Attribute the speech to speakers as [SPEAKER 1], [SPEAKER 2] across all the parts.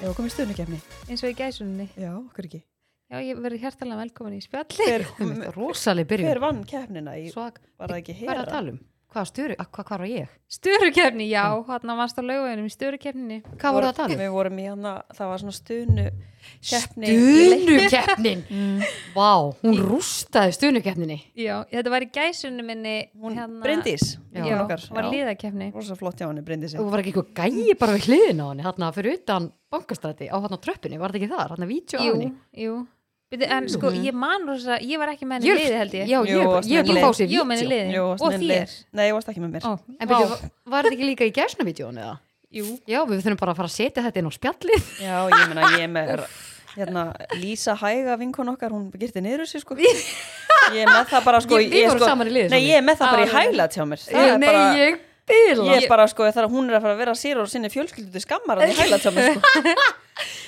[SPEAKER 1] Já, komið stuðnukefni.
[SPEAKER 2] eins og í gæsunni.
[SPEAKER 1] Já, okkur ekki.
[SPEAKER 2] Já, ég verði hjertalega velkomin í spjalli.
[SPEAKER 1] Hver,
[SPEAKER 3] Einmitt, Rosaleg
[SPEAKER 1] hver
[SPEAKER 3] byrjun.
[SPEAKER 1] vann kefnina? Ég
[SPEAKER 3] Svak.
[SPEAKER 1] var það ekki
[SPEAKER 3] Hvað er að
[SPEAKER 1] hera.
[SPEAKER 3] tala um? Hvað stjóri, að- hvað, hvað var ég?
[SPEAKER 2] Störukefni, já, hann varst á laugunum í störukefninni.
[SPEAKER 3] Hvað voru að tala um?
[SPEAKER 1] Við vorum í hana, það var svona stuðnu keppni.
[SPEAKER 3] Stunukeppnin! Vá, hún rústaði stunukeppninni.
[SPEAKER 2] Já, þetta var í gæsunni minni. hérna-
[SPEAKER 1] Hún Bryndís,
[SPEAKER 3] Hérna- Já.
[SPEAKER 2] Já,
[SPEAKER 1] vinkona okkar.
[SPEAKER 2] var liðakefni.
[SPEAKER 1] Rosa flott hjá henni, Bryndísi.
[SPEAKER 3] Og var ekki eitthvað gæi bara við hliðin á henni, hérna fyrir utan bankastræti á hérna tröppinni, var þetta ekki þar, hérna vítjó á
[SPEAKER 2] Jú,
[SPEAKER 3] henni?
[SPEAKER 2] jú. Byrju, en sko, ég man rosa, ég var ekki með henni í
[SPEAKER 3] Ég-
[SPEAKER 2] liði held ég.
[SPEAKER 3] Já,
[SPEAKER 1] Jú,
[SPEAKER 3] ég er bara- ég
[SPEAKER 1] varstu
[SPEAKER 3] er bara
[SPEAKER 1] með
[SPEAKER 3] að fá sér
[SPEAKER 2] Ég var með henni í
[SPEAKER 3] vítjó.
[SPEAKER 2] liðin.
[SPEAKER 1] Jú, varst
[SPEAKER 2] og
[SPEAKER 1] með
[SPEAKER 2] þér.
[SPEAKER 1] lið. Nei, ég varst ekki með mér.
[SPEAKER 2] Ó, sko,
[SPEAKER 3] En
[SPEAKER 2] vá.
[SPEAKER 3] byrju, var- var þetta ekki líka í gæsnavídjónu eða?
[SPEAKER 2] Jú,
[SPEAKER 3] Já, við þurfum bara að fara að setja þetta inn á spjallið.
[SPEAKER 1] Já, ég meina, ég er með hérna, Lísa Hæga vinkon okkar, hún girti niður þessu, sko. Ég er með það bara, sko.
[SPEAKER 3] Ég- við vorum
[SPEAKER 1] sko,
[SPEAKER 3] saman í liði,
[SPEAKER 1] Nei,
[SPEAKER 3] Sonja.
[SPEAKER 1] ég er með það bara í
[SPEAKER 2] Já,
[SPEAKER 1] hæglat hjá mér. Það er
[SPEAKER 3] Nei,
[SPEAKER 1] bara,
[SPEAKER 3] ég bila.
[SPEAKER 1] ég er bara, sko, þar að hún er að fara að vera sér og sinni fjölskyldu til skammar að það er hæglat hjá mér, sko.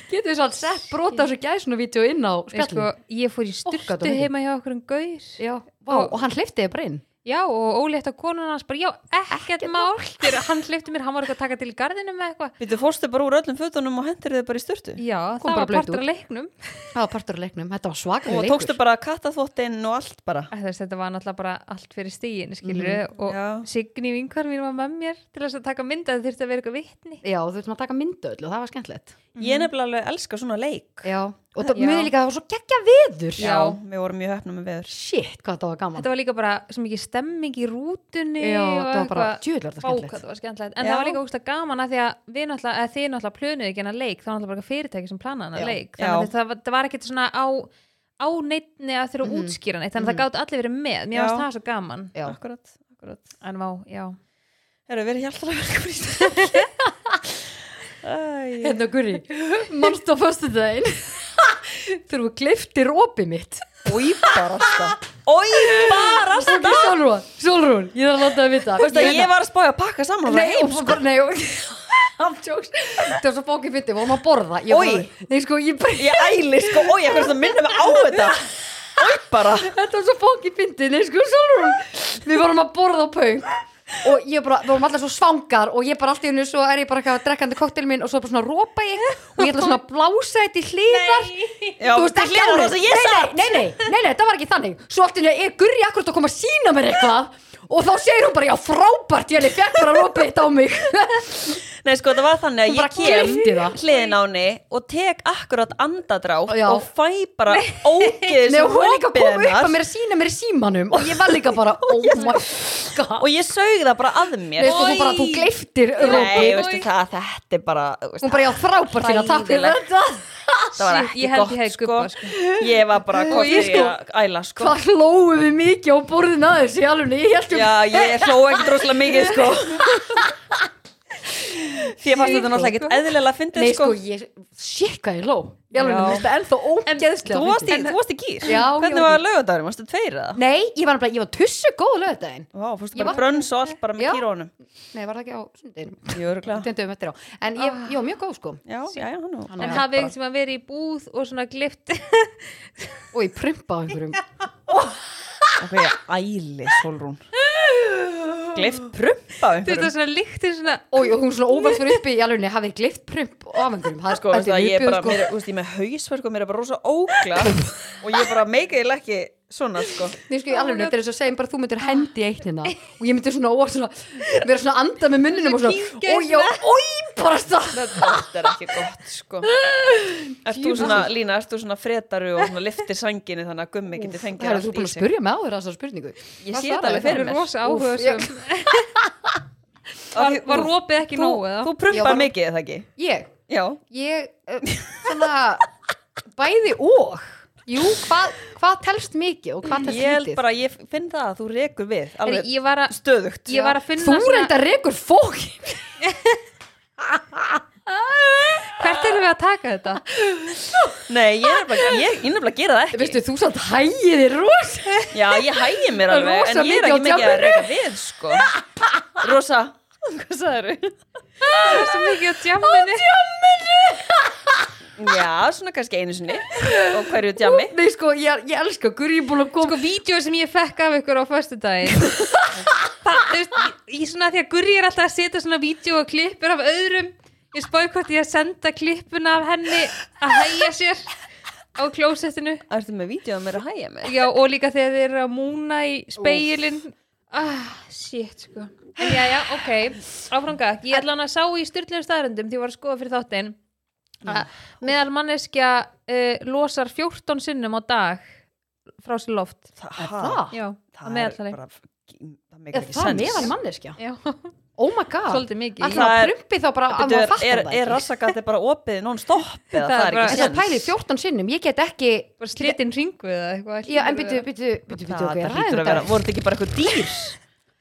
[SPEAKER 3] Getur við svo að sett brota þessu gæsnavídjó inn á
[SPEAKER 2] en sko,
[SPEAKER 3] spjallið?
[SPEAKER 2] ég fór í
[SPEAKER 3] Ókað
[SPEAKER 2] styrtu
[SPEAKER 3] og mikið.
[SPEAKER 2] heima hjá okkur um gaur.
[SPEAKER 3] Já, vá, og hann hleyfti þig bara inn.
[SPEAKER 2] Já, og ólétt á konan hans bara, já, ekkert mál. Þegar hann hlifti mér, hann var eitthvað að taka til í gardinu með eitthvað.
[SPEAKER 1] Við þú fórstu bara úr öllum fötunum og hendur þið bara í sturtu.
[SPEAKER 2] Já,
[SPEAKER 3] Kom
[SPEAKER 2] það var
[SPEAKER 3] bara blöyt
[SPEAKER 2] partur af leiknum.
[SPEAKER 3] Það var partur af leiknum, þetta var svakar
[SPEAKER 1] Og
[SPEAKER 3] leikur.
[SPEAKER 1] tókstu bara kattaþvottinn og allt bara.
[SPEAKER 2] Æ, Þess, þetta var náttúrulega bara allt fyrir stíin, skilur
[SPEAKER 3] Mhm,
[SPEAKER 2] og
[SPEAKER 1] Já.
[SPEAKER 2] Signý vinkar mín var með mér til þess að taka mynda það þurfti að vera eitthvað vitni.
[SPEAKER 3] Já, þú veist maður að taka myndu öll og það var skemmtilegt.
[SPEAKER 1] Ég nefnilega alveg elska svona leik.
[SPEAKER 3] Já, og það
[SPEAKER 2] Já.
[SPEAKER 3] mjög líka að það var svo geggja veður.
[SPEAKER 2] Já.
[SPEAKER 1] Við vorum mjög hefnum með veður.
[SPEAKER 3] Shit, hvað það var gaman.
[SPEAKER 2] Þetta var líka bara svo mikið stemming í rútunni
[SPEAKER 3] Já,
[SPEAKER 2] og
[SPEAKER 3] þetta var bara,
[SPEAKER 2] eitthvað-
[SPEAKER 3] djöðlar þetta
[SPEAKER 2] Vá, hvað
[SPEAKER 3] skemmtilegt.
[SPEAKER 2] það var skemmtilegt. En
[SPEAKER 1] Já.
[SPEAKER 2] það var líka ógst gaman að því að við náttúrulega, að þið náttúrulega plönuðu ekki hennar leik, þá var náttúrulega bara fyrirtæki sem planaði hennar
[SPEAKER 3] Já.
[SPEAKER 2] leik. Þannig
[SPEAKER 1] Já.
[SPEAKER 2] að það, var- það var ekkert svona á, á neittni að þurfa að útskýra neitt, þannig að það gátt allir verið með. Mér
[SPEAKER 1] Já.
[SPEAKER 2] varst það svo gaman.
[SPEAKER 3] Mhm. Já.
[SPEAKER 1] Akkurat, akkurat.
[SPEAKER 2] En vá, já.
[SPEAKER 1] Herru, við erum hjaltalega velkomin í stafli. Æ,
[SPEAKER 3] Hérna, Guri, mannstu á föstu daginn. Þurfu kliftir opið mitt.
[SPEAKER 1] ói
[SPEAKER 3] sko.
[SPEAKER 1] barasta. Ói barasta.
[SPEAKER 3] Ok, Sólrún, Sólrún, ég þarf að láta það vita. Hérna.
[SPEAKER 1] Þú veist að ég var að spája að pakka saman og
[SPEAKER 3] Nei,
[SPEAKER 1] fara heim. sko.
[SPEAKER 3] og svo bara, sko. nei, og... I'm jokes. Það var svo bókið fyndi, við vorum að borða. Ég
[SPEAKER 1] Oj.
[SPEAKER 3] bara- Nei, sko, ég bara...
[SPEAKER 1] Ég æli, sko, ói, ég hvernig það minnum á þetta. Ói bara.
[SPEAKER 3] Þetta var svo fókið fyndið, nei sko, Solrún Við vorum að borða á pöng Og ég bara, við vorum allar svo svangar Og ég bara allt í hennu, svo er ég bara eitthvað að drekkandi koktel minn Og svo bara svona rópa ég Og ég ætla svona að blása þetta í hliðar
[SPEAKER 1] Já,
[SPEAKER 3] Þú veist
[SPEAKER 1] til
[SPEAKER 3] ekki
[SPEAKER 1] hliðar á
[SPEAKER 3] alveg
[SPEAKER 1] það sem ég
[SPEAKER 3] nei, nei, nei, nei, nei, nei, það var ekki þannig Svo allt í hennu er gurri akkurat að koma að sína mér eitthvað Og þá segir hún bara, já frábært Ég er fekk bara rópa þetta á mig
[SPEAKER 1] Nei, sko, það var þannig að
[SPEAKER 3] Hún bara klippti
[SPEAKER 1] ég
[SPEAKER 3] það.
[SPEAKER 1] kem hliðin á henni og tek akkurat andadrátt
[SPEAKER 3] Já.
[SPEAKER 1] og fæ bara ógeðis
[SPEAKER 3] Nei, og hún er líka að
[SPEAKER 1] hopið
[SPEAKER 3] koma upp að
[SPEAKER 1] hennar
[SPEAKER 3] mér að sína mér í símanum Og ég var líka bara, oh my god
[SPEAKER 1] og ég sög það bara að mér.
[SPEAKER 3] Nei, sko, þú bara, þú gleiftir
[SPEAKER 1] Nei,
[SPEAKER 3] rópi
[SPEAKER 1] veistu það, þetta er bara, þú veist,
[SPEAKER 3] Hún bara, já, frábært hérna, takk fyrir
[SPEAKER 1] Hræðilegt.
[SPEAKER 3] þetta
[SPEAKER 1] það var
[SPEAKER 2] Shit,
[SPEAKER 1] ekki
[SPEAKER 2] ég held ég
[SPEAKER 1] gott
[SPEAKER 2] hefði
[SPEAKER 1] sko.
[SPEAKER 2] gubbað, sko.
[SPEAKER 1] ég var bara hvort
[SPEAKER 3] ég
[SPEAKER 1] ég
[SPEAKER 3] sko-
[SPEAKER 1] að æla sko
[SPEAKER 3] Hvað hlóðum við mikið á borðin aðeins í alveg, ég um- held
[SPEAKER 1] já ég hló ekki droslega mikið sko því ég fannst þetta náttúrulega ekkert eðlilega að fyndið
[SPEAKER 3] Nei,
[SPEAKER 1] sko
[SPEAKER 3] sko, ég, shit hvað ég hló Í alveg,
[SPEAKER 1] Já.
[SPEAKER 3] mér finnst það ennþá
[SPEAKER 1] þú
[SPEAKER 3] ógeðslega
[SPEAKER 1] varst, í,
[SPEAKER 3] fyndið.
[SPEAKER 1] þú varst í gýr
[SPEAKER 3] Já, ég
[SPEAKER 1] hvernig
[SPEAKER 3] var
[SPEAKER 1] var
[SPEAKER 3] í-
[SPEAKER 1] lögadagurinn, varstu tveir eða?
[SPEAKER 3] Nei, ég var nefnilega, ég var tussu góð lögðaðin
[SPEAKER 1] Vá, fórstu
[SPEAKER 3] Ég
[SPEAKER 1] bara
[SPEAKER 3] var-
[SPEAKER 1] brönns og allt bara
[SPEAKER 3] Já.
[SPEAKER 1] með kýrónum
[SPEAKER 3] Nei, var það ekki á sundinu
[SPEAKER 1] Jú, öruglega
[SPEAKER 3] Tundum eftir á En ég, ég var mjög góð, sko
[SPEAKER 1] Já, já, já, nú
[SPEAKER 3] Hann
[SPEAKER 2] En
[SPEAKER 3] var
[SPEAKER 2] hafið
[SPEAKER 3] bara-
[SPEAKER 2] sem að vera í búð og svona glift
[SPEAKER 3] Og ég prumpa á einhverjum
[SPEAKER 1] Ok, ég æli, Solrún Gleift prumpa á
[SPEAKER 2] Þetta
[SPEAKER 1] einhverjum
[SPEAKER 2] var svona líktir svona
[SPEAKER 3] Og og hún svona óvært fyrir uppi í alveg, hafið glift prump á einhverjum Það er
[SPEAKER 1] Sko,
[SPEAKER 3] þetta
[SPEAKER 1] veistu
[SPEAKER 3] er
[SPEAKER 1] það, ég er
[SPEAKER 3] viðbjóður,
[SPEAKER 1] bara, mér, þú veist, ég er með hausverk og mér er bara rosa ógla og ég er bara meikiðilega ekki svona, sko
[SPEAKER 3] Nei, sko, ég alveg, þetta er eins og segjum bara þú myndir hendi eittnina og ég myndir svona, ó, svona, vera svona að anda með munninum og svona,
[SPEAKER 2] Kíkja í
[SPEAKER 3] ó, já, ó, bara stað.
[SPEAKER 1] Þetta er ekki gott sko Erst þú
[SPEAKER 3] Djöfull.
[SPEAKER 1] svona, Lína, erst þú svona fretaru og svona liftir sanginni þannig að gummi geti fengið
[SPEAKER 3] Það er þú búin að spyrja mig á þér þessar spurningu.
[SPEAKER 1] Ég sé þetta
[SPEAKER 3] Hvað svaraði
[SPEAKER 1] alveg
[SPEAKER 3] það?
[SPEAKER 1] fyrir
[SPEAKER 2] Fyrir
[SPEAKER 1] mér
[SPEAKER 2] rosa
[SPEAKER 3] Úff,
[SPEAKER 2] áhuga sem
[SPEAKER 1] Af því-
[SPEAKER 2] Var
[SPEAKER 1] þú-
[SPEAKER 2] rópið ekki
[SPEAKER 1] þú-
[SPEAKER 2] nógu eða?
[SPEAKER 1] Þú
[SPEAKER 3] Já,
[SPEAKER 1] prumpar
[SPEAKER 3] bara-
[SPEAKER 1] mikið eða ekki?
[SPEAKER 3] Ég,
[SPEAKER 1] Já
[SPEAKER 3] ég, uh, svona, bæði og, jú, hvað, hvað telst mikið og hvað telst
[SPEAKER 1] Ég held
[SPEAKER 3] lítið?
[SPEAKER 1] bara, ég finn það að þú rekur við
[SPEAKER 2] Heyrðu,
[SPEAKER 1] Alveg
[SPEAKER 2] Ég var að
[SPEAKER 1] stöðugt
[SPEAKER 2] Ég var að finna
[SPEAKER 3] Þú reyndar rekur fólk.
[SPEAKER 2] Hvert erum við að taka þetta?
[SPEAKER 1] Nei, ég er bara, ég ég nefnilega gera það ekki
[SPEAKER 3] Veistu, þú satt hægið þér ros.
[SPEAKER 1] Já, ég hægi mér
[SPEAKER 3] Það
[SPEAKER 1] alveg
[SPEAKER 3] er rosa
[SPEAKER 1] En ég er
[SPEAKER 3] mikið
[SPEAKER 1] ekki mikið
[SPEAKER 3] á
[SPEAKER 1] að
[SPEAKER 3] djamminu.
[SPEAKER 1] reka við sko Rosa Hvað sagður þau?
[SPEAKER 2] Það er svo mikið á djamminu
[SPEAKER 1] Já, svona kannski einu sinni Og hverju djammi
[SPEAKER 3] Nei, sko, ég, ég elska, gurri, ég er búin að koma.
[SPEAKER 2] Sko, vídeo sem ég fekk af ykkur á föstu daginn Það, þú veist, í- í svona því að Gurri er alltaf að setja svona vídeo og klippur af öðrum ég spáði hvort ég að senda klippuna af henni að hægja sér á klósettinu
[SPEAKER 1] Ertu með vídeo að mér að hæja mig?
[SPEAKER 2] já, og líka þegar þeir eru að múna í speilin ah, shit sko en já, já, ok, áframgak ég ætla hann að sá í styrlum staðröndum því ég var að skoða fyrir þáttinn að meðal manneskja uh, losar 14 sinnum á dag frá sér loft
[SPEAKER 1] Það, ha?
[SPEAKER 3] Er Ah, það?
[SPEAKER 2] já,
[SPEAKER 1] það
[SPEAKER 2] að meðaltali
[SPEAKER 1] bara, það meikar
[SPEAKER 3] Er
[SPEAKER 1] ekki
[SPEAKER 3] það
[SPEAKER 1] sens.
[SPEAKER 3] meðal manneskja?
[SPEAKER 2] já,
[SPEAKER 3] Oh my god
[SPEAKER 2] svolítið mikið
[SPEAKER 3] Alltaf
[SPEAKER 1] Það
[SPEAKER 3] að
[SPEAKER 1] er-
[SPEAKER 3] prumpi þá bara að
[SPEAKER 1] Bíddu,
[SPEAKER 3] maður fattar
[SPEAKER 1] er,
[SPEAKER 3] það
[SPEAKER 1] er, er rassagati bara opið non-stop eða það er
[SPEAKER 2] Það er bara-
[SPEAKER 1] ekki
[SPEAKER 3] Þess að
[SPEAKER 1] sens?
[SPEAKER 3] pæli 14 sinnum, ég get ekki
[SPEAKER 2] bara slitinn ringu eða eitthvað
[SPEAKER 3] Já, en byttu, byttu, byttu, byttu
[SPEAKER 1] Það
[SPEAKER 3] ok,
[SPEAKER 1] það
[SPEAKER 3] ræðum
[SPEAKER 1] hlýtur að vera,
[SPEAKER 3] þetta
[SPEAKER 1] voru þetta ekki bara eitthvað dýr?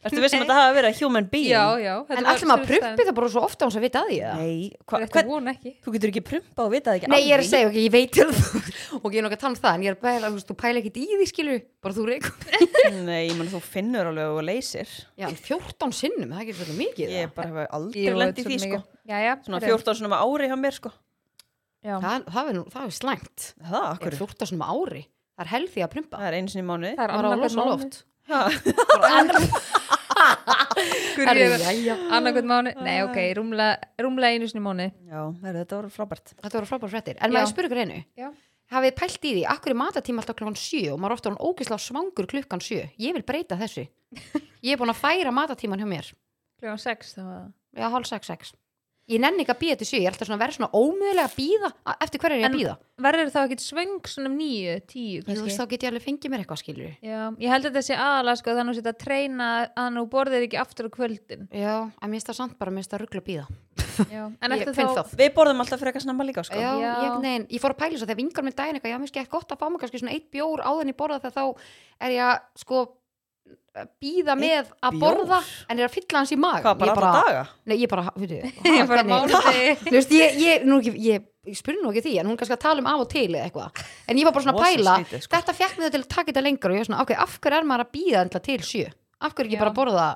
[SPEAKER 1] Ertu vissum að þetta hafa verið human being?
[SPEAKER 2] já, já, þetta
[SPEAKER 3] En
[SPEAKER 2] var
[SPEAKER 3] allir maður
[SPEAKER 2] styrlstaðurinn.
[SPEAKER 3] prumpi þá bara svo ofta hans að vita að því eða?
[SPEAKER 1] Nei, hva,
[SPEAKER 2] Þetta
[SPEAKER 1] hvern,
[SPEAKER 2] von ekki
[SPEAKER 1] þú getur ekki prumpa og vitað ekki
[SPEAKER 3] Nei, ég er
[SPEAKER 1] alveg.
[SPEAKER 3] að segja, ok, ég veit að þú Ok, ég er nokkuð að tala um það, en ég er bara, þú veist, þú pæla ekkit í því skilur Bara þú reykum
[SPEAKER 1] Nei, ég menn þú finnur alveg og leysir
[SPEAKER 3] Já, 14 sinnum, það getur svolítið mikið
[SPEAKER 1] Ég
[SPEAKER 3] það.
[SPEAKER 1] bara hef aldrei lent í því sko
[SPEAKER 2] já, já,
[SPEAKER 1] Svona 14 svona ári hjá mér sko
[SPEAKER 2] já.
[SPEAKER 3] Það, það, er nú, það er slæmt
[SPEAKER 1] Það,
[SPEAKER 3] Er
[SPEAKER 1] akkur
[SPEAKER 3] 14 sinnum á ári, það er helði að prumpa
[SPEAKER 1] Það er einu sinni í mánuði
[SPEAKER 2] það er
[SPEAKER 3] Bara á
[SPEAKER 2] annarkvæmt
[SPEAKER 3] losa
[SPEAKER 2] mánu
[SPEAKER 3] loft
[SPEAKER 1] Já,
[SPEAKER 3] Herri,
[SPEAKER 2] annarkvæmt
[SPEAKER 3] jæja.
[SPEAKER 2] mánu, nei ok, rúmlega, rúmlega einu sinni í mánu
[SPEAKER 1] Já, heyrðu, þetta voru frábært
[SPEAKER 3] Þetta voru frábært fréttir, en
[SPEAKER 2] Já.
[SPEAKER 3] maður spyrir ykkur einu
[SPEAKER 2] Já.
[SPEAKER 3] Hafið þið pælt í því, akkur er matatíma alltaf klukkan 7 og maður er ofta hann ógislega svangur klukkan 7 Ég vil breyta þessu Ég er búin að færa matatíman hjá mér
[SPEAKER 2] kljóðan 6 þá var það
[SPEAKER 3] Já, hálf 6, 6 Ég nenni ekki að býða til 7, ég er alltaf svona að vera svona ómögulega að býða Eftir hverju er ég
[SPEAKER 2] En-
[SPEAKER 3] að býða?
[SPEAKER 2] verður þá ekkit svöng svona um 9, 10
[SPEAKER 3] Þú veist,
[SPEAKER 2] kannski
[SPEAKER 3] þá get ég alveg fengið mér eitthvað skilur
[SPEAKER 2] já, ég held að þetta sé aðalega sko þannig að setja að treyna að nú borðir ekki aftur á kvöldin
[SPEAKER 3] Já, en mér finnst það samt bara, mér finnst það ruggla að býða
[SPEAKER 2] já. en
[SPEAKER 3] Ég
[SPEAKER 2] eftir
[SPEAKER 3] finn
[SPEAKER 2] þá
[SPEAKER 3] það
[SPEAKER 1] Við borðum alltaf frekar snemma líka sko
[SPEAKER 3] Já,
[SPEAKER 2] Já.
[SPEAKER 3] ég, nein, ég fór að pæla svo þegar vingar minn daginn eitthvað, já, mér skil gott að fá mig kannski svona eitt bjór áðan í borða þegar þá er ég að sko býða með að
[SPEAKER 1] bjór?
[SPEAKER 3] borða en er að fylla hans í maga
[SPEAKER 1] Hvað, bara alla daga?
[SPEAKER 3] Nei, ég bara, veitu,
[SPEAKER 2] ég bara mánuði
[SPEAKER 3] Þú veist, ég, ég, nú ekki, ég, ég spurði nú ekki því, en hún kannski að tala um af og til eða eitthvað. En ég var bara svona að
[SPEAKER 1] Rosa
[SPEAKER 3] pæla,
[SPEAKER 1] skrítið, sko.
[SPEAKER 3] þetta fekk mig þau til að taka þetta lengur og ég var svona, ok, af hverju er maður að býða endla til sjö? Af hverju ekki
[SPEAKER 2] Já.
[SPEAKER 3] bara að borða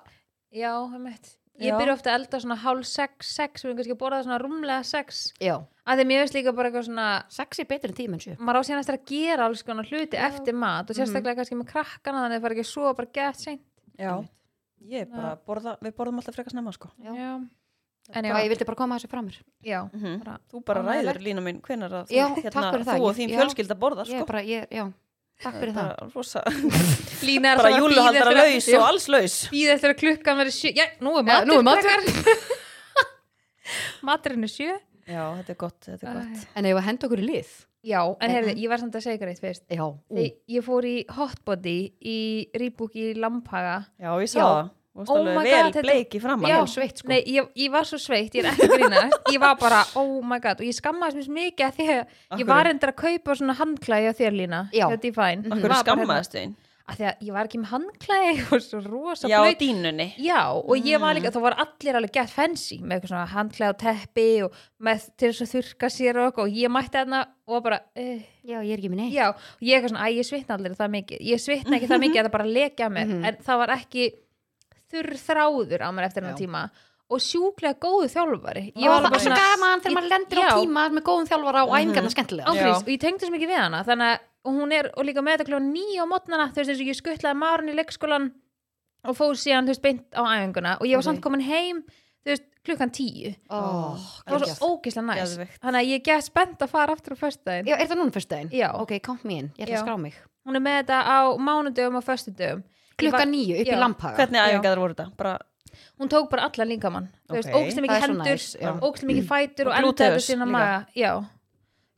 [SPEAKER 2] já, einmitt. ég
[SPEAKER 1] Já.
[SPEAKER 2] byrja ofta að elda svona hálf 6, 6 við erum kannski að borða svona rúmlega 6
[SPEAKER 3] Já,
[SPEAKER 2] að því mér veist líka bara eitthvað svona
[SPEAKER 3] sex er betur en tíma en sjö.
[SPEAKER 2] maður á síðan eftir að gera alls konar hluti eftir mat og sérstaklega kannski með krakkana þannig að það fara ekki að sofa bara gett seint
[SPEAKER 1] Já Ég er bara, borða, við borðum alltaf frekar snemma sko
[SPEAKER 3] Já.
[SPEAKER 2] Já. en
[SPEAKER 3] Já.
[SPEAKER 2] já,
[SPEAKER 3] Ég vildi bara koma þessu framur.
[SPEAKER 2] já
[SPEAKER 1] Mhm.
[SPEAKER 2] bara,
[SPEAKER 1] Þú bara
[SPEAKER 2] Ánægjulegt.
[SPEAKER 1] ræður lína mín hvenar að þú, hérna,
[SPEAKER 3] Já, takk fyrir það.
[SPEAKER 1] þú og þín
[SPEAKER 3] Já.
[SPEAKER 1] fjölskylda borða
[SPEAKER 3] Ég
[SPEAKER 1] sko.
[SPEAKER 3] er bara, ég, já, takk fyrir það.
[SPEAKER 1] Bara rosa,
[SPEAKER 2] Lína er
[SPEAKER 1] bara
[SPEAKER 2] alltaf að
[SPEAKER 1] júlu haldara
[SPEAKER 2] bíða
[SPEAKER 1] laus
[SPEAKER 2] eftir
[SPEAKER 1] og
[SPEAKER 2] að-
[SPEAKER 1] alls laus
[SPEAKER 2] bíða eftir að klukkan verið sjö já, nú er
[SPEAKER 3] Já,
[SPEAKER 2] matur,
[SPEAKER 3] nú er matur.
[SPEAKER 2] krakkar. maturinn er sjö
[SPEAKER 1] Já, þetta er gott, þetta er gott
[SPEAKER 3] En ef að henda okkur í lið?
[SPEAKER 2] já, en heyrðu,
[SPEAKER 3] Mhm.
[SPEAKER 2] ég var samt að segja ykkur eitt fyrst
[SPEAKER 3] Já, ú,
[SPEAKER 2] Þegar ég fór í hotbody í rýbúk í Lamphaga
[SPEAKER 1] Já, ég sá
[SPEAKER 3] Já.
[SPEAKER 1] það Þú varst
[SPEAKER 2] Oh
[SPEAKER 1] alveg
[SPEAKER 2] my God,
[SPEAKER 1] vel
[SPEAKER 2] þetta-
[SPEAKER 1] bleiki framan
[SPEAKER 3] já, sveitt sko.
[SPEAKER 2] Nei, ég, ég var svo sveitt, ég er ekki að grínast Ég var bara, oh my god, og ég skammaðist mér svo mikið af því að
[SPEAKER 1] Af
[SPEAKER 2] ég var
[SPEAKER 1] hverju?
[SPEAKER 2] endur að kaupa svona handklæði á þér lína
[SPEAKER 3] Já.
[SPEAKER 2] hjá Divine
[SPEAKER 1] Af
[SPEAKER 2] Ég var
[SPEAKER 1] hverju
[SPEAKER 2] bara
[SPEAKER 1] skammaðist þín?
[SPEAKER 2] hérna, af Því að ég var ekki með handklæði og svo rosa
[SPEAKER 1] Já,
[SPEAKER 2] blaut.
[SPEAKER 1] dínunni
[SPEAKER 2] Já, og ég var
[SPEAKER 3] Mm.
[SPEAKER 2] líka, þá var allir alveg gett fancy með eitthvað svona handklæði og teppi og með til þess að þurka sér og eitthvað og ég mætti þarna og var bara, uh,
[SPEAKER 3] Já, ég er ekki minn eitt.
[SPEAKER 2] já, og ég eitthvað svona, æ, ég svitna allir það mikið, ég svitna ekki það mikið að það bara lekja mér,
[SPEAKER 3] Mhm.
[SPEAKER 2] en það var ekki þurr þráður á mér eftir hennar
[SPEAKER 3] Já.
[SPEAKER 2] tíma og sjúklega góðu þjálfari
[SPEAKER 3] Ég var bara svo gaman þegar
[SPEAKER 2] Ég-
[SPEAKER 3] maður lendir á
[SPEAKER 2] Já.
[SPEAKER 3] tíma með góðum þjálfara og æfingarna skemmtilega.
[SPEAKER 1] Já.
[SPEAKER 2] ángríns og ég tengdi svo mikið við hana þannig að og hún er og líka með þetta kljóðan nýja á mótnana þú veist eins og ég skuttlaði marun í leikskólan og fóð síðan þú veist beint á æfinguna og ég var
[SPEAKER 3] Ok.
[SPEAKER 2] samt komin heim þú veist klukkan tíu
[SPEAKER 3] Ó,
[SPEAKER 2] það var
[SPEAKER 3] geggjað.
[SPEAKER 2] svo ógislega næs
[SPEAKER 1] Geðveikt.
[SPEAKER 2] þannig að ég gett spennt að fara aftur á föstudaginn
[SPEAKER 3] Já, er það núna fyrst daginn?
[SPEAKER 2] Já.
[SPEAKER 3] Ok, count me in, ég ætla
[SPEAKER 2] Já.
[SPEAKER 3] að skrá mig.
[SPEAKER 2] hún er með þetta á mánudögum og föstudögum
[SPEAKER 3] Klukka nýju upp
[SPEAKER 2] Já.
[SPEAKER 3] í Lamphaga.
[SPEAKER 1] Hvernig æfingaðar voru þetta? Bara
[SPEAKER 2] hún tók bara allan líkamann þú veist,
[SPEAKER 1] Ok.
[SPEAKER 2] ógislega
[SPEAKER 3] Það
[SPEAKER 2] mikið
[SPEAKER 3] er svo
[SPEAKER 2] hendur,
[SPEAKER 3] næs, já.
[SPEAKER 2] ógislega mikið fætur og,
[SPEAKER 1] Og
[SPEAKER 2] og endaði
[SPEAKER 1] gluteus
[SPEAKER 2] þetta sína
[SPEAKER 1] líka.
[SPEAKER 2] maga já,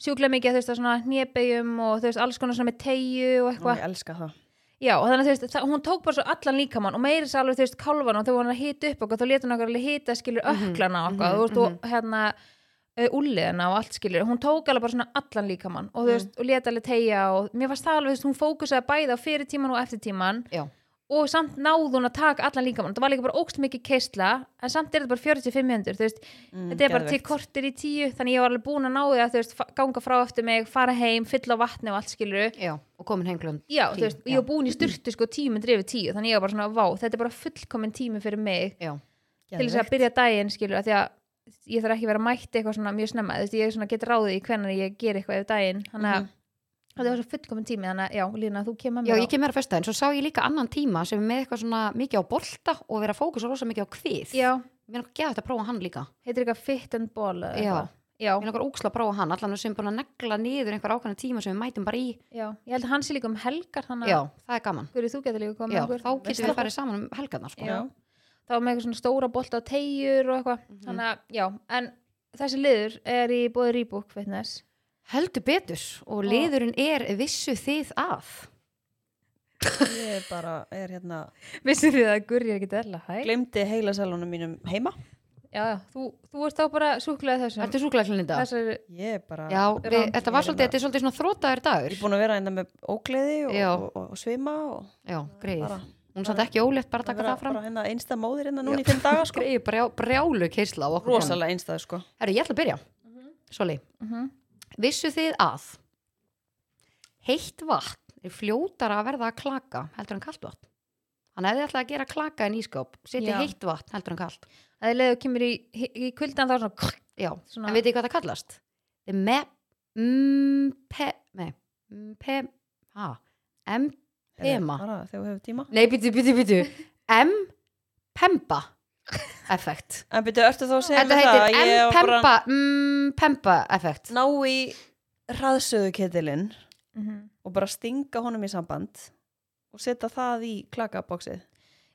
[SPEAKER 2] sjúklega mikið þú veist að svona hnébegjum og þú veist alls konar svona með tegju
[SPEAKER 1] Ó,
[SPEAKER 2] og eitthvað
[SPEAKER 1] Ég elska það
[SPEAKER 2] Já, og þannig að þú veist, það, hún tók bara svo allan líkamann og meiri sér alveg, þú veist, kálvan og þau voru hann að hita upp okkur, þá leta hún okkur alveg hita, skilur,
[SPEAKER 1] Mhm,
[SPEAKER 2] öklana og okkur, þú veist, og hérna, uh, ulliðina og allt, skilur, hún tók alveg bara svona allan líkamann
[SPEAKER 1] Mhm.
[SPEAKER 2] og þú veist, og leta alveg tegja og mér varst það alveg, þú veist, hún fókusaði bæði á fyrirtíman og eftirtíman
[SPEAKER 3] Já.
[SPEAKER 2] og samt náði hún að taka allan líkamann, það var líka bara ógst mikið keisla, en samt er þetta bara 45 minútur, þú veist,
[SPEAKER 1] Mm,
[SPEAKER 2] þetta er bara til
[SPEAKER 1] geðveikt.
[SPEAKER 2] kortir í tíu, þannig ég var alveg búin að ná því að, þú veist, fa- ganga frá eftir mig, fara heim, fylla á vatni og allt, skilur,
[SPEAKER 3] Já, og komin heimglund.
[SPEAKER 2] Já,
[SPEAKER 3] Tíu,
[SPEAKER 2] þú veist, ég
[SPEAKER 3] já.
[SPEAKER 2] var búin í styrtu sko tíminn drefið tíu, þannig ég var bara svona, vá, þetta er bara fullkominn tími fyrir mig
[SPEAKER 3] Já.
[SPEAKER 2] til þess að
[SPEAKER 1] Geðveikt.
[SPEAKER 2] byrja daginn, skilur, að því að ég þarf ekki að vera mætt eitthvað svona mjög snemma, þú veist, ég svona get ráðið í hvernig ég ger eitthvað yfir daginn, þannig að
[SPEAKER 1] Mhm.
[SPEAKER 2] þetta var svo fullkominn tími, þannig að, já, Lína, þú kemur
[SPEAKER 3] Já,
[SPEAKER 2] mér
[SPEAKER 3] ég kem meira fyrst daginn, svo sá ég líka annan tíma sem er með eitthvað svona mikið á bolta og vera fókus og rosa mikið á kvið.
[SPEAKER 2] Já,
[SPEAKER 3] mér er okkur geðvægt að prófa hann líka
[SPEAKER 2] heitir eitthvað fit and ball eða
[SPEAKER 3] Já.
[SPEAKER 2] eitthvað. Já,
[SPEAKER 3] mér er okkur óksla að prófa hann, allan sem er búin að negla niður einhver ákveðna tíma sem við mætum bara í
[SPEAKER 2] já, ég held að hann sé líka um helgar þannig
[SPEAKER 3] já,
[SPEAKER 2] að
[SPEAKER 3] það er gaman
[SPEAKER 2] Guri, þú getur líka komið
[SPEAKER 3] já,
[SPEAKER 2] með okkur.
[SPEAKER 3] þá getum
[SPEAKER 2] Veisla.
[SPEAKER 3] við farið saman um helgarnar sko.
[SPEAKER 2] Já. þá með eitthvað svona stóra bolta og tegjur og eitthvað
[SPEAKER 3] Mhm.
[SPEAKER 2] þannig að, já, en þessi liður er í bóði Rebook Fitness
[SPEAKER 3] heldur betur og liðurinn er vissu þið að
[SPEAKER 1] Ég er bara, er hérna,
[SPEAKER 2] vissið þið að Guri er ekki dæla hæ?
[SPEAKER 1] glemdi heila salunum mínum heima.
[SPEAKER 2] já, já, þú, þú ert þá bara súklaðið þessum
[SPEAKER 3] ertu súklaklinn í dag?
[SPEAKER 2] þessari,
[SPEAKER 1] Ég er bara,
[SPEAKER 3] já, við,
[SPEAKER 2] Rán.
[SPEAKER 3] þetta var
[SPEAKER 1] Ég er
[SPEAKER 3] svolítið, þetta er svolítið svona þrótaður
[SPEAKER 1] ég
[SPEAKER 3] dagur
[SPEAKER 1] er búin að vera hérna með ógleði og,
[SPEAKER 3] Já.
[SPEAKER 1] og, og, og svima og
[SPEAKER 3] já, greið,
[SPEAKER 1] Bara-
[SPEAKER 3] hún satt ekki ólétt bara að taka
[SPEAKER 1] vera
[SPEAKER 3] það fram
[SPEAKER 1] Bara hérna einsta móðir hérna núna í fimm daga sko.
[SPEAKER 3] greið, brjá, brjálu keisla á okkur konum.
[SPEAKER 1] Rosalega einstað sko.
[SPEAKER 3] herru, ég ætla að byrja Soli,
[SPEAKER 2] Mhm.
[SPEAKER 3] vissu þið að heitt vatn er fljótara að verða að klaka heldur en kalt vatn hann hefði ætlað að gera klaka en ískáp setja
[SPEAKER 2] Já.
[SPEAKER 3] heitt vatn heldur en kalt
[SPEAKER 2] að þið leiðu kemur í, í kuldan þá svona krr,
[SPEAKER 3] Já,
[SPEAKER 2] Svona-
[SPEAKER 3] en veit ekki hvað það kallast? The map Mpe Nei Mpe Ha M
[SPEAKER 1] Heyrðu,
[SPEAKER 3] Ema.
[SPEAKER 1] Bara þegar við hefum tíma.
[SPEAKER 3] Nei, býtu, býtu, býtu M Pemba Effekt
[SPEAKER 1] En byrju, ertu þá að segja
[SPEAKER 3] Þetta
[SPEAKER 1] mér það
[SPEAKER 3] heitir
[SPEAKER 1] að ég
[SPEAKER 3] M
[SPEAKER 1] var bara
[SPEAKER 3] Pemba M Pemba effekt
[SPEAKER 1] ná í hraðsöðuketilinn
[SPEAKER 2] Mhm.
[SPEAKER 1] og bara stinga honum í samband og setja það í klakaboksið.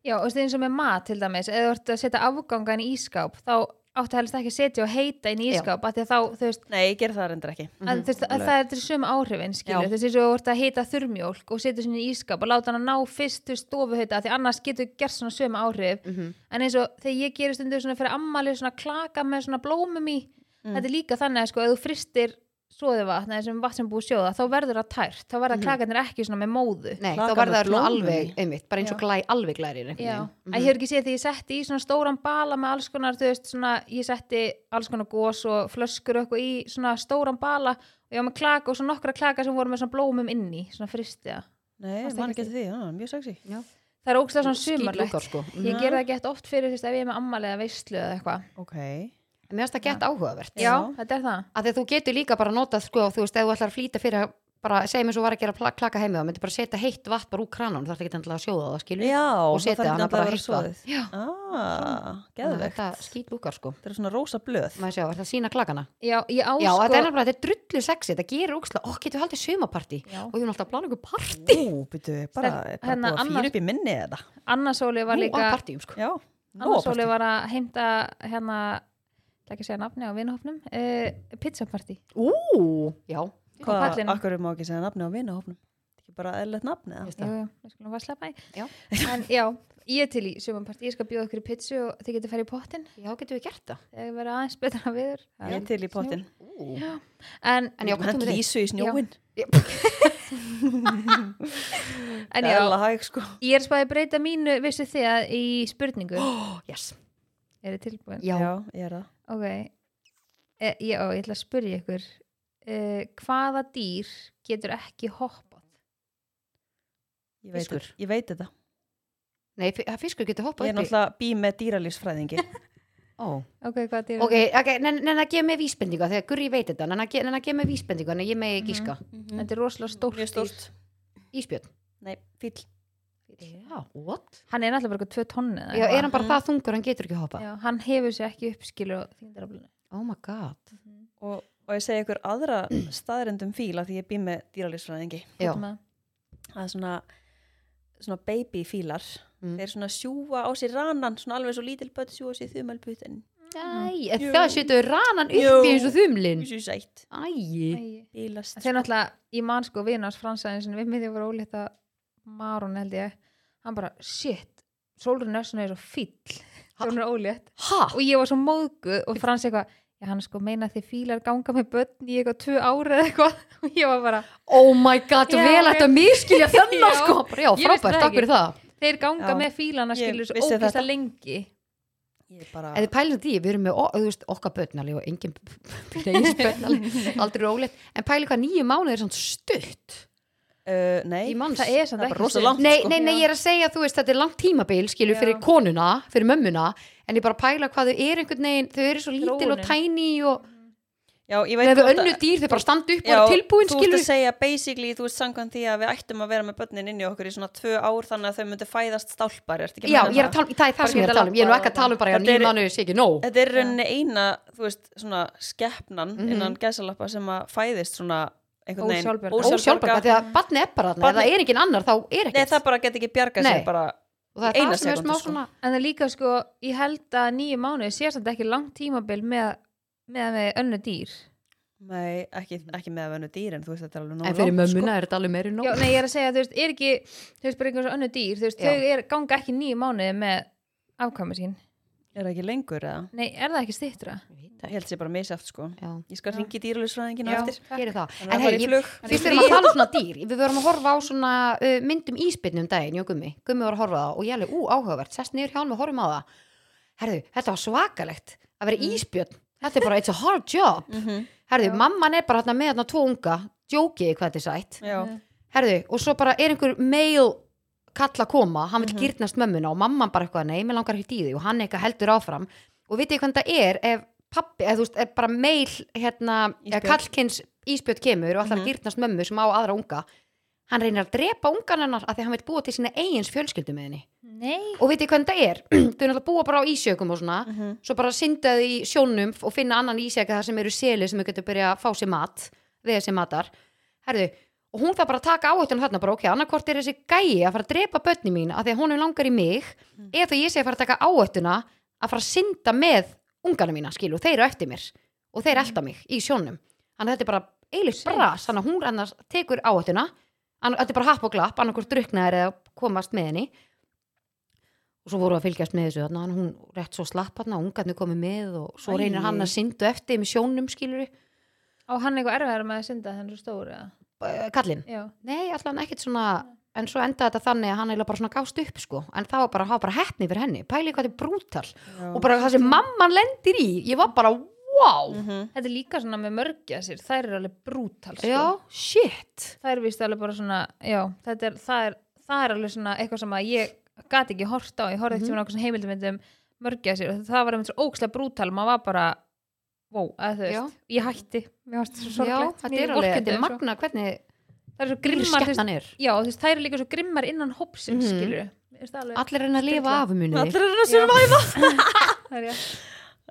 [SPEAKER 2] já, og eins og með mat til dæmis eða þú ert að setja afgangan í ískáp þá áttu helst ekki að setja og heita inn í
[SPEAKER 3] Já.
[SPEAKER 2] ískáp af því að þá, þú veist,
[SPEAKER 1] Nei, ég ger það reyndir ekki.
[SPEAKER 3] Mm.
[SPEAKER 2] að, þú veist að það er til sömu áhrifin skilur,
[SPEAKER 1] Já.
[SPEAKER 2] þú veist, eins og þú ert að heita þurrmjólk og setja sinni í ískáp og láta hann að ná fyrst til stofuhauta, af því annars getur gert svona sömu áhrif,
[SPEAKER 1] Mm.
[SPEAKER 3] Mhm.
[SPEAKER 2] en eins og þegar ég gerir stundur svona fyrir ammalið svona klaka með svona blómum í,
[SPEAKER 3] Mm.
[SPEAKER 2] þetta er líka þannig að sko, ef þú fristir soðuvatn eða sem vatn sem er búið að sjóða, þá verður það tært þá
[SPEAKER 3] Mhm.
[SPEAKER 2] verða klakarnir ekki svona með móðu
[SPEAKER 3] Nei,
[SPEAKER 1] Klaka
[SPEAKER 3] þá var
[SPEAKER 1] með
[SPEAKER 3] það svona
[SPEAKER 1] blómum
[SPEAKER 3] alveg
[SPEAKER 1] í.
[SPEAKER 3] einmitt, bara eins og glæ, alveg glærir einhvern
[SPEAKER 2] Já,
[SPEAKER 3] veginn. Mhm.
[SPEAKER 2] að ég hef ekki séð því ég setti í svona stóran bala með alls konar, þú veist, svona ég setti alls konar gós og flöskur og eitthvað í svona stóran bala og ég var með klaka og svona nokkra klaka sem voru með svona blómum inni, svona fristiða.
[SPEAKER 1] Nei,
[SPEAKER 2] Varstu
[SPEAKER 1] mann
[SPEAKER 2] ekki
[SPEAKER 1] getur því, já, mjög sexy.
[SPEAKER 2] Það er ógstlega svona
[SPEAKER 3] Skítlúkar,
[SPEAKER 2] sumarlegt.
[SPEAKER 3] sko.
[SPEAKER 2] Ég ger það gett oft fyrir, þú veist, ef ég er með ammali eða veistlu eða eitthvað.
[SPEAKER 1] Ok.
[SPEAKER 3] En Mér finnst það gett áhugavert
[SPEAKER 2] Já, þetta er það.
[SPEAKER 3] að því að þú getur líka bara notað sko, þú veist, ef þú ætlar að flýta fyrir að bara segja mér svo var að gera pla- klaka heimi þá myndir bara setja heitt vatn bara úr krananum þarf ekki endilega að sjóða það skilur
[SPEAKER 1] Já,
[SPEAKER 3] og
[SPEAKER 1] það
[SPEAKER 3] setja
[SPEAKER 1] þarf
[SPEAKER 3] hana
[SPEAKER 1] ekki
[SPEAKER 3] bara
[SPEAKER 1] að vera
[SPEAKER 3] heitt vatn
[SPEAKER 1] soðið.
[SPEAKER 3] Já,
[SPEAKER 1] Ah,
[SPEAKER 3] þannig að
[SPEAKER 1] geðvegt.
[SPEAKER 3] þetta skýt lúkar sko
[SPEAKER 1] Þetta er svona rosa blöð.
[SPEAKER 3] maður sjá, er það sína klakana
[SPEAKER 2] Já, ég á
[SPEAKER 3] já,
[SPEAKER 2] sko...
[SPEAKER 3] þetta er nefnilega, þetta er drullu sexi, þetta gerir óksla ó, getur við haldið sumapartí
[SPEAKER 2] Já.
[SPEAKER 3] og þú erum alltaf að plana ykkur partí
[SPEAKER 1] Ú, byrju, bara,
[SPEAKER 2] Stel-
[SPEAKER 1] bara
[SPEAKER 2] hérna,
[SPEAKER 1] búið að
[SPEAKER 2] annars-
[SPEAKER 1] fýra upp í minni eða.
[SPEAKER 2] Annasóli var
[SPEAKER 3] nú á
[SPEAKER 2] líka...
[SPEAKER 3] partíum sko
[SPEAKER 1] Já,
[SPEAKER 2] Annasóli var að heimta hérna, það ekki að segja nafni á vinahopnum, uh, pizzapartí.
[SPEAKER 3] ú, já,
[SPEAKER 1] Hvað,
[SPEAKER 2] pallinum.
[SPEAKER 1] akkur má ekki segja nafni á vinahofnum? Ekki bara eðlert nafni eða?
[SPEAKER 3] Veist
[SPEAKER 2] Jú,
[SPEAKER 3] það.
[SPEAKER 2] jú, við skulum bara sleppa því
[SPEAKER 3] Já.
[SPEAKER 2] En já, ég er til í sumanparti Ég skal bjóða ykkur í pizzu og þið getur að fara í pottin
[SPEAKER 3] já, getur við gert það
[SPEAKER 2] Þegar verða aðeins betra viður
[SPEAKER 1] Ég er til í pottin.
[SPEAKER 3] ú.
[SPEAKER 2] En,
[SPEAKER 3] en já, hvað
[SPEAKER 1] Hann
[SPEAKER 3] tókum við
[SPEAKER 1] lísu í snjóin.
[SPEAKER 2] en já,
[SPEAKER 1] Eðla hæg sko.
[SPEAKER 2] ég er spæði að breyta mínu Vissu þið að í spurningu
[SPEAKER 3] þig? yes,
[SPEAKER 2] Er þið tilbúin?
[SPEAKER 3] já,
[SPEAKER 1] Já, ég er það.
[SPEAKER 2] Ok e, Já, ég ætla að spyrja ykkur e, Hvaða dýr getur ekki hoppað?
[SPEAKER 1] Ég veit,
[SPEAKER 3] Fiskur.
[SPEAKER 1] ég veit þetta.
[SPEAKER 3] nei, fi- fiskur getur
[SPEAKER 1] Ég
[SPEAKER 3] hoppað
[SPEAKER 1] er
[SPEAKER 3] upp í-
[SPEAKER 1] náttúrulega bí með dýralýsfræðingi.
[SPEAKER 3] Ó.
[SPEAKER 2] Ok, hvaða dýr?
[SPEAKER 3] Ok, ok, neina að gefa mig vísbendingu þegar Gurri veit þetta, neina að gefa mig vísbendingu en ég megi gíska.
[SPEAKER 2] Þetta er rosalega stórt
[SPEAKER 1] Mhm. Mjög
[SPEAKER 2] dýr
[SPEAKER 1] stórt.
[SPEAKER 3] Ísbjörn
[SPEAKER 1] Nei, fíll.
[SPEAKER 3] Já, what?
[SPEAKER 2] Hann er náttúrulega bara eitthvað tvö tonni eða
[SPEAKER 3] Já,
[SPEAKER 2] eitthvað.
[SPEAKER 3] er hann bara það þungur, hann getur ekki hoppað
[SPEAKER 2] Já, hann hefur sér ekki uppskilu og þingdaraflinu
[SPEAKER 3] Oh my god
[SPEAKER 1] Og, og ég segi ykkur aðra staðrendum fíla því ég bý með dýralýsfræðingi.
[SPEAKER 3] Já,
[SPEAKER 1] Það er svona, svona baby fílar.
[SPEAKER 3] Mm.
[SPEAKER 1] Þeir svona sjúa á sér ranan, svona alveg svo lítil börn sjúa á sér þumalbut en
[SPEAKER 3] Æ, en
[SPEAKER 1] Jú.
[SPEAKER 3] það setur ranan
[SPEAKER 1] Jú.
[SPEAKER 3] upp í eins og þumlin
[SPEAKER 1] þessu sætt.
[SPEAKER 3] Æ,
[SPEAKER 2] Æi
[SPEAKER 1] Bílast.
[SPEAKER 2] Þeir náttúrulega, ég man sko vinars fransæðin sem við miðjum voru ólíta Marun held ég, hann bara shit, sólurinn er svona eins og fíll þegar hún er ólétt
[SPEAKER 3] ha?
[SPEAKER 2] og ég var svo móðguð og frans eitthvað já hann sko meina því fílar ganga með börn í eitthvað tvö ára eða eitthvað og ég var bara,
[SPEAKER 3] Oh my god,
[SPEAKER 2] Já,
[SPEAKER 3] vel
[SPEAKER 2] ok.
[SPEAKER 3] ætti að miskilja þennan
[SPEAKER 2] Já.
[SPEAKER 3] sko Bara, Já,
[SPEAKER 2] Ég vissi
[SPEAKER 3] frábært,
[SPEAKER 2] það
[SPEAKER 3] takk
[SPEAKER 2] ekki.
[SPEAKER 3] fyrir það
[SPEAKER 2] þeir ganga
[SPEAKER 1] Já.
[SPEAKER 2] með fílana
[SPEAKER 1] Ég
[SPEAKER 2] skilur svo
[SPEAKER 1] vissi
[SPEAKER 2] ógist
[SPEAKER 1] þetta.
[SPEAKER 2] að lengi
[SPEAKER 1] Ég bara...
[SPEAKER 3] En þið pælum því, við erum með, ó- þú veist, okkar bötnali og engin bötnali, aldrei rólegt En pælum hvað nýju mánuð er svona stutt
[SPEAKER 1] Uh, nei,
[SPEAKER 3] í manns
[SPEAKER 2] það er
[SPEAKER 1] það
[SPEAKER 2] samt
[SPEAKER 1] er
[SPEAKER 2] ekki
[SPEAKER 1] bara rosa
[SPEAKER 2] stutt.
[SPEAKER 1] langt
[SPEAKER 3] Nei,
[SPEAKER 1] sko.
[SPEAKER 3] nei, nei,
[SPEAKER 2] Já.
[SPEAKER 3] ég er að segja, þú veist, þetta er langt tímabil, skilur,
[SPEAKER 2] Já.
[SPEAKER 3] fyrir konuna, fyrir mömmuna, en ég bara pæla hvað þau eru einhvern veginn, þau eru svo lítil og
[SPEAKER 2] Þróunin.
[SPEAKER 3] tæni og,
[SPEAKER 1] Já, ég veit
[SPEAKER 3] Nei, við
[SPEAKER 1] hvort að-
[SPEAKER 3] önnu dýr, þau bara standa upp og
[SPEAKER 1] Já,
[SPEAKER 3] eru tilbúin,
[SPEAKER 1] þú ert
[SPEAKER 3] skilur
[SPEAKER 1] að segja basically, þú ert samkvæmt því að við ættum að vera með börnin inn í okkur í svona tvö ár þannig að þau myndu fæðast stálpar ertu ekki
[SPEAKER 3] Já,
[SPEAKER 1] meina
[SPEAKER 3] ég er að tala um, það er það sem ég er að tala um, ég er nú ekki að tala um bara, já,
[SPEAKER 1] hérna Þetta er-
[SPEAKER 3] nýmanu sé ekki nóg.
[SPEAKER 1] þetta er í rauninni eina, þú veist, svona skeppnan
[SPEAKER 3] Mhm.
[SPEAKER 1] innan gæsalappa sem að fæðist svona einhvern veginn
[SPEAKER 2] Ósjálfbjarga.
[SPEAKER 3] Ósjálfbarga, því að barni er bara þarna, ef
[SPEAKER 1] Barnið-
[SPEAKER 3] það er engin annar, þá er
[SPEAKER 1] Nei,
[SPEAKER 3] ekkert.
[SPEAKER 1] það bara get ekki bjargað sér
[SPEAKER 3] Nei.
[SPEAKER 1] bara
[SPEAKER 3] Og það er
[SPEAKER 1] eina
[SPEAKER 3] það sem er
[SPEAKER 1] sekúndu,
[SPEAKER 3] smá
[SPEAKER 1] sko.
[SPEAKER 3] svona,
[SPEAKER 2] en það er líka sko, ég held að nýju mánuði sést þetta ekki langt tímabil með, með, með önnu dýr
[SPEAKER 1] Nei, ekki, ekki með að vennu dýr en þú veist þetta er alveg nóg
[SPEAKER 3] en fyrir
[SPEAKER 1] langt, sko.
[SPEAKER 3] mömmuna er þetta alveg meiri
[SPEAKER 2] Já,
[SPEAKER 3] nóg.
[SPEAKER 2] nei, ég er að segja, þú veist, er ekki þú veist, bara einhvers önnu dýr, þú veist,
[SPEAKER 3] Já.
[SPEAKER 2] þau er, ganga ekki nýju mánuði með afkvæmi sín
[SPEAKER 1] Er það ekki lengur eða?
[SPEAKER 2] Nei, er það Hérna, ekki stýttra?
[SPEAKER 1] Ég held sér bara misjátt sko
[SPEAKER 3] Já,
[SPEAKER 1] Ég skal
[SPEAKER 2] Já.
[SPEAKER 1] ringi dýralusfræðingin á
[SPEAKER 2] Já.
[SPEAKER 1] eftir
[SPEAKER 3] gerir það.
[SPEAKER 1] Þannig
[SPEAKER 3] En
[SPEAKER 1] að
[SPEAKER 3] hei,
[SPEAKER 1] fara í
[SPEAKER 3] ég-
[SPEAKER 1] flug.
[SPEAKER 3] fyrst við erum að tala um svona dýr, við verum að horfa á svona uh, myndum íspilnum daginn, ég og Gummi, Gummi var að horfa á það og ég alveg, ú, áhugavert, sest niður hjá hann og horfum á það. Herðu, þetta var svakalegt að
[SPEAKER 1] Mm.
[SPEAKER 3] vera íspjörn, þetta er bara, it's a hard job.
[SPEAKER 1] Mhm.
[SPEAKER 3] Herðu,
[SPEAKER 2] Já.
[SPEAKER 3] mamman er bara hérna með hérna tvo unga, djókiði hvað þetta er sætt.
[SPEAKER 1] Já,
[SPEAKER 3] herðu, og svo bara er einhver mail kall að koma, hann vil
[SPEAKER 1] Mhm.
[SPEAKER 3] gyrnast mömmuna og mamman bara eitthvað, nei, mér langar ekki í því og hann eitthvað heldur áfram og vitið þið hvernig það er ef pappi, eða þú veist, ef bara mail hérna, eða
[SPEAKER 1] Ísbjörn.
[SPEAKER 3] kallkins íspjöt kemur og allar mm
[SPEAKER 1] Mhm.
[SPEAKER 3] að gyrnast mömmu sem á aðra unga hann reynir að drepa ungan hennar af því að hann vil búa til sína eigins fjölskyldu með henni
[SPEAKER 2] Nei,
[SPEAKER 3] og vitið þið hvernig það er, þau er náttúrulega búa bara á ísjökum og svona,
[SPEAKER 1] Mhm.
[SPEAKER 3] svo bara syndaðu í sjónum og finna annan ísjaka þar sem eru seli sem þau getur byrjað að fá sér mat við þessi matar Herðu, og hún þarf bara að taka áhættun þarna bara, ok, annarkvort er þessi gæi að fara að drepa börni mín af því að hún er langar í mig mm. eða þá ég sé að fara að taka áhættuna að fara að synda með ungana mína skilu, þeir eru eftir mér og þeir elda mig í sjónum þannig að þetta er bara eilist
[SPEAKER 2] Shit.
[SPEAKER 3] bras þannig að hún annars tekur áhættuna ann- þetta er bara happ og glapp, annarkvort druknaðir eða komast með henni og svo voru að fylgjast með þessu þannig að hún rétt svo slapp hann og ungarnir komið með og svo reynir
[SPEAKER 1] Æi.
[SPEAKER 3] hann að syndu eftir með sjónum skilur
[SPEAKER 2] á hann eitthvað erfiðar með að synda þannig svo stóru eða?
[SPEAKER 3] kallinn
[SPEAKER 2] Já,
[SPEAKER 3] Nei, allan ekkert svona en svo endaði þetta þannig að hann eiginlega bara svona gást upp sko, en það var bara, það var bara heppni fyrir henni pæli hvað þetta er brútal
[SPEAKER 1] já.
[SPEAKER 3] og bara það sem mamman lendir í, ég var bara wow,
[SPEAKER 1] Mhm.
[SPEAKER 2] þetta er líka svona með mörgja sér, þær eru alveg brútal sko.
[SPEAKER 3] já, shit
[SPEAKER 2] það er vist alveg bara svona já, þetta er, það, er, það er alveg svona eitthvað sem að ég gat ekki hort á ég horfði ekki
[SPEAKER 3] Mhm.
[SPEAKER 2] svona okkur svona heimildumyndum mörgja sér og það var einmitt svo ókslega brútal maður var bara, wow, að þú veist
[SPEAKER 3] Já.
[SPEAKER 2] ég hætti, mér varst svo
[SPEAKER 3] já,
[SPEAKER 2] sorglegt
[SPEAKER 3] þetta
[SPEAKER 2] Mér
[SPEAKER 3] er alveg,
[SPEAKER 2] vorkenndi
[SPEAKER 3] þetta er
[SPEAKER 2] þeim svo.
[SPEAKER 3] magna hvernig
[SPEAKER 2] það er svo grimmar, þú veist,
[SPEAKER 3] grímskettan er
[SPEAKER 2] já, þú veist, það er líka svo grimmar innan hópsins, mm
[SPEAKER 3] Mhm.
[SPEAKER 2] -hmm. skilur alveg,
[SPEAKER 3] allir reyna að lifa
[SPEAKER 2] Sturla.
[SPEAKER 3] af um
[SPEAKER 1] Allir eru að
[SPEAKER 2] Já.
[SPEAKER 1] survive
[SPEAKER 2] það er rétt.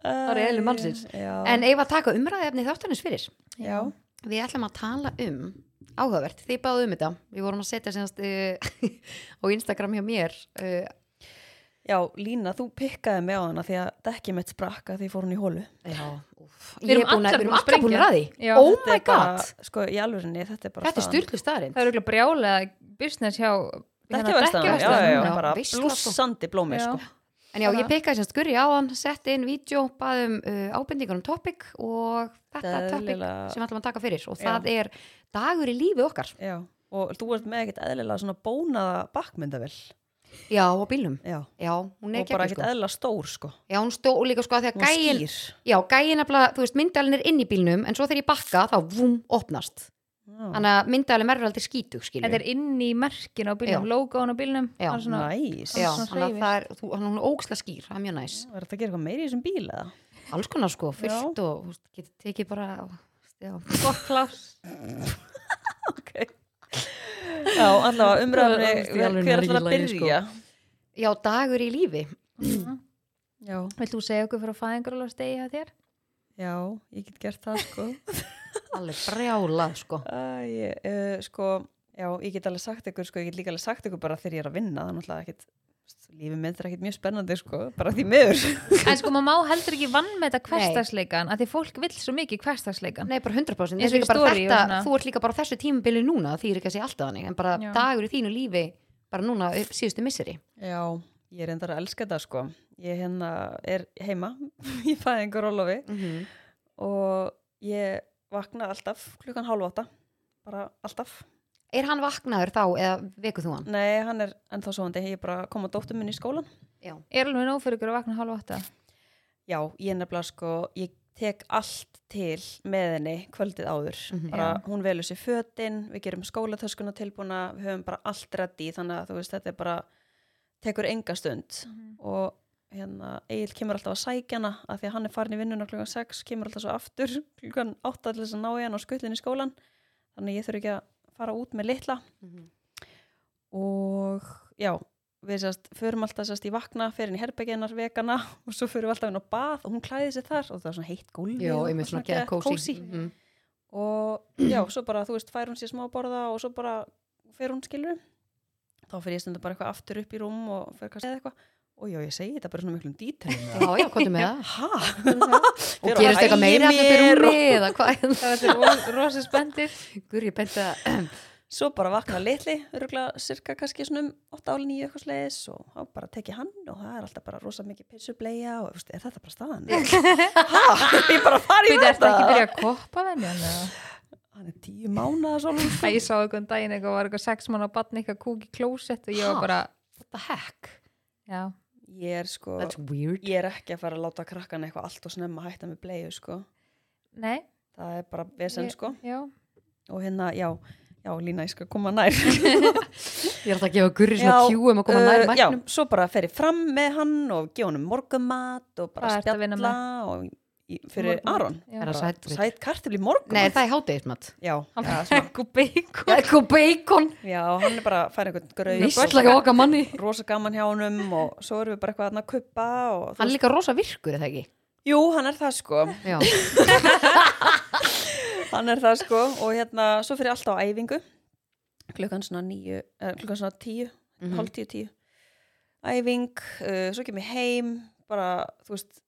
[SPEAKER 1] Það
[SPEAKER 3] eru eðli mannsins.
[SPEAKER 1] Já,
[SPEAKER 3] en eigum við að taka umræðefni þáttanins fyrir
[SPEAKER 1] já.
[SPEAKER 3] við ætlum að tala um áhugavert, þið báðu um þetta við vorum að setja senast uh, á Instagram hjá mér uh,
[SPEAKER 1] já, Lína, þú pikkaði mig á hana því að dekkið mitt sprakka því ég fór hún í hólu
[SPEAKER 3] já, úf,
[SPEAKER 2] Við erum
[SPEAKER 3] ég er búin
[SPEAKER 2] allar
[SPEAKER 3] að, við erum
[SPEAKER 2] búin að
[SPEAKER 3] allar búin að
[SPEAKER 2] sprengja.
[SPEAKER 3] ræði
[SPEAKER 2] Já.
[SPEAKER 3] oh
[SPEAKER 1] Þetta
[SPEAKER 3] my
[SPEAKER 1] er bara,
[SPEAKER 3] god
[SPEAKER 1] Sko, í alvörinni, þetta er bara
[SPEAKER 3] Þetta er styrlu staðarind
[SPEAKER 2] það er auðvitað brjálega business hjá hérna
[SPEAKER 1] Dekkjaverstaðan, já,
[SPEAKER 2] dekkjaverstaðan.
[SPEAKER 1] já, já,
[SPEAKER 3] Já,
[SPEAKER 1] bara
[SPEAKER 3] veisla, sko.
[SPEAKER 1] blúsandi blómi,
[SPEAKER 2] Já.
[SPEAKER 1] sko
[SPEAKER 3] En já,
[SPEAKER 2] Bara-
[SPEAKER 3] ég pekkaði semst gurri á hann, setti inn vídeo, baði um uh, ábendingar um topic og þetta er topic
[SPEAKER 1] Eðlilega-
[SPEAKER 3] sem við ætlum að taka fyrir og það er dagur í lífi okkar.
[SPEAKER 1] Já, og þú ert með ekkert eðlilega svona bónaða bakmyndavel
[SPEAKER 3] Já, á bílnum.
[SPEAKER 1] Já,
[SPEAKER 3] Já, hún er
[SPEAKER 1] og bara
[SPEAKER 3] geggjum
[SPEAKER 1] ekkert
[SPEAKER 3] sko.
[SPEAKER 1] eðlilega stór, sko
[SPEAKER 3] Já, hún stó og líka sko að því að
[SPEAKER 1] Hún
[SPEAKER 3] gæin,
[SPEAKER 1] skýr
[SPEAKER 3] já, gæin nefnilega, þú veist, myndalinn er inn í bílnum en svo þegar ég bakka þá vum, opnast.
[SPEAKER 1] Já,
[SPEAKER 3] Þannig að myndalinn verður aldrei skítug, skilju.
[SPEAKER 2] þetta er inn í merkin á bílnum,
[SPEAKER 3] Já.
[SPEAKER 2] logoðan á bílnum
[SPEAKER 3] Já,
[SPEAKER 2] það er svona-
[SPEAKER 1] næs
[SPEAKER 3] Já,
[SPEAKER 2] svona
[SPEAKER 3] þannig að
[SPEAKER 2] hreyfist.
[SPEAKER 3] það er, þú, hann hún er óksla skýr, það er mjög næs.
[SPEAKER 1] Er þetta að gera eitthvað meiri í þessum bíl, eða?
[SPEAKER 3] Alls konar sko,
[SPEAKER 1] Já.
[SPEAKER 3] fullt og, þú veist, getur tekið bara, já.
[SPEAKER 2] gott pláss
[SPEAKER 1] Ok Já, allavega
[SPEAKER 3] Það er alveg í
[SPEAKER 1] umræðunni
[SPEAKER 3] alvörunni
[SPEAKER 1] Hver
[SPEAKER 3] ekki
[SPEAKER 1] ætlar
[SPEAKER 3] í
[SPEAKER 1] að
[SPEAKER 3] lagi, sko.
[SPEAKER 1] byrja?
[SPEAKER 3] Já, dagur í lífi.
[SPEAKER 1] Já,
[SPEAKER 2] Vilt þú segja okkur fyrir að fæðingaróla stegi að þér?
[SPEAKER 1] já, ég get gert það, sko
[SPEAKER 3] Alveg brjála, sko.
[SPEAKER 1] Æ, uh, sko, já, ég get alveg sagt ykkur, sko, ég get líka alveg sagt ykkur bara þegar ég er að vinna, það er náttúrulega ekkit, lífið mitt er ekkit mjög spennandi, sko, bara því miður.
[SPEAKER 2] En sko, maður má heldur ekki vann með þetta hverstagsleikan að því fólk vill svo mikið hverstagsleikan
[SPEAKER 3] Nei, bara 100%
[SPEAKER 2] Eins
[SPEAKER 3] Eins
[SPEAKER 2] og í
[SPEAKER 3] og líka bara
[SPEAKER 2] story og
[SPEAKER 3] þetta,
[SPEAKER 2] svona.
[SPEAKER 3] Þú ert líka bara á þessu tímabili núna því er ekki að segja alltaf þannig en bara
[SPEAKER 2] Já.
[SPEAKER 3] dagur í þínu lífi bara núna upp síðustu misseri
[SPEAKER 1] Já, ég er endar að elska þetta, sko. Ég hérna er heima, ég fæði einhver ólofi og ég vakna alltaf klukkan hálf átta, bara alltaf.
[SPEAKER 3] Er hann vaknaður þá eða vekuð þú hann?
[SPEAKER 1] Nei, hann er ennþá svoandi, ég er bara að koma dóttum minni í skólan.
[SPEAKER 3] Já,
[SPEAKER 2] Er alveg nóg fyrir ykkur að vakna hálfa átta?
[SPEAKER 1] Já, ég er nefnilega, sko, ég tek allt til með henni kvöldið áður.
[SPEAKER 3] Mhm.
[SPEAKER 1] bara,
[SPEAKER 2] Já.
[SPEAKER 1] hún velur sér fötin, við gerum skólatöskuna tilbúna, við höfum bara allt reddi þannig að þú veist, þetta er bara tekur enga stund og hérna, Egil kemur alltaf að sækja hana af því að hann er farin í vinnuna klukkan 6 kemur alltaf svo aftur klukkan 8 til þess að ná í hann og skullin í skólan þannig að ég þurfi ekki að fara út með litla og já, við sérst förum alltaf sérst í vakna, ferin í herbygginnar vegana og svo förum við alltaf inn á bað og hún klæði sér þar og það var svona heitt gólfi
[SPEAKER 3] Jó,
[SPEAKER 1] og
[SPEAKER 3] einmitt svona Mhm. geða
[SPEAKER 1] geð-
[SPEAKER 3] kósi
[SPEAKER 1] og já, svo bara, þú veist, fær hún sér smá borða og svo bara fer hún skilur þá fer ég stundum bara eitthvað aftur upp í rúm og fer kannski eða eitthvað og já, ég segi þetta bara svona miklum dítilum
[SPEAKER 3] Já, já, komdu með það
[SPEAKER 1] ha,
[SPEAKER 3] Og
[SPEAKER 1] Þeir eru
[SPEAKER 3] gerist
[SPEAKER 1] að
[SPEAKER 3] eitthvað
[SPEAKER 1] æla
[SPEAKER 3] meira
[SPEAKER 1] í
[SPEAKER 3] að þetta
[SPEAKER 1] mér
[SPEAKER 3] er
[SPEAKER 1] og-
[SPEAKER 3] rúmi eða hvað
[SPEAKER 2] það var þetta rosa spendir
[SPEAKER 3] Gur, ég benti að
[SPEAKER 1] svo bara vakna litli, örugla cirka kannski svona um 8 áli 9 eitthvað slegis og þá bara tekið hann og það er alltaf bara rosa mikið pilsubleia og þú veist, er þetta bara staðan? ha, ég bara farið
[SPEAKER 2] Býta, ertu ekki byrjað að koppa venni hann eða?
[SPEAKER 1] hann er 10 mánuða svo
[SPEAKER 2] Æ, ég sá einhvern daginn eitthvað var eitthvað sex mann á batni eitthvað kúk í klósett og ég
[SPEAKER 3] Ha?
[SPEAKER 2] var bara
[SPEAKER 3] What the heck?
[SPEAKER 2] já,
[SPEAKER 1] ég er sko,
[SPEAKER 3] That's weird
[SPEAKER 1] ég er ekki að fara að láta krakkan eitthvað allt og snemma hætta með bleiu sko
[SPEAKER 2] nei
[SPEAKER 1] það er bara vesen
[SPEAKER 2] Ég-
[SPEAKER 1] sko
[SPEAKER 2] já,
[SPEAKER 1] og hérna, já, já, Lína, ég skal koma nær
[SPEAKER 3] Ég er alltaf að gefa Gurri svona
[SPEAKER 1] Já,
[SPEAKER 3] kjúum að koma nær
[SPEAKER 1] Uh, já,
[SPEAKER 3] mæknum
[SPEAKER 1] svo bara fer ég fram með hann og gefa hann morgumat og bara
[SPEAKER 2] Hvað ertu að vinna
[SPEAKER 1] spjalla og í, fyrir
[SPEAKER 2] Morgunmat,
[SPEAKER 1] Aron
[SPEAKER 2] já.
[SPEAKER 3] Er það
[SPEAKER 1] Bara
[SPEAKER 3] sætt?
[SPEAKER 1] sæt kartibli
[SPEAKER 3] Nei,
[SPEAKER 1] morgumat
[SPEAKER 3] það er hádegismat
[SPEAKER 1] já,
[SPEAKER 2] hann
[SPEAKER 1] já,
[SPEAKER 2] fyrir
[SPEAKER 1] svona,
[SPEAKER 2] smekku beikur
[SPEAKER 3] Eitthvað bacon
[SPEAKER 1] já, hann er bara að færa einhvern grau
[SPEAKER 3] Vissla ekki okkar manni
[SPEAKER 1] rosa gaman hjá honum og svo erum við bara eitthvað þarna að kuppa og þú
[SPEAKER 3] Hann er
[SPEAKER 1] veist-
[SPEAKER 3] líka rosa virkur, eða ekki?
[SPEAKER 1] jú, hann er það sko
[SPEAKER 3] Já,
[SPEAKER 1] hann er það sko og hérna, svo fyrir alltaf á æfingu klukkan svona nýju eh, klukkan svona tíu, mm
[SPEAKER 3] Mhm.
[SPEAKER 1] hálf tíu tíu æfing, uh, svo kemur ég heim bara, þú veist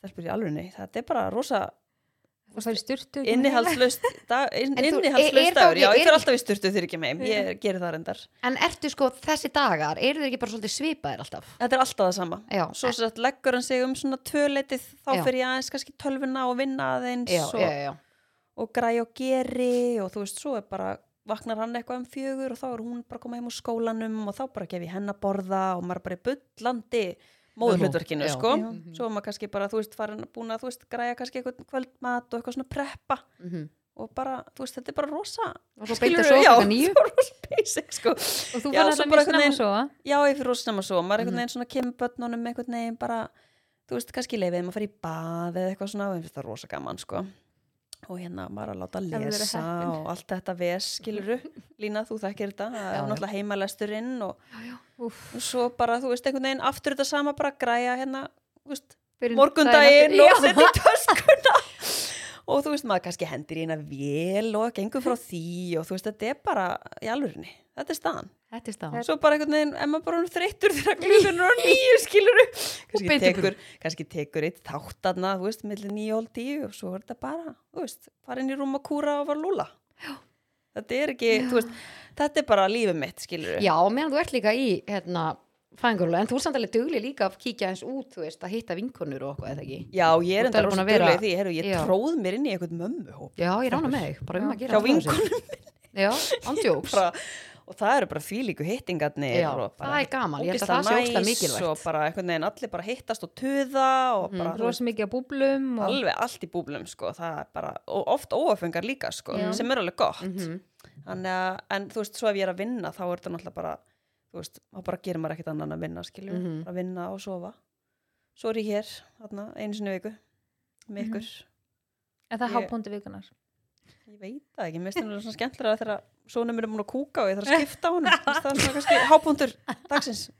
[SPEAKER 1] stelpur í alvegni, þetta er bara rosa
[SPEAKER 2] og það er styrtu
[SPEAKER 1] innihalslaust dag, inn,
[SPEAKER 3] En þú- er- er
[SPEAKER 1] innihalslaust
[SPEAKER 3] þá
[SPEAKER 1] dagur,
[SPEAKER 3] ekki-
[SPEAKER 1] já, ég
[SPEAKER 3] er
[SPEAKER 1] fyrir
[SPEAKER 3] ekki-
[SPEAKER 1] alltaf í styrtu þegar ég kem heim, ég gerir það reyndar
[SPEAKER 3] en ertu sko þessi dagar, eru þeir ekki bara svolítið svipaðir alltaf?
[SPEAKER 1] þetta er alltaf það sama
[SPEAKER 3] Já,
[SPEAKER 1] svo sett leggur hann sig um svona tvöleitið þá
[SPEAKER 3] Já.
[SPEAKER 1] fyrir ég aðeins kannski tölvuna og vinna aðeins
[SPEAKER 3] já,
[SPEAKER 1] og,
[SPEAKER 3] já, já.
[SPEAKER 1] og græ og geri og þú veist, svo er bara vaknar hann eitthvað um fjögur og þá er hún bara að koma heim úr skólanum og þá bara gef ég henn að borða og maður er bara í bullandi móðurhlutverkinu,
[SPEAKER 3] Já.
[SPEAKER 1] sko
[SPEAKER 2] Já.
[SPEAKER 1] svo er maður kannski bara, þú veist, farin búin að þú veist, græja kannski eitthvað kvöldmat og eitthvað svona preppa
[SPEAKER 3] Mhm.
[SPEAKER 1] og bara, þú veist, þetta er bara rosa
[SPEAKER 3] Og svo
[SPEAKER 1] Skilurðu?
[SPEAKER 3] beitir svo
[SPEAKER 1] Já,
[SPEAKER 3] okkar nýju
[SPEAKER 1] það er rosa basic, sko
[SPEAKER 2] og þú
[SPEAKER 1] Já, svo
[SPEAKER 2] fann alltaf
[SPEAKER 1] bara
[SPEAKER 2] mjög
[SPEAKER 1] einhvern
[SPEAKER 2] snemma
[SPEAKER 1] veginn-
[SPEAKER 2] svo
[SPEAKER 1] já, ég fyrir rosa snemma svo, maður er
[SPEAKER 3] Mhm.
[SPEAKER 1] einhvern veginn svona kemur börnunum einhvern veginn bara, þú veist, kannski leifið maður að fara í bað eða eitthvað svona og ég finnst það rosa gaman, sko og hérna maður er að láta
[SPEAKER 2] maður er
[SPEAKER 1] lesa
[SPEAKER 2] heppin.
[SPEAKER 1] og allt þetta ves, skiluru Lína, þú þekkir þetta, það
[SPEAKER 3] Já,
[SPEAKER 1] er
[SPEAKER 3] já.
[SPEAKER 1] náttúrulega heimalesturinn og,
[SPEAKER 2] úff,
[SPEAKER 1] og svo bara, þú veist, einhvern veginn aftur þetta sama bara græja hérna, þú veist,
[SPEAKER 2] fyrir
[SPEAKER 1] morgundaginn
[SPEAKER 2] daginn
[SPEAKER 1] og
[SPEAKER 2] eftir.
[SPEAKER 1] setja í töskuna og þú veist, maður kannski hendir í hérna vel og gengur frá því og þú veist, þetta er bara í alvörinni, þetta er staðan
[SPEAKER 3] Þetta er staðan
[SPEAKER 1] og svo bara einhvern veginn, en maður bara orðinn þreyttur þegar klukkan er á nýju skiluru kannski
[SPEAKER 3] beinti
[SPEAKER 1] tekur, kannski tekur eitt þáttarna, þú veist, millir nýju og hálf tíu og svo er þetta bara, þú veist, farin í rúm að kúra og var lúla þetta er ekki, þú veist, þetta er bara lífið mitt skiluru,
[SPEAKER 3] Já, og meðan þú ert líka í hérna, fæðingurulega, en þú er samt alveg dugli líka að kíkja eins út, þú veist, að hitta vinkonur og okkur, eða ekki?
[SPEAKER 1] ég
[SPEAKER 3] Þú
[SPEAKER 1] er
[SPEAKER 3] ert
[SPEAKER 1] enda
[SPEAKER 3] alveg búin
[SPEAKER 1] rosa
[SPEAKER 3] að vera-
[SPEAKER 1] dugleg í því, heru, ég
[SPEAKER 3] Já.
[SPEAKER 1] tróð mér inn í einhvern mömmuhóp
[SPEAKER 3] Já, ég rána með þig, bara um
[SPEAKER 2] Já.
[SPEAKER 3] að gera
[SPEAKER 1] hjá
[SPEAKER 3] allt frá sér.
[SPEAKER 1] vinkonum
[SPEAKER 3] Já, andjóks
[SPEAKER 1] bara, og það eru bara þvílíku hittingarnir
[SPEAKER 3] Já,
[SPEAKER 1] og bara
[SPEAKER 3] það er gaman, ég held að
[SPEAKER 1] ógeðslega
[SPEAKER 3] það sé ógeðslega
[SPEAKER 1] næs
[SPEAKER 3] mikilvægt. Mhm,
[SPEAKER 1] og bara einhvern veginn allir bara hittast og töða og bara þú veist,
[SPEAKER 2] rosa mikið að búblum og
[SPEAKER 1] alveg allt í búblum sko, það er bara, og oft óöfengar líka sko,
[SPEAKER 2] Já.
[SPEAKER 1] sem er alveg gott
[SPEAKER 3] Mhm.
[SPEAKER 1] Þannig að, en þú veist, svo ef ég er að vinna þá er þetta náttúrulega bara, þú veist þá bara gerir maður ekkert annan en að vinna, skilju mm
[SPEAKER 3] Mhm.
[SPEAKER 1] að vinna og sofa svo er ég hér, þarna, einu sinni í viku
[SPEAKER 3] Mhm.
[SPEAKER 1] með ykkur,
[SPEAKER 2] en það
[SPEAKER 1] Ég-
[SPEAKER 2] er hápundi vikunar
[SPEAKER 1] ég veit það ekki, mér finnst það svona skemmtilega þegar svona mér er múin að kúka og ég þarf að skipta á honum, Þú veist, það er svona kannski hábúndur dagsins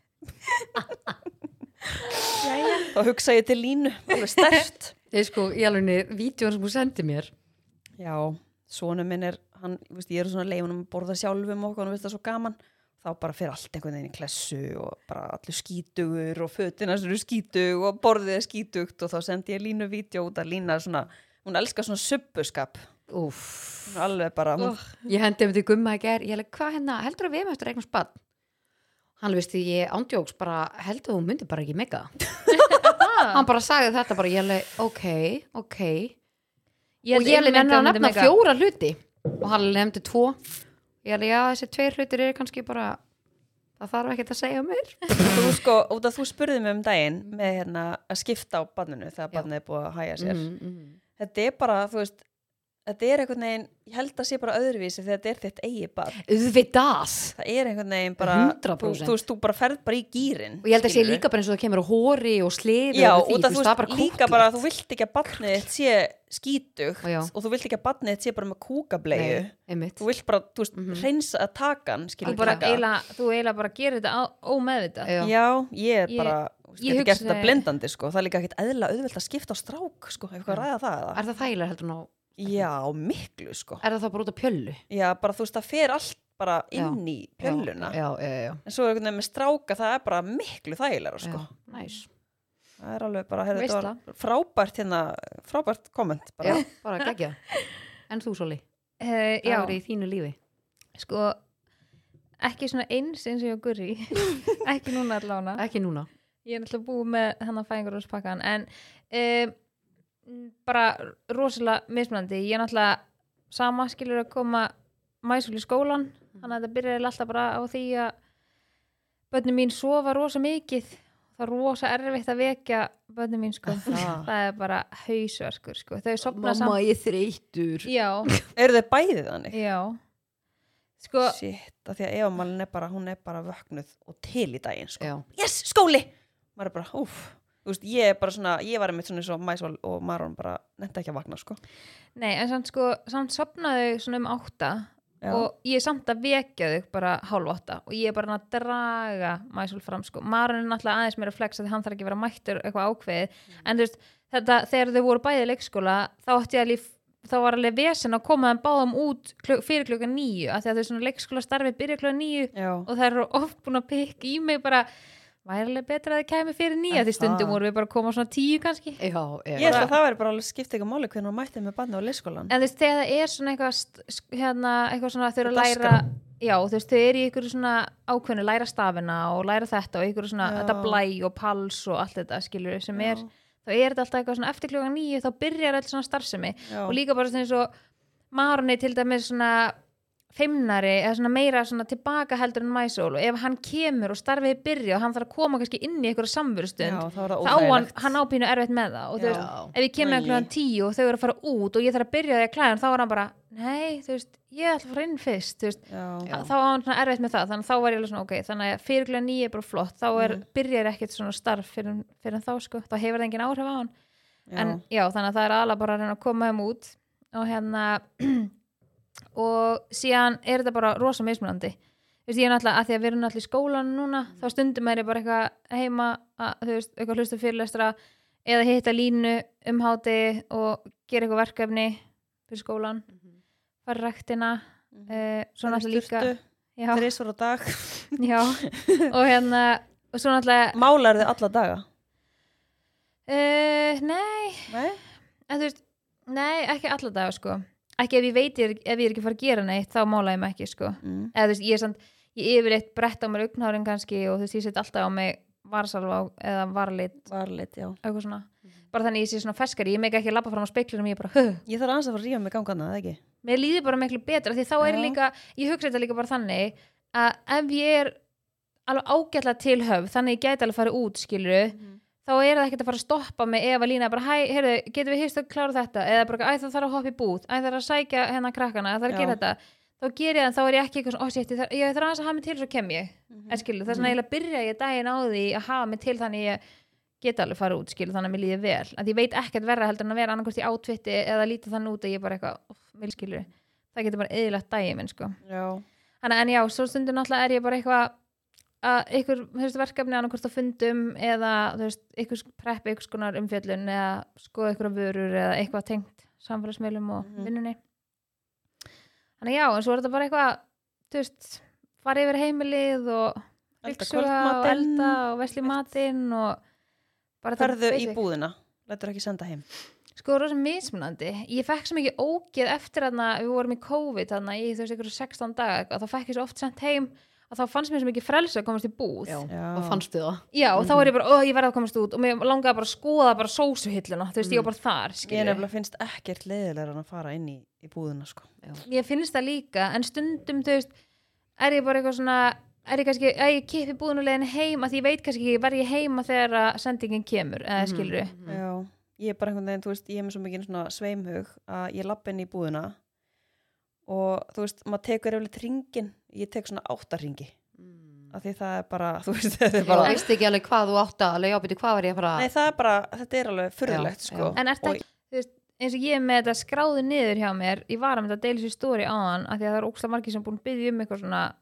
[SPEAKER 2] Jæja.
[SPEAKER 1] þá hugsa ég til línu, alveg stert
[SPEAKER 3] Ég sko, í alveg niður, vídjón sem þú sendi mér
[SPEAKER 1] já, sonu minn er hann, þú veist, ég er svona leifunum að borða sjálfum og hann veist það svo gaman þá bara fyrir allt einhvern veginn í klessu og bara allir skítugur og fötinas eru skítug og borðið er skítugt og þá sendi ég línu vídeo út að lína svona, hún elskar svona subbuskap
[SPEAKER 3] Úff,
[SPEAKER 1] Hún er alveg bara, hún,
[SPEAKER 3] ég hendi um til gumma í ger Ég held, hvað hérna, heldur að við erum eftir eignan spann? Hann veist því, ég ándjóks bara, heldur þú myndir bara ekki mega það Hann bara sagði þetta bara, ég held, ok, ok Og ég held, menn að nefna fjóra hluti Og hann nefndi tvo Ég held, já, þessi tveir hlutir eru kannski bara Það þarf ekkert að segja um mér
[SPEAKER 1] þú sko, út að þú spurði mig um daginn með hérna að skipta á banninu þegar banninu er búið að hæja sér.
[SPEAKER 3] mm, mm.
[SPEAKER 1] Þetta er bara, þú veist, þetta er einhvern veginn, ég held að sé bara öðruvísi þegar þetta er þitt eigi barn
[SPEAKER 3] auðvitað
[SPEAKER 1] það er einhvern veginn bara
[SPEAKER 3] 100%.
[SPEAKER 1] þú, þú veist, þú bara ferð bara í gýrin
[SPEAKER 3] og ég held að sé líka bara eins og það kemur á hóri og sliði
[SPEAKER 1] Já,
[SPEAKER 3] og því,
[SPEAKER 1] út af þú
[SPEAKER 3] það er
[SPEAKER 1] veist, líka
[SPEAKER 3] kúklegt.
[SPEAKER 1] bara að þú vilt ekki að barnið þitt sé skítugt
[SPEAKER 3] Já.
[SPEAKER 1] og þú vilt ekki að barnið þitt sé bara með kúkableiðu
[SPEAKER 3] Nei, Mhm. einmitt
[SPEAKER 1] þú vilt bara, þú veist, reynsa að takan
[SPEAKER 2] þú
[SPEAKER 1] skilur
[SPEAKER 2] bara
[SPEAKER 1] taka.
[SPEAKER 2] eila, þú eila bara gerir þetta á, ómeðvitað
[SPEAKER 3] Já.
[SPEAKER 1] Já, ég er
[SPEAKER 2] Ég-
[SPEAKER 1] bara, þú veist,
[SPEAKER 2] ég
[SPEAKER 1] getur gert
[SPEAKER 2] hugsa-
[SPEAKER 1] þetta blendandi sko, það er líka ekkit eðla auðvelt að skipta á strák sko, eitthvað að ræða það eða?
[SPEAKER 3] er það þægilega heldur en á
[SPEAKER 1] Já, miklu sko
[SPEAKER 3] er það þá bara út af pjöllu
[SPEAKER 1] Já, bara þú veist, það fer allt bara inn í pjölluna
[SPEAKER 3] já, já, já, já.
[SPEAKER 1] en svo er einhvern veginn með stráka, það er bara miklu þægilega sko,
[SPEAKER 3] já næs
[SPEAKER 1] það er alveg bara, heyrðu, þetta
[SPEAKER 2] Veisla.
[SPEAKER 1] var frábært hérna, frábært komment bara,
[SPEAKER 3] já, bara geggja en þú Soli,
[SPEAKER 2] Eh,
[SPEAKER 3] það
[SPEAKER 2] já.
[SPEAKER 3] er í þínu lífi
[SPEAKER 2] sko ekki svona eins eins og ég og Guri ekki núna allána
[SPEAKER 3] ekki núna
[SPEAKER 2] ég er náttúrulega búið með hennar fæðingaróspakkan en um, bara rosalega mismunandi ég er náttúrulega sama skilur að koma mæsul í skólan
[SPEAKER 1] Mhm.
[SPEAKER 2] þannig að þetta byrjaði alltaf bara á því að börnum mín sofa rosa mikið það er rosa erfitt að vekja börnum mín sko
[SPEAKER 1] Ah.
[SPEAKER 2] það er bara hausverkur sko þau sopna saman
[SPEAKER 3] ég þreytur
[SPEAKER 2] já,
[SPEAKER 1] eru þau bæðið þannig?
[SPEAKER 2] já Ah. sko,
[SPEAKER 1] Shit, af því að Eva Malin er bara, hún er bara vöknuð og til í daginn sko.
[SPEAKER 3] já,
[SPEAKER 1] Yes, skóli! Maður er bara, úf Þú veist, ég er bara svona, ég var einmitt svona eins og Mæsól og Marón bara nefndi ekki að vakna sko.
[SPEAKER 2] nei en samt sko samt sopnaðu svona um átta
[SPEAKER 1] Já.
[SPEAKER 2] og ég er samt að vekja þau bara hálf átta og ég er bara að draga mæsul fram sko, Marun er náttúrulega aðeins meira flex að hann þarf ekki að vera mættur eitthvað ákveðið en þú veist, þetta, þegar þau voru bæði í leikskóla þá átti ég alveg þá var alveg vesen að koma þeim báðum út kluk, fyrir klukkan níu, af því að þau svona leikskóla starfið byrja klukkan níu
[SPEAKER 1] Já.
[SPEAKER 2] og það eru oft búin að pikka í mig bara væri alveg betra að þau kæmi fyrir níu
[SPEAKER 1] En
[SPEAKER 2] af því stundum
[SPEAKER 1] það-
[SPEAKER 2] voru við bara að koma svona tíu kannski
[SPEAKER 3] já,
[SPEAKER 1] Ég held að það væri bara alveg skipt ekki máli hvernig hún mætti með barni á leyskólan.
[SPEAKER 2] en þú veist, þegar það er svona eitthvað st- sk- hérna, eitthvað svona þau eru að læra
[SPEAKER 1] Daskar.
[SPEAKER 2] já, þú veist, þau eru í ykkur svona ákveðinu læra stafina og læra þetta og ykkur svona,
[SPEAKER 1] Já.
[SPEAKER 2] þetta blæ og pals og allt þetta skilur, sem
[SPEAKER 1] Já.
[SPEAKER 2] er þá er þetta alltaf eitthvað svona eftir klukkan níu þá byrjar allt svona starfsemi
[SPEAKER 1] Já.
[SPEAKER 2] og líka bara svona eins og Maroni til dæmis svona feimnari eða svona meira svona tilbaka heldur en mæsól og ef hann kemur og starfið byrja og hann þarf að koma kannski inn í einhverja samverustund
[SPEAKER 1] Já, þá er það
[SPEAKER 2] þá á hann,
[SPEAKER 1] óþægilegt.
[SPEAKER 2] hann ápínu erfitt með það og þú
[SPEAKER 1] Já.
[SPEAKER 2] veist, ef ég kemur
[SPEAKER 1] Æi.
[SPEAKER 2] klukkan tíu og þau eru að fara út og ég þarf að byrja því að klæða hann, þá er hann bara, nei, þú veist ég ætla að fara inn fyrst, þú veist
[SPEAKER 1] Já.
[SPEAKER 3] Já.
[SPEAKER 2] þá á hann svona erfitt með það, þannig að þá var ég alveg svona ok, þannig að fyrir klukkan nýja er bara flott þá er,
[SPEAKER 1] Mhm.
[SPEAKER 2] byrjar ekkert svona starf fyrir, fyrir þá sko, þá hefur það engin áhrif á hann en já, þannig að það er alveg bara að reyna að koma þeim út og hérna og síðan er þetta bara rosa mismunandi þú veist, ég er náttúrulega að því að við erum náttúrulega í skólan núna þá stundum er ég bara eitthvað heima að, þú veist, eitthvað hlusta fyrirlestra eða hitta línu um háti og gera eitthvað verkefni fyrir skólan, fara ræktina mm
[SPEAKER 1] Mhm.
[SPEAKER 2] -hmm. uh,
[SPEAKER 1] Svo
[SPEAKER 2] svona líka
[SPEAKER 1] náttúrulega
[SPEAKER 2] já,
[SPEAKER 1] Þrísvar á dag.
[SPEAKER 2] já, og hérna og svo náttúrulega
[SPEAKER 1] Málar þið alla daga?
[SPEAKER 2] uh, nei,
[SPEAKER 1] Nei?
[SPEAKER 2] En þú veist, nei, ekki alla daga sko ekki ef ég veit, ég, er- ef ég er ekki að fara að gera neitt þá mála ég mig ekki sko
[SPEAKER 1] Mm.
[SPEAKER 2] eða þú veist, ég er samt, ég yfirleitt brett á mér augnárin kannski og þú veist, ég set alltaf á mig varsalva á- eða varlit
[SPEAKER 1] Varlit, já.
[SPEAKER 2] eitthvað svona, bara þannig ég sé svona feskari ég meik ekki að labba fram á speiklinum, ég er bara höh
[SPEAKER 1] Ég þarf aðeins að fara að rífa mig gangana, eða ekki?
[SPEAKER 2] mér líður bara miklu betra því þá er ég
[SPEAKER 1] Já.
[SPEAKER 2] líka, ég hugsa þetta líka bara þannig að ef ég er alveg ágætlega tilhöf, þannig ég gæti alveg farið út skiluru,
[SPEAKER 1] Mhm.
[SPEAKER 2] þá er það ekkert að fara að stoppa mig ef að lína bara, hæ, heyrðu, getum við hýst að klára þetta, eða bara, æ, það þarf að hoppa í búð æ, það þarf að sækja hennar krakkana, það þarf að
[SPEAKER 1] Já.
[SPEAKER 2] gera þetta þá ger ég það, þá er ég ekki eitthvað svona, ó, sétt, ég þarf, ég þarf aðeins að hafa mig til svo kem ég
[SPEAKER 3] Mhm.
[SPEAKER 2] en skilur, þess vegna eiginlega byrja ég daginn á því að hafa mig til þannig ég get alveg farið út, skilur, þannig að mér líði vel að ég veit ekkert verra heldur en að vera annarkvist í átvitti eða lítið þannig út að ég bara eitthvað "Óff, mér skilur, það getur bara eðilegt daginn minn, sko.
[SPEAKER 1] Já.
[SPEAKER 2] Þannig að en já, svo stundur náttúrulega er ég bara eitthvað að ykkur þú veist, verkefni annarkvort á fundum eða þú veist, ykkur preppi ykkur skonar umfjöllun eða skoða ykkur vörur eða eitthvað tengt samfélagsmiðlum og
[SPEAKER 1] Mhm.
[SPEAKER 2] vinnunni Þannig að já, en svo er þetta bara eitthvað þú veist, fara yfir heimilið og
[SPEAKER 1] Elda
[SPEAKER 2] ryksuga og
[SPEAKER 1] kvöldmatinn.
[SPEAKER 2] elda og vesli matinn og bara þetta
[SPEAKER 1] Ferðu í
[SPEAKER 2] basic.
[SPEAKER 1] búðina. Lætur ekki senda heim.
[SPEAKER 2] Sko, rosa mismunandi. Ég fekk svo mikið ógeð eftir að við vorum í COVID þarna í þú veist ykkur 16 daga eitthvað, þá fekk ég svo oft sent heim að þá fannst mér svo mikið frelsa að komast í búð.
[SPEAKER 3] já.
[SPEAKER 1] Já. Mhm.
[SPEAKER 3] og fannstu það
[SPEAKER 2] Já, og þá er ég bara, ó, ég verði að komast út og mér langaði bara að skoða bara sósuhilluna, þú veist, ég var bara þar,
[SPEAKER 1] Mhm. Ég
[SPEAKER 2] skilju.
[SPEAKER 1] nefnilega finnst ekkert leiðilega en að fara inn í, í búðina, sko.
[SPEAKER 2] Ég finnst það líka, en stundum, þú veist, er ég bara eitthvað svona, er ég kannski, að ég kipi
[SPEAKER 1] Mhm. mm,
[SPEAKER 3] Mm.
[SPEAKER 2] búðunulegin heim, að ég veit kannski ekki verði ég heima þegar að sendingin kemur, eða skilju.
[SPEAKER 1] Já. ég er bara einhvern veginn, þú veist, ég er með svo mikið svona sveimhug að ég lapp inn í búðina og þú veist, maður tekur eflut ringin, ég tek svona áttaringi af því það er bara, þú veist, þetta er
[SPEAKER 3] Þú
[SPEAKER 1] bara
[SPEAKER 3] veist ekki alveg hvað þú átt að alveg ábyrði hvað var ég að fara
[SPEAKER 1] Nei, það er bara, þetta er alveg furðulegt,
[SPEAKER 3] Já,
[SPEAKER 1] sko
[SPEAKER 3] já.
[SPEAKER 2] En ert
[SPEAKER 1] Og-
[SPEAKER 2] ekki, þú veist, eins og ég er með þetta skráði niður hjá mér, ég var að mynda að deila sér stóri á hann, af því að það er ókslega margir sem búin að byggja um eitthvað svona,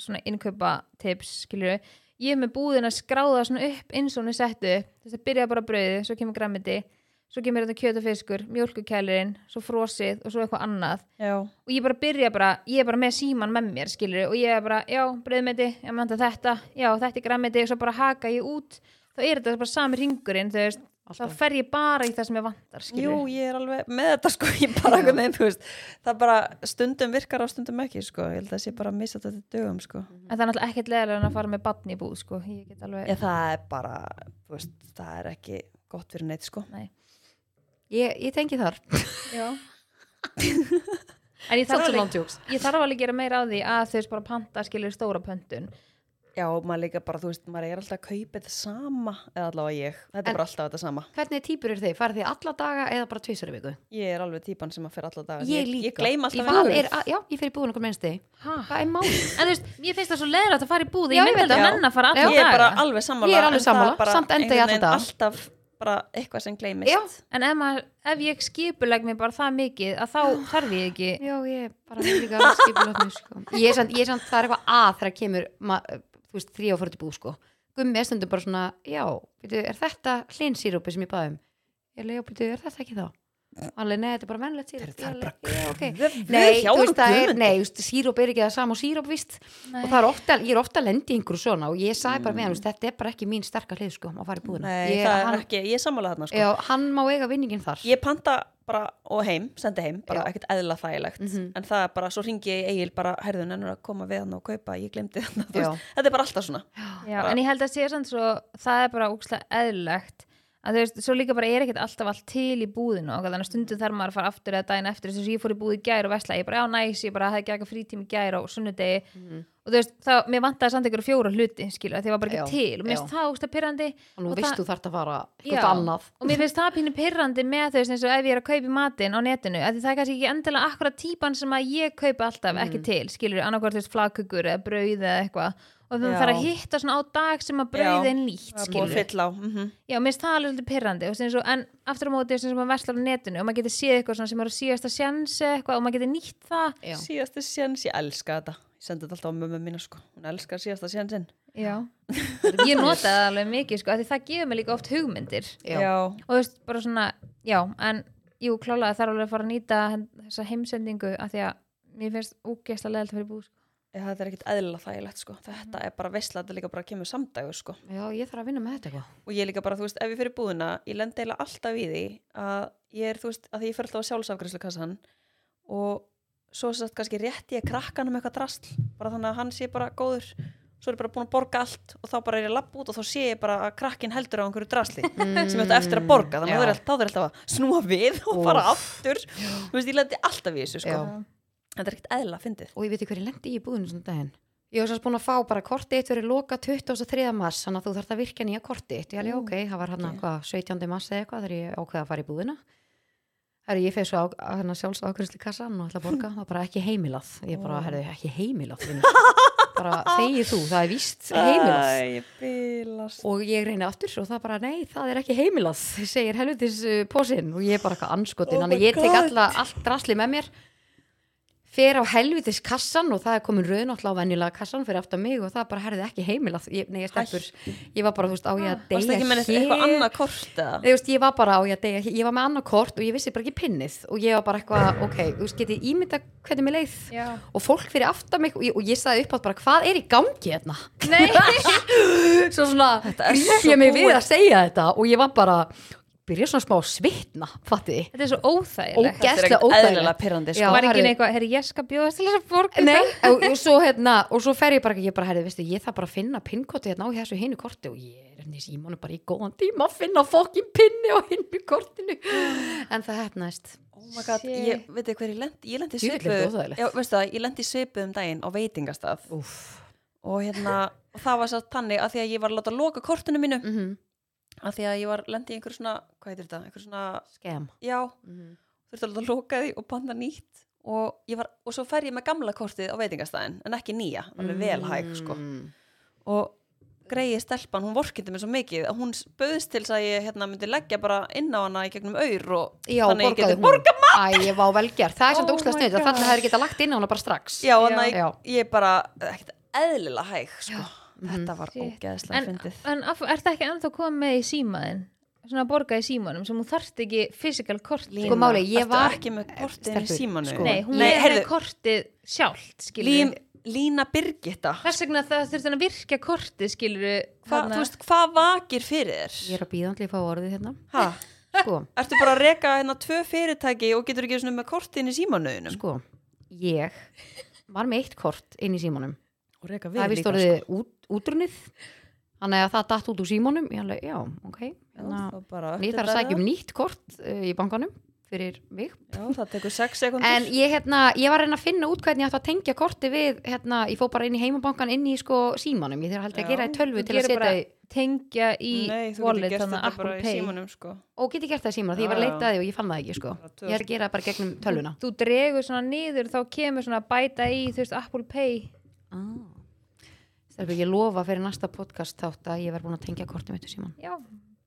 [SPEAKER 2] svona innkaupa tips, skilur ég er með búðin að skráða svona upp eins og hún er sett upp, þú veist, það byrja bara brauðið, svo kemur grammiti, svo kemur þetta kjöt og fiskur, mjólkukælirinn, svo frosið og svo eitthvað annað
[SPEAKER 1] Já,
[SPEAKER 2] og ég bara byrja bara, ég er bara með síman með mér skilur og ég er bara, já, brauðmeti ég með handa þetta, já, þetta er grammiti og svo bara haka ég út, þá er þetta bara sami ringurinn, þú veist, þá
[SPEAKER 3] Alltaf.
[SPEAKER 2] fer ég bara í það sem ég vantar, skilur
[SPEAKER 1] jú, ég er alveg með þetta, sko, ég bara einhvern veginn, þú veist það bara stundum virkar og stundum ekki, sko ég held að það sé bara að missa þetta dögum, sko
[SPEAKER 2] en það er náttúrulega ekkert leðilega en að fara með babn í búð, sko, ég get alveg
[SPEAKER 1] Já, það er bara, þú veist, það er ekki gott fyrir neitt, sko
[SPEAKER 3] Ég, ég tengi þar
[SPEAKER 2] já en ég þarf,
[SPEAKER 3] Svolítið
[SPEAKER 2] alveg,
[SPEAKER 3] landjóks
[SPEAKER 2] ég þarf alveg að gera meira á því að þau veist bara panta, skilur stóra pöntun
[SPEAKER 1] Já, og maður líka bara, þú veist, maður er alltaf að kaupa þetta sama, eða allavega ég þetta
[SPEAKER 3] En-
[SPEAKER 1] er bara alltaf þetta sama
[SPEAKER 3] Hvernig týpur eru þið? Farið þið alla daga eða bara tvisar í viku?
[SPEAKER 1] Ég er alveg típan sem að fer alla daga
[SPEAKER 3] Ég líka
[SPEAKER 1] Ég gleym alltaf
[SPEAKER 3] Hvað
[SPEAKER 1] einhverju.
[SPEAKER 3] er, að- Já, ég fer í um búðun okkur mennst þig
[SPEAKER 2] ha.
[SPEAKER 3] Hvað er mál?
[SPEAKER 2] en þú veist, ég finnst það svo leðilegt að fara í búð
[SPEAKER 3] Já,
[SPEAKER 2] ég
[SPEAKER 3] ég
[SPEAKER 2] myndi
[SPEAKER 3] veit
[SPEAKER 2] að
[SPEAKER 1] Já.
[SPEAKER 2] menna að fara alla
[SPEAKER 1] Ég er bara
[SPEAKER 2] daga
[SPEAKER 1] alveg sammála
[SPEAKER 3] Ég er
[SPEAKER 1] en
[SPEAKER 3] alveg
[SPEAKER 1] það
[SPEAKER 3] sammála,
[SPEAKER 1] bara
[SPEAKER 3] samt enda ég
[SPEAKER 1] einhvern
[SPEAKER 3] alla
[SPEAKER 1] veginn
[SPEAKER 3] daga.
[SPEAKER 1] Alltaf bara eitthvað sem gleymist
[SPEAKER 3] Já,
[SPEAKER 2] en ef, maður, ef ég skipuleg mér bara það mikið að þá þarf ég ekki
[SPEAKER 3] já, ég er bara líka að skipula mér sko Ég er samt, ég er samt, það er eitthvað að þegar kemur ma, þú veist, þrjá fyrir til búð sko Gummi er stundum bara svona, já, veitu, er þetta hlinsýrúpi sem ég baði um? Ég leiði, já, veitu, er þetta ekki þá? Alveg, nei, þetta er bara mennlegt síróp
[SPEAKER 1] Það er bara
[SPEAKER 3] okay.
[SPEAKER 1] kröfu
[SPEAKER 3] Nei,
[SPEAKER 1] hjá
[SPEAKER 3] þú veist, það er,
[SPEAKER 1] Guðmundi.
[SPEAKER 3] nei, þú veist, síróp er ekki það sama og síróp, víst og það er ofta, ég er ofta að lendi einhverju svona og ég sagði bara með hann, þú veist, þetta er bara ekki mín sterka hlið sko, að fara í búðina
[SPEAKER 1] Mm. Nei,
[SPEAKER 3] ég,
[SPEAKER 1] það er
[SPEAKER 3] hann,
[SPEAKER 1] ekki, ég er sammála þarna, sko
[SPEAKER 3] já, hann má eiga vinningin þar
[SPEAKER 1] Ég panta bara og heim, sendi heim bara
[SPEAKER 3] Já.
[SPEAKER 1] ekkert eðla þægilegt
[SPEAKER 3] Mhm.
[SPEAKER 1] en það er bara, svo ringi ég í Egil bara herðun ennur að koma við hann og kaupa, ég glemdi þarna þú
[SPEAKER 3] Já.
[SPEAKER 1] veist, þetta er bara alltaf svona
[SPEAKER 2] Já,
[SPEAKER 1] Bara-
[SPEAKER 2] en ég held að sé samt svo, það er bara ókslega eðlilegt að þú veist, svo líka bara er ekkert alltaf allt til í búðinu og þannig að stundum þarf maður að fara aftur eða daginn eftir þess að ég fór í búð í gær og vesla ég bara, já næs, ég bara hafði ekki ekki frítími í gær og sunnudegi
[SPEAKER 3] Mhm.
[SPEAKER 2] og þú veist, þá, mér vantaði samt einhverju fjóra hluti, skilu, því ég var bara ekki
[SPEAKER 3] Já,
[SPEAKER 2] til og mér finnst
[SPEAKER 3] já.
[SPEAKER 2] það ókslega pyrrandi
[SPEAKER 3] og nú
[SPEAKER 2] og
[SPEAKER 3] veist
[SPEAKER 2] það-
[SPEAKER 3] þú þarft að fara
[SPEAKER 2] Já.
[SPEAKER 3] eitthvað annað
[SPEAKER 2] og mér finnst það pínu pyrrandi með þau eins og ef ég er að kaupa í matinn á netinu að það er kannski ekki endilega akkurat típan sem að ég kaupa alltaf ekki til, skilur annarkvort þú veist flagkukur eða brauð eða eitthvað og þú
[SPEAKER 1] Já.
[SPEAKER 2] þarf að hitta svona á dag sem að brauð
[SPEAKER 1] Já.
[SPEAKER 2] er nýtt,
[SPEAKER 1] það er búið
[SPEAKER 2] skilur
[SPEAKER 1] að fylla á mm
[SPEAKER 2] já, mér finnst það alveg svolítið pyrrandi og sem svo, en aftur á móti sem maður verslar á netinu og maður getur séð eitthvað svona sem eru síðasta sjans eitthvað og maður getur nýtt það
[SPEAKER 3] Já.
[SPEAKER 1] síðasti séns, ég elska þetta ég sendi þetta alltaf á mömmu mína sko hún elskar síðasta sénsinn
[SPEAKER 2] já. ég nota það alveg mikið sko, af því það gefur mér líka oft hugmyndir
[SPEAKER 3] Já.
[SPEAKER 2] og þú veist, bara svona, já, en jú, klálega þarf alveg að fara að nýta hen- þessa heimsendingu af því að mér finnst úgeislega leðalt fyrir búð sko.
[SPEAKER 1] Já, þetta er ekkert eðla þægilegt sko
[SPEAKER 3] Mhm.
[SPEAKER 1] þetta er bara veisla, þetta líka bara kemur samdægur sko
[SPEAKER 3] já, ég þarf að vinna með þetta eitthvað
[SPEAKER 1] og ég líka bara, þú veist, ef ég fyrir búðina ég lend eila alltaf í því að ég er, þú veist, að því ég fyrir alltaf á sjálfsafgræslu kassan og svo sett kannski rétt ég krakkanum um eitthvað drasl bara þannig að hann sé bara góður svo er ég bara búin að borga allt og þá bara er ég lapp út og þá sé ég bara að krakkin heldur á einhverju drasli sem ég ætti eftir að borga þannig að það
[SPEAKER 3] Já.
[SPEAKER 1] er alltaf- þá er alltaf að snúa við og
[SPEAKER 3] Úff.
[SPEAKER 1] fara aftur þú veist, ég lendi alltaf í þessu sko
[SPEAKER 3] Já.
[SPEAKER 1] þetta er ekkert eðla fyndið
[SPEAKER 3] og ég veit ekki hverju lendi í búðinu svona daginn ég var svo búin að fá bara kortið eitt verið loka 23. mars, þannig að þú þarft að virka nýja kortið eitt, ég alveg ok, það var hann
[SPEAKER 1] Mm. ok.
[SPEAKER 3] hvað, 17. mars eða eitthvað þegar ég ákveða að fara í búðina Herri, ég feið svo á, á hérna sjálfsákvæmsli kassan og ætla að borga, það var bara ekki heimilað ég bara, herri, ekki heimilað vinur. bara þegið þú, það er víst heimilað
[SPEAKER 1] Æ, ég bilast
[SPEAKER 3] og ég reyni aftur og það bara, nei, það er ekki heimilað segir helvitis uh, pósinn og ég er bara eitthvað anskotin,
[SPEAKER 1] Oh my
[SPEAKER 3] þannig að ég tek
[SPEAKER 1] God.
[SPEAKER 3] alla, allt drasli með mér fer á helvitis kassan og það er komin rauð náttúrulega á venjulega kassan fyrir aftan mig og það bara herði ekki heimilað ég, nei, ég stelpur, ég var bara, þú veist, á ég að
[SPEAKER 1] Varst
[SPEAKER 3] deyja
[SPEAKER 1] Ah. ekki með neitt- eitthvað annað kort eða?
[SPEAKER 3] Nei, þú veist, ég var bara á ég að deyja, ég var með annað kort og ég vissi bara ekki pinnið og ég var bara eitthvað, ok, þú veist, getið ímynda hvernig mér leið
[SPEAKER 2] Já.
[SPEAKER 3] og fólk fyrir aftan mig og ég, og ég sagði upp átt bara, hvað er í gangi hérna?
[SPEAKER 2] Nei,
[SPEAKER 3] svo svona,
[SPEAKER 1] er
[SPEAKER 3] grýf
[SPEAKER 1] svo
[SPEAKER 3] ég mig
[SPEAKER 1] búið.
[SPEAKER 3] við að segja þetta og ég var bara, byrja svona smá að svitna, fattiði,
[SPEAKER 2] þetta er svo óþægilegt
[SPEAKER 3] Ógeð-
[SPEAKER 1] Þetta er
[SPEAKER 3] Gæsla
[SPEAKER 1] ekkert
[SPEAKER 3] óþægilegt.
[SPEAKER 1] eðlilega pirrandi
[SPEAKER 3] Já.
[SPEAKER 1] sko.
[SPEAKER 2] Var ekki
[SPEAKER 3] herri.
[SPEAKER 2] eitthvað, herri, ég skal bjóðast til þess að borga
[SPEAKER 3] Nei,
[SPEAKER 2] þetta?
[SPEAKER 3] og, og svo hérna, og svo fer ég bara, ég bara, herrið, veistu, ég þarf bara að finna pinnkoti hérna á þessu hinu korti og ég er henni í símanu bara í góðan tíma að finna fokkin pinni á hinu kortinu, en það hefnaðist.
[SPEAKER 1] Oh my god,
[SPEAKER 2] Shit.
[SPEAKER 1] ég veit ekki hver ég lendi Ég lendi í
[SPEAKER 3] Djöfull er
[SPEAKER 1] svipu
[SPEAKER 3] þetta óþægilegt.
[SPEAKER 1] Já, veistu það, ég lendi í svipu um daginn á veitingastað
[SPEAKER 3] Úff.
[SPEAKER 1] og hérna, og það var satt þannig að því að ég var að láta loka kortinu mínu
[SPEAKER 3] Mm -hmm.
[SPEAKER 1] að því að ég var lendi í einhver svona, hvað heitir þetta, einhver svona
[SPEAKER 3] Skem.
[SPEAKER 1] já,
[SPEAKER 3] Mhm.
[SPEAKER 1] þurfti alveg að loka því og panna nýtt og, ég var, og svo fer ég með gamla kortið á veitingastæðin en ekki nýja, alveg
[SPEAKER 3] Mm.
[SPEAKER 1] velhæg sko. og greiði stelpan, hún vorkindi mér svo mikið að hún s- bauðst til þess að ég hérna, myndi leggja bara inn á hana í gegnum aur og
[SPEAKER 3] Já,
[SPEAKER 1] þannig ég
[SPEAKER 3] borgaði
[SPEAKER 1] geti
[SPEAKER 3] hún.
[SPEAKER 1] borgað
[SPEAKER 3] Æ, ég vá velgerð. Það er samt
[SPEAKER 2] Oh
[SPEAKER 3] óslega
[SPEAKER 2] my
[SPEAKER 3] sniðið.
[SPEAKER 2] God.
[SPEAKER 3] Þannig að það er getað lagt inn á hana bara strax.
[SPEAKER 1] já, þannig að
[SPEAKER 3] Já.
[SPEAKER 1] ég, ég bara ekkert eðlilega hæg sko.
[SPEAKER 3] Mhm.
[SPEAKER 1] þetta var
[SPEAKER 2] Shit.
[SPEAKER 1] ógeðslega
[SPEAKER 2] en,
[SPEAKER 3] uh,
[SPEAKER 1] fyndið
[SPEAKER 2] en af, er það ekki ennþá komið með í símaðin svona að borga í símanum sem hún þarft ekki physical korti
[SPEAKER 3] Sko, máli, ég
[SPEAKER 1] Ertu
[SPEAKER 3] var-
[SPEAKER 1] ekki með kortið í
[SPEAKER 3] Stelpur,
[SPEAKER 1] símanu
[SPEAKER 3] sko.
[SPEAKER 2] nei, hún
[SPEAKER 1] Nei,
[SPEAKER 2] er
[SPEAKER 1] heyrðu,
[SPEAKER 2] með kortið sjálft skilur
[SPEAKER 1] Lín, Lína Birgitta hva,
[SPEAKER 2] þess vegna það þurfti hann að virkja kortið skilur
[SPEAKER 1] þú veist, hvað vakir fyrir
[SPEAKER 3] Ég
[SPEAKER 1] þér?
[SPEAKER 3] er að býða allir að fá orðið hérna.
[SPEAKER 1] Ha,
[SPEAKER 3] Sko,
[SPEAKER 1] ertu bara að reka hérna tvö fyrirtæki og getur ekki svona með kortin í símanauðinum
[SPEAKER 3] sko, ég var með eitt kort inn í símanum.
[SPEAKER 1] og reka
[SPEAKER 3] Það er vist orðið út, útrunnið. Þannig að það datt út úr símanum. Ég alveg, já, ok. Þannig að sko. ég þarf að sækja um nýtt kort uh, í bankanum fyrir mig.
[SPEAKER 1] já, það tekur 6 sekundur
[SPEAKER 3] En ég, hérna, ég var að reyna að finna út hvernig ég ætti að tengja korti við, hérna, ég fóð bara inn í heimabankan inn í sko símanum, ég þarf að halda að
[SPEAKER 1] Já.
[SPEAKER 3] gera í tölvu
[SPEAKER 2] Þú
[SPEAKER 3] til að
[SPEAKER 2] gerir
[SPEAKER 3] setja
[SPEAKER 2] bara
[SPEAKER 3] í
[SPEAKER 2] tengja í
[SPEAKER 1] Nei, þú getur
[SPEAKER 2] wallet
[SPEAKER 1] gert
[SPEAKER 2] þannig að
[SPEAKER 1] þetta bara
[SPEAKER 2] Apple
[SPEAKER 1] í
[SPEAKER 2] Pay
[SPEAKER 1] símanum sko.
[SPEAKER 3] og geti gert það í símanum, því ég var að
[SPEAKER 1] Já, já.
[SPEAKER 3] leita að því og ég fann það ekki sko.
[SPEAKER 1] Bara
[SPEAKER 3] ég er að gera það bara gegnum tölvuna
[SPEAKER 2] þú dregur svona niður þá kemur svona að bæta í þú veist Apple Pay
[SPEAKER 3] Stelbjörg, ég lofa fyrir næsta podcast þátt að ég verð búin að tengja kortið mitt í síman
[SPEAKER 2] já,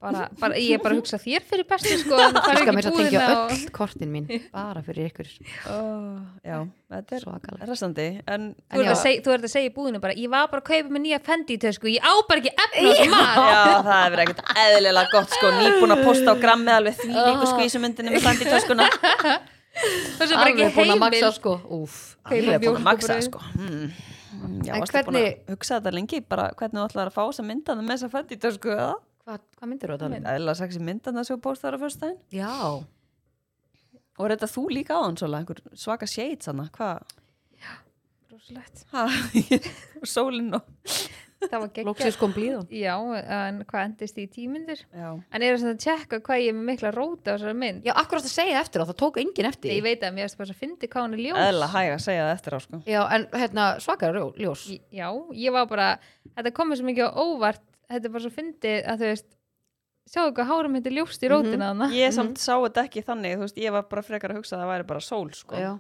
[SPEAKER 2] bara, bara, ég er bara að hugsa þér fyrir bestu sko, en það
[SPEAKER 3] Ég
[SPEAKER 2] er
[SPEAKER 3] skal
[SPEAKER 2] ekki
[SPEAKER 3] mér að
[SPEAKER 2] búðina
[SPEAKER 3] tengja
[SPEAKER 2] og-
[SPEAKER 3] öll kortin mín bara fyrir ykkur
[SPEAKER 1] oh, já, þetta er
[SPEAKER 3] svakalega
[SPEAKER 1] resandi en
[SPEAKER 2] Þú ert,
[SPEAKER 3] já.
[SPEAKER 2] að seg, þú ert að segja í búðinu bara ég var bara að kaupa mig nýja fendi í tösku ég á bara ekki efna sem maður
[SPEAKER 1] Já, það hefur ekkert eðlilega gott sko nýbúin að posta á grammið alveg því líku
[SPEAKER 2] Ah.
[SPEAKER 1] skvísumyndinu með fendi töskuna
[SPEAKER 2] það sem bara ekki
[SPEAKER 3] búin að
[SPEAKER 2] heimil
[SPEAKER 3] maksa sko Úf,
[SPEAKER 1] Ég er búin að maksa það
[SPEAKER 2] mjólkurbrauð.
[SPEAKER 1] sko hmm. Já,
[SPEAKER 3] En
[SPEAKER 1] varstu búin
[SPEAKER 3] hvernig-
[SPEAKER 1] að hugsa þetta lengi bara hvernig þú ætlar að fá þess að mynda það með þess að fendi tösku eða?
[SPEAKER 3] hvað, hvað myndir þú að tala um?
[SPEAKER 1] Eðlilega sexi mynda það sem þú postar á fyrstæðin
[SPEAKER 3] Já,
[SPEAKER 1] og reynda þú líka á hann svolega einhver svaka shades hana, hvað?
[SPEAKER 2] Rosalegt.
[SPEAKER 1] Ha, sólinn og
[SPEAKER 2] það var geggjað
[SPEAKER 3] lóksins kom blíðan
[SPEAKER 2] já, en hvað endist í tímyndir
[SPEAKER 1] Já,
[SPEAKER 2] en er það að tjekka hvað ég er með mikla róta á þessari mynd
[SPEAKER 3] Já, akkur átt að segja eftir á, það tók enginn eftir
[SPEAKER 2] ég veit að mér erst bara að fyndi hvað hún er ljós
[SPEAKER 1] eðlilega hæg að segja það eftir á sko
[SPEAKER 3] Já, en hérna, svakar ljós
[SPEAKER 2] Í- já, ég var bara þetta komið svo mikið á óvart þetta er bara svo fyndið að þú veist sjáu hvað hárum þetta er
[SPEAKER 3] Mhm.
[SPEAKER 2] ljóst í rótina mm
[SPEAKER 1] Ég samt sá þetta ekki þannig, þú veist, ég var bara frekar að hugsa að það væri bara sól sko
[SPEAKER 3] Já,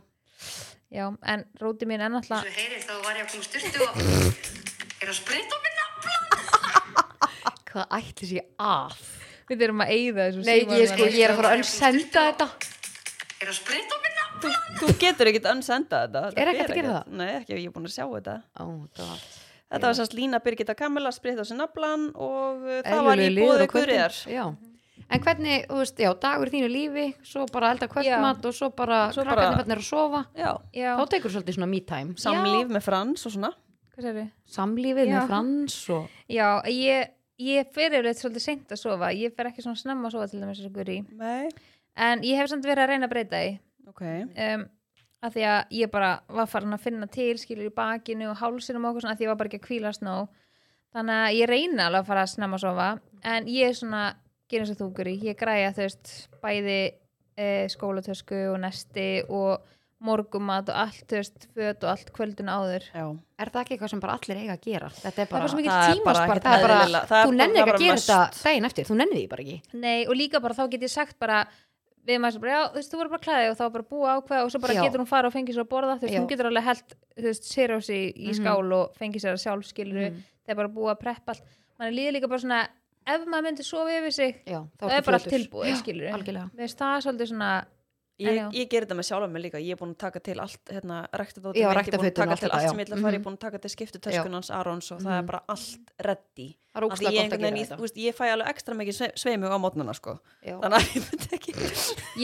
[SPEAKER 2] já, en róti mín er náttúrulega
[SPEAKER 4] Svo heyrið þá var ég að koma styrtu og er að sprita minna.
[SPEAKER 3] hvað ætlis ég að?
[SPEAKER 2] við erum að eyða þessu
[SPEAKER 3] Nei,
[SPEAKER 2] símanum
[SPEAKER 3] ég, sko,
[SPEAKER 2] hennar.
[SPEAKER 3] ég er að fara að senda þetta
[SPEAKER 4] Er að sprita minna.
[SPEAKER 1] þú, þú getur ekkert önsenda þetta Þetta
[SPEAKER 3] Er
[SPEAKER 1] fer
[SPEAKER 3] ekki hægt að gera
[SPEAKER 1] ekkert. Nei, ekki, ef ég er búin að sjá þetta
[SPEAKER 3] Ó, það var
[SPEAKER 1] Þetta var sérst Lína Birgitta Kamila spritt á sér naflan og uh, það var í
[SPEAKER 3] eðlilegu liður
[SPEAKER 1] bóði
[SPEAKER 3] á kvöldin.
[SPEAKER 1] Guðriðar
[SPEAKER 3] Já, en hvernig, þú veist, já, dagur í þínu lífi Svo bara elda kvöldmat og svo bara
[SPEAKER 1] Svo
[SPEAKER 3] Svo
[SPEAKER 1] bara-
[SPEAKER 3] krakkarnir hvernig er að sofa
[SPEAKER 1] Já,
[SPEAKER 2] já,
[SPEAKER 3] Þá tekur svolítið svona me-time
[SPEAKER 1] samlíf með Frans og svona
[SPEAKER 2] hvað sér
[SPEAKER 3] Samlífið
[SPEAKER 2] Já.
[SPEAKER 3] með frans og
[SPEAKER 2] já, ég, ég fer yfirleitt svolítið seint að sofa ég fer ekki svona snemma að sofa til þess að guri
[SPEAKER 1] Nei,
[SPEAKER 2] en ég hef samt verið að reyna að breyta því
[SPEAKER 1] ok
[SPEAKER 2] um, að því að ég bara var farin að finna til skilur í bakinu og hálsinum og okkur svona að því ég var bara ekki að kvílast nóg þannig að ég reyna alveg að fara að snemma að sofa en ég er svona, gerir eins og þú guri ég græja þú veist bæði e, skólatösku og nesti og morgumat og allt þú veist, föt og allt kvöldun áður
[SPEAKER 1] Já,
[SPEAKER 3] Er það ekki eitthvað sem bara allir eiga að gera? Þetta er bara
[SPEAKER 2] bara svo mikið
[SPEAKER 1] það er bara
[SPEAKER 3] tímaspar-
[SPEAKER 1] ekkert
[SPEAKER 3] það er bara,
[SPEAKER 1] eðlilega- það er
[SPEAKER 3] þú
[SPEAKER 1] bara-
[SPEAKER 3] nennir
[SPEAKER 1] það er
[SPEAKER 3] ekki að
[SPEAKER 1] bara
[SPEAKER 3] gera
[SPEAKER 1] must.
[SPEAKER 3] þetta daginn eftir, þú nennir því bara ekki
[SPEAKER 2] Nei, og líka bara þá get ég sagt bara við maður sem bara, já, þú veist, þú voru bara klæði og þá var bara búið ákveða og svo bara
[SPEAKER 3] Já.
[SPEAKER 2] getur hún fara og fengið sér að borða, þú veist,
[SPEAKER 3] Já.
[SPEAKER 2] hún getur alveg held þú veist, sérjósi í, í skál og fengið sér að sjálfskiluru, mm þegar bara búið að preppa allt, mann er líður líka bara svona ef maður myndi sofa yfir sig
[SPEAKER 3] Já, þá
[SPEAKER 2] það
[SPEAKER 3] ertu
[SPEAKER 2] er bara allt
[SPEAKER 3] fljótur.
[SPEAKER 2] tilbúið,
[SPEAKER 3] Já,
[SPEAKER 2] skiluru
[SPEAKER 3] algjörlega.
[SPEAKER 2] við veist, það er svolítið svona
[SPEAKER 1] Ég,
[SPEAKER 2] En já.
[SPEAKER 1] ég gerir þetta með sjálf mig líka, ég er búin að taka til allt hérna, rektadótið, mitt, ég er
[SPEAKER 3] Já,
[SPEAKER 1] búin að
[SPEAKER 3] ræktarfötin og
[SPEAKER 1] taka
[SPEAKER 3] allt
[SPEAKER 1] til
[SPEAKER 3] þetta,
[SPEAKER 1] allt
[SPEAKER 3] já.
[SPEAKER 1] sem ég ætla að fara, ég er búin að taka til skiptu töskunans Arons og það er bara allt reddi
[SPEAKER 3] Það er ógeðslega gott að gera þetta.
[SPEAKER 1] Ég fæ alveg ekstra mikið sve- sveimug á mótnana sko
[SPEAKER 3] Já.
[SPEAKER 1] Þannig að ég myndi ekki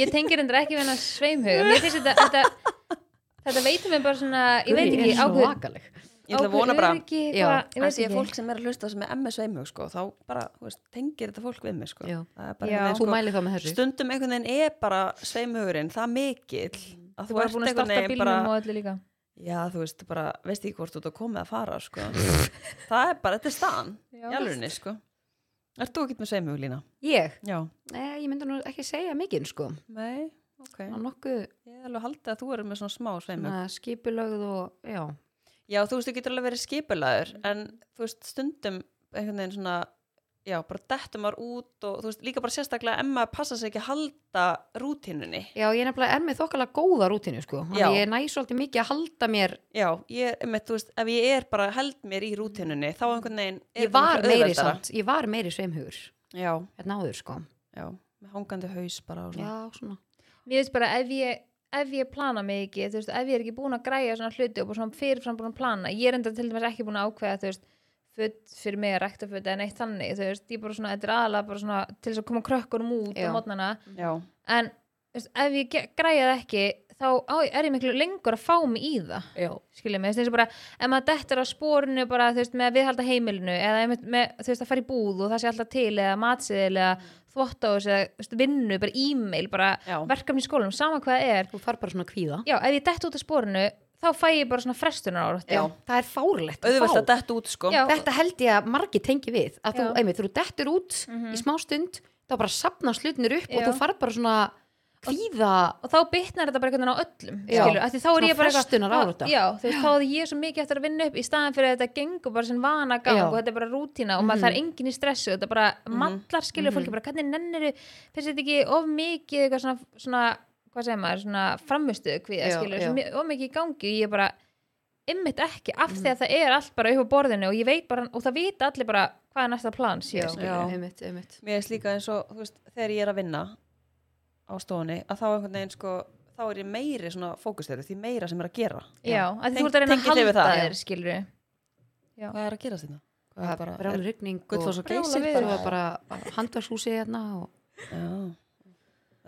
[SPEAKER 2] ég tengir endur ekki við hennar sveimhuga mér finnst þetta, þetta þetta veitum við bara svona, ég veit ekki ákveð,
[SPEAKER 3] ákveð
[SPEAKER 1] Ég ætla að
[SPEAKER 2] ákveð
[SPEAKER 1] vona bara
[SPEAKER 2] öryggi, hvað-
[SPEAKER 3] Já.
[SPEAKER 2] ég
[SPEAKER 1] að
[SPEAKER 2] veit
[SPEAKER 1] því að
[SPEAKER 2] ekki.
[SPEAKER 1] fólk sem er að hlusta sem er MS veimug sko, þá bara þú veist, tengir þetta fólk við mig sko.
[SPEAKER 3] Já.
[SPEAKER 1] Það er
[SPEAKER 2] Já.
[SPEAKER 1] bara
[SPEAKER 3] Þú
[SPEAKER 1] einhvern
[SPEAKER 3] mæli þá með
[SPEAKER 1] veginn, sko,
[SPEAKER 3] þessu
[SPEAKER 1] stundum einhvern veginn er bara sveimugurinn það mikill að
[SPEAKER 2] þú var búin að starta bílnum
[SPEAKER 1] bara,
[SPEAKER 2] og öllu líka
[SPEAKER 1] já þú veist bara veist ekki hvort þú ert að koma að fara sko. það er bara, þetta er staðan
[SPEAKER 2] Já.
[SPEAKER 1] í alvegni sko Ert þú ekkert með sveimug Lína?
[SPEAKER 3] Ég?
[SPEAKER 1] Já
[SPEAKER 3] Nei, ég myndi nú ekki segja mikið sko
[SPEAKER 1] Nei, ok
[SPEAKER 3] Ná nokkuð
[SPEAKER 1] Ég er alveg haldið að þú eru með svona smá sveimug
[SPEAKER 3] svona skipulögð og já Mm.
[SPEAKER 1] Já, þú veist, þú getur alveg verið skipulaður en þú veist, stundum einhvern veginn svona já, bara dettum maður út og þú veist, líka bara sérstaklega ef maður passa sig ekki að halda rútínunni
[SPEAKER 3] Já, ég er nefnilega er með þokkalega góða rútinu sko. Þannig
[SPEAKER 1] Já.
[SPEAKER 3] að Ég næ svolítið mikið að halda mér
[SPEAKER 1] já, ég, með, þú veist, ef ég er bara held mér í rútínunni, þá einhvern veginn er
[SPEAKER 3] Mm. Ég
[SPEAKER 1] þetta
[SPEAKER 3] var
[SPEAKER 1] miklu
[SPEAKER 3] meiri
[SPEAKER 1] auðveldara.
[SPEAKER 3] samt, ég var meiri sveimhugur
[SPEAKER 1] já,
[SPEAKER 3] Hérna áður sko
[SPEAKER 1] já, með hangandi haus bara og svona,
[SPEAKER 3] Já, svona
[SPEAKER 2] Mér veist bara ef ég ef ég plana mig ekki, þú veist, ef ég er ekki búin að græja svona hluti og bara svona fyrirfram búin að plana ég er enda til dæmis ekki búin að ákveða, þú veist föt fyrir mig að rækta föt eða neitt þannig þú veist, ég bara svona, þetta er aðalega bara svona til þess að koma krökkunum út
[SPEAKER 3] Já.
[SPEAKER 2] á mótnana
[SPEAKER 1] já,
[SPEAKER 2] en þú veist, ef ég ge- græja það ekki þá á, er ég miklu lengur að fá mig í það
[SPEAKER 3] Já,
[SPEAKER 2] skilja mig, þú veist, eins og bara ef maður dettur á spórinu bara, þú veist, með að viðhalda heimilinu eða með, með, þú veist, að fara í búð og það sé alltaf til eða matsiðil eða þvottahús eða þú veist, vinnu, bara e-mail bara
[SPEAKER 1] já,
[SPEAKER 2] verkefni í skólanum, sama hvað það er
[SPEAKER 3] þú far bara svona að kvíða
[SPEAKER 2] já, ef ég dett út af spórinu þá fæ ég bara svona frestunar ára
[SPEAKER 3] Já, það er fárlegt
[SPEAKER 1] auðvitað að detta út sko
[SPEAKER 2] Já.
[SPEAKER 3] Þetta held ég að margi tengi við að þú,
[SPEAKER 2] Já.
[SPEAKER 3] einmitt, þú dettur út
[SPEAKER 1] Mhm.
[SPEAKER 3] í smá stund þá bara sapna slutnir upp og
[SPEAKER 2] Já.
[SPEAKER 3] þú far bara svona kvíða
[SPEAKER 2] og þá bitnar þetta bara einhvern veginn á öllum
[SPEAKER 3] Já.
[SPEAKER 2] skilur, af því þá er
[SPEAKER 3] Svona
[SPEAKER 2] ég bara
[SPEAKER 3] frestunarárátta.
[SPEAKER 2] já, þú veist, þá er ég svo mikið eftir að vinna upp í staðan fyrir að þetta gengur bara sem vana gang
[SPEAKER 3] Já.
[SPEAKER 2] og
[SPEAKER 3] Mhm.
[SPEAKER 2] þetta er bara rútína og maður það er engin í stressu þetta bara mallar skilur fólki bara hvernig nennir finnst þetta ekki of mikið eitthvað svona, svona hvað segir maður, svona framustuðu kvíða
[SPEAKER 3] Já,
[SPEAKER 2] skilur,
[SPEAKER 3] já.
[SPEAKER 2] svo mi- of mikið í gangi og ég er bara ymmit ekki af
[SPEAKER 3] Mhm.
[SPEAKER 2] því að það er allt bara upp á borðinu og ég veit bara og það vita allir bara hvað er næsta plan sér, skilur.
[SPEAKER 1] Já.
[SPEAKER 3] einmitt, einmitt
[SPEAKER 1] mér er slíka eins og, þú veist, þegar ég er að vinna á stofunni, að þá einhvern veginn sko þá er ég meiri svona fókustöru því meira sem er að gera
[SPEAKER 2] já, að því
[SPEAKER 1] Tenk-
[SPEAKER 2] þú ert að reyna að
[SPEAKER 1] tengist þið við
[SPEAKER 2] halda
[SPEAKER 1] það?
[SPEAKER 2] þér skilur Já.
[SPEAKER 1] hvað er að gera þetta?
[SPEAKER 3] Það er bara rigning og
[SPEAKER 1] Gullfoss og
[SPEAKER 3] Brjála
[SPEAKER 1] Geysir
[SPEAKER 3] veður.
[SPEAKER 1] bara.
[SPEAKER 3] Það var bara handverkshúsi hérna og
[SPEAKER 1] já.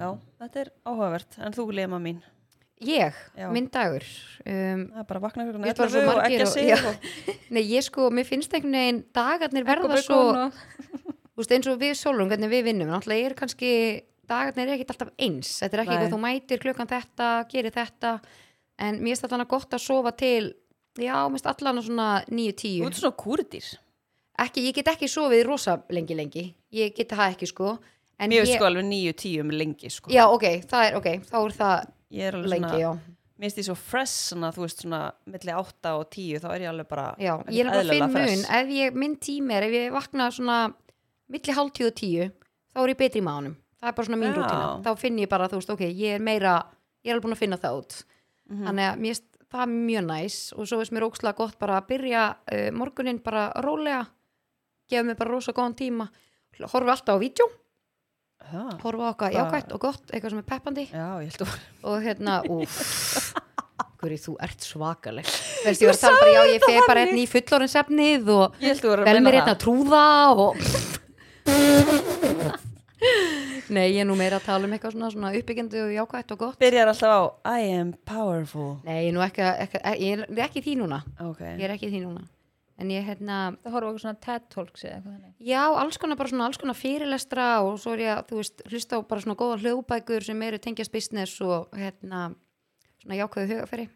[SPEAKER 1] já, þetta er áhugavert en þú lema mín,
[SPEAKER 3] ég,
[SPEAKER 1] Já.
[SPEAKER 3] minn dagur um,
[SPEAKER 1] það er bara að vakna klukkan
[SPEAKER 3] Ég er bara svo
[SPEAKER 1] 11 og
[SPEAKER 3] margir
[SPEAKER 1] ekki
[SPEAKER 3] og-
[SPEAKER 1] að
[SPEAKER 3] já.
[SPEAKER 1] segja og,
[SPEAKER 3] Nei, ég sko, mér finnst einhvern veginn dagarnir verða svo,
[SPEAKER 2] Sko,
[SPEAKER 3] þú veist, eins og við sólum, hvernig við vinnum, náttúrulega er kannski dagarnir er ekkit alltaf eins, þetta er ekki
[SPEAKER 1] Nei.
[SPEAKER 3] eitthvað þú mætir klukkan þetta, gerir þetta en mér finnst allan að gott að sofa til já, mér finnst allan að svona
[SPEAKER 1] þú
[SPEAKER 3] 9-10,
[SPEAKER 1] ert svona kúrdýr
[SPEAKER 3] ekki, ég get ekki sofið rosa lengi lengi, ég get það ekki sko, en
[SPEAKER 1] mér
[SPEAKER 3] ég,
[SPEAKER 1] veist sko alveg nýju tíum lengi sko.
[SPEAKER 3] já, ok, það er, ok þá er það
[SPEAKER 1] ég er alveg
[SPEAKER 3] lengi,
[SPEAKER 1] svona,
[SPEAKER 3] já
[SPEAKER 1] mér finnst ég svo fresh svona, þú veist svona, milli 8 og 10 þá er ég alveg bara
[SPEAKER 3] Já,
[SPEAKER 1] ekkert
[SPEAKER 3] ég er nefnilega að
[SPEAKER 1] eðlilega
[SPEAKER 3] finn mun ef ég, minn tími er, ef ég vakna svona milli hálf tíu og tíu þá er ég betri í mánum, það er bara svona mín
[SPEAKER 1] Já.
[SPEAKER 3] rútina þá finn ég bara, þú veist, ok, ég er meira ég er alveg búin að finna það út
[SPEAKER 1] Hmm. Mhm.
[SPEAKER 3] þannig að mér, finnst það er mjög næs og svo veist mér ókslega gott bara að byrja uh, morgunin bara rólega gefa mér bara rosa góðan tíma horfa alltaf á vídeo,
[SPEAKER 1] Ha,
[SPEAKER 3] horfa á
[SPEAKER 1] Bara-
[SPEAKER 3] okkar jákvætt og gott, eitthvað sem er peppandi
[SPEAKER 1] já, ég held að
[SPEAKER 3] og hérna, úff Guri, þú ert svakaleg Veist, ég var að tala bara, já, ég feg bara hérna í fullorinsefnið og
[SPEAKER 1] ég held að vera
[SPEAKER 3] vel mér hérna trúða og Nei, ég er nú meira að tala um eitthvað svona, svona uppbyggjandi og jákvætt og gott
[SPEAKER 1] byrjar alltaf á I am powerful
[SPEAKER 3] Nei, ég er nú ekki, ekki, ég er- ég er ekki í því núna
[SPEAKER 1] ok,
[SPEAKER 3] Ég er ekki í því núna En ég hérna,
[SPEAKER 2] það horfa okkur svona TED Talks eða eitthvað þannig
[SPEAKER 3] já, alls konar bara svona alls konar fyrirlestra og svo er ég að, þú veist, hlusta á bara svona góða hljóðbækur sem eru tengjast business og hérna, svona jákvæðu hugafæri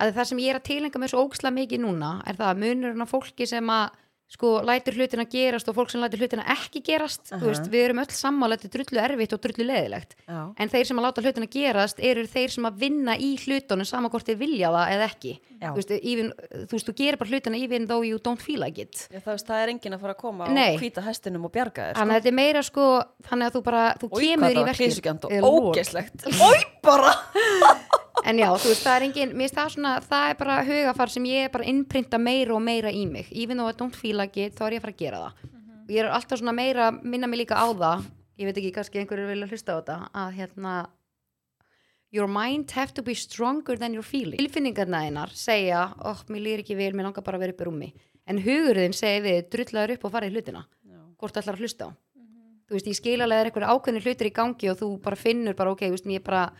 [SPEAKER 3] að það sem ég er að tilengja mér svo óksla mikið núna er það að munurinn af fólki sem að sko lætur hlutina gerast og fólk sem lætur hlutina ekki gerast
[SPEAKER 1] Aha.
[SPEAKER 3] þú veist, við erum öll sammála, þetta er drullu erfitt og drullu leðilegt
[SPEAKER 1] já
[SPEAKER 3] en þeir sem að láta hlutina gerast eru þeir sem að vinna í hlutunum sama hvort þeir vilja það eða ekki
[SPEAKER 1] Já.
[SPEAKER 3] þú veist, even, þú veist, þú gerir bara hlutina even though you don't feel like it
[SPEAKER 1] Já, það, veist, það er enginn að fara að koma
[SPEAKER 3] Nei.
[SPEAKER 1] og hvita hestinum og bjarga þér
[SPEAKER 3] þannig að þetta er meira sko þannig að þú bara, þú
[SPEAKER 1] Oj, hvað
[SPEAKER 3] kemur
[SPEAKER 1] það
[SPEAKER 3] í
[SPEAKER 1] var
[SPEAKER 3] verkið
[SPEAKER 1] klísugjönd
[SPEAKER 3] Eh,
[SPEAKER 1] og
[SPEAKER 3] lord.
[SPEAKER 1] ógeslegt Ói bara
[SPEAKER 3] en já, þú veist, það er engin, mér finnst það svona það er bara hugafar sem ég er bara að innprinta meira og meira í mig, even though I don't feel like it þá er ég að fara að gera það
[SPEAKER 1] Mhm.
[SPEAKER 3] ég er alltaf svona meira, að minna mig líka á það ég veit ekki, kannski einhverju vilja hlusta á þetta að hérna your mind have to be stronger than your feeling tilfinningarna einar segja oh, mér lýr ekki vel, mér langar bara að vera upp í rúmi en hugurðin segir við, drullaður upp og farið hlutina hvort ætlar að hlusta á þú veist, ég skil alveg að það er eitthvað ákveðni hlutir í gangi og þú bara finnur bara, ok, þú veist, ég bara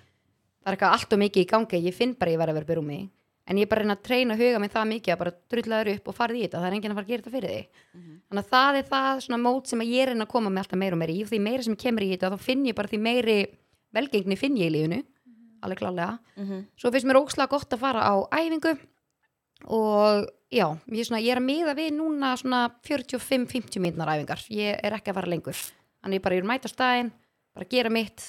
[SPEAKER 3] það er eitthvað allt og mikið í gangi, ég finn bara að ég verð að vera byrjum í en ég bara reyna að treyna huga mig það mikið að bara drullaður upp og farið í þetta, það er enginn að fara að gera þetta fyrir þig þannig að það er það svona mót sem að ég reyna að koma með alltaf meira og meira í og því meira sem ég kemur í þetta, þá finn ég bara því meiri velgengni finn ég í lífinu alveg klálega, svo finnst mér ókslega gott að fara á æfingu og já, ég, er svona, ég er að miða við núna svona 45-50 mínutnar æfingar, ég er ekki að fara lengur þannig ég bara, ég er að mæta á staðinn bara gera mitt,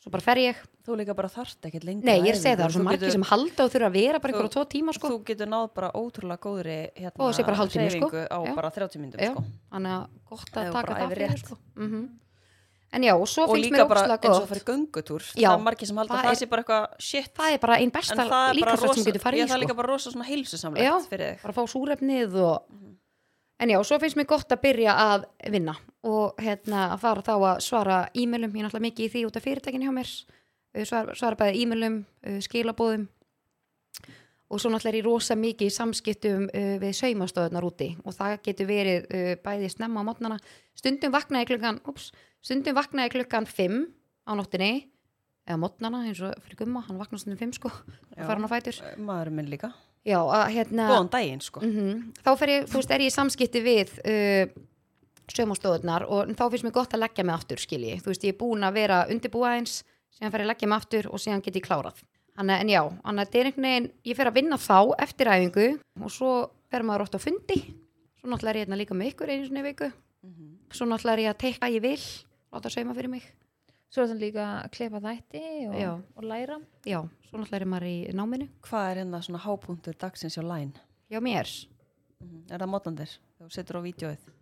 [SPEAKER 3] svo bara fer ég
[SPEAKER 1] þú líka bara þarft ekkert lengur
[SPEAKER 3] Nei, ég er að segja það, það eru svo margir sem halda og þurfa að vera bara ykkur á
[SPEAKER 1] Þú-
[SPEAKER 3] tvo tíma sko
[SPEAKER 1] þú getur náð bara ótrúlega góðri hérna,
[SPEAKER 3] Og það sé bara hálftími, sko.
[SPEAKER 1] hreyfingu á
[SPEAKER 3] Já.
[SPEAKER 1] bara 30 myndum
[SPEAKER 3] Já,
[SPEAKER 1] sko.
[SPEAKER 3] þannig að gott að
[SPEAKER 1] Ef þú
[SPEAKER 3] taka
[SPEAKER 1] bara
[SPEAKER 3] það
[SPEAKER 1] æfir
[SPEAKER 3] fyrir
[SPEAKER 1] rétt.
[SPEAKER 3] sko mm En já, og svo
[SPEAKER 1] og
[SPEAKER 3] finnst mér
[SPEAKER 1] líka bara
[SPEAKER 3] ógslag
[SPEAKER 1] eins og að
[SPEAKER 3] gott
[SPEAKER 1] fara í göngutúr
[SPEAKER 3] Já.
[SPEAKER 1] það er margir sem halda
[SPEAKER 3] Það
[SPEAKER 1] að það
[SPEAKER 3] er-
[SPEAKER 1] sé bara eitthvað shit
[SPEAKER 3] Það er bara einn besta
[SPEAKER 1] en það er bara
[SPEAKER 3] líkastrætt sem
[SPEAKER 1] rosa,
[SPEAKER 3] getur farið
[SPEAKER 1] ég,
[SPEAKER 3] í
[SPEAKER 1] það er
[SPEAKER 3] sko
[SPEAKER 1] líka bara rosa svona
[SPEAKER 3] Já.
[SPEAKER 1] heilsusamlegt fyrir þig
[SPEAKER 3] bara fá súrefnið og en já, svo finnst mér gott að byrja að vinna og hérna að fara þá að svara e-mailum, ég er náttúrulega mikið í því út af fyrirtækinu hjá mér Uh, svara, svara bæði e-mailum, uh, skilabóðum og svo náttúrulega er ég rosa mikið í samskiptum uh, við saumastöðunar úti og það getur verið uh, bæði snemma á mótnana stundum vaknaði klukkan ups, stundum vaknaði klukkan 5 á nóttinni eða mótnana eins og fyrir gumma, hann vaknaði stundum 5 sko
[SPEAKER 1] Já.
[SPEAKER 3] og fara hann á fætur
[SPEAKER 1] maður minn líka,
[SPEAKER 3] já, að, hérna,
[SPEAKER 1] góðan daginn sko
[SPEAKER 3] mm þá fer ég, þú veist, er ég í samskipti við uh, sömústóðunar og þá finnst mér gott að leggja mig aftur skilji, þú veist, ég er búin að vera undirbúa eins síðan fer ég að leggja mig aftur og síðan get ég klárað Hanna, en já, þannig að þetta er einhvern veginn ég fer að vinna þá eftir æfingu og svo fer maður oft á fundi svo náttúrulega er ég hérna líka með ykkur einu svona viku svo náttúrulega er ég að teikna ég vil láta sauma fyrir mig
[SPEAKER 2] Svo er þetta líka að klepa þætti og,
[SPEAKER 3] Já.
[SPEAKER 2] og læra.
[SPEAKER 3] já, svo náttúrulega er maður í náminu
[SPEAKER 1] hvað er hérna svona hápunktur dagsins hjá læn
[SPEAKER 3] já, mér,
[SPEAKER 1] er það mótlandir, þú setur á vídjóið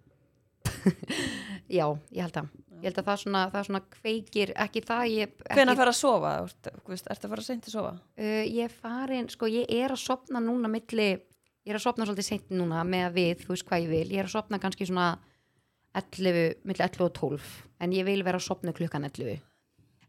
[SPEAKER 3] já, ég held að ég held að það svona, það svona kveikir ekki það, ég ekki
[SPEAKER 1] hvenær fer að sofa, Þú ert- þú veist, ertu að fara seint að sofa
[SPEAKER 3] Uh, ég er farin, sko, ég er að sopna núna milli, ég er að sopna svolítið seint núna með að við, þú veist hvað ég vil ég er að sopna kannski svona 11, milli 11 og 12 en ég vil vera að sopna klukkan 11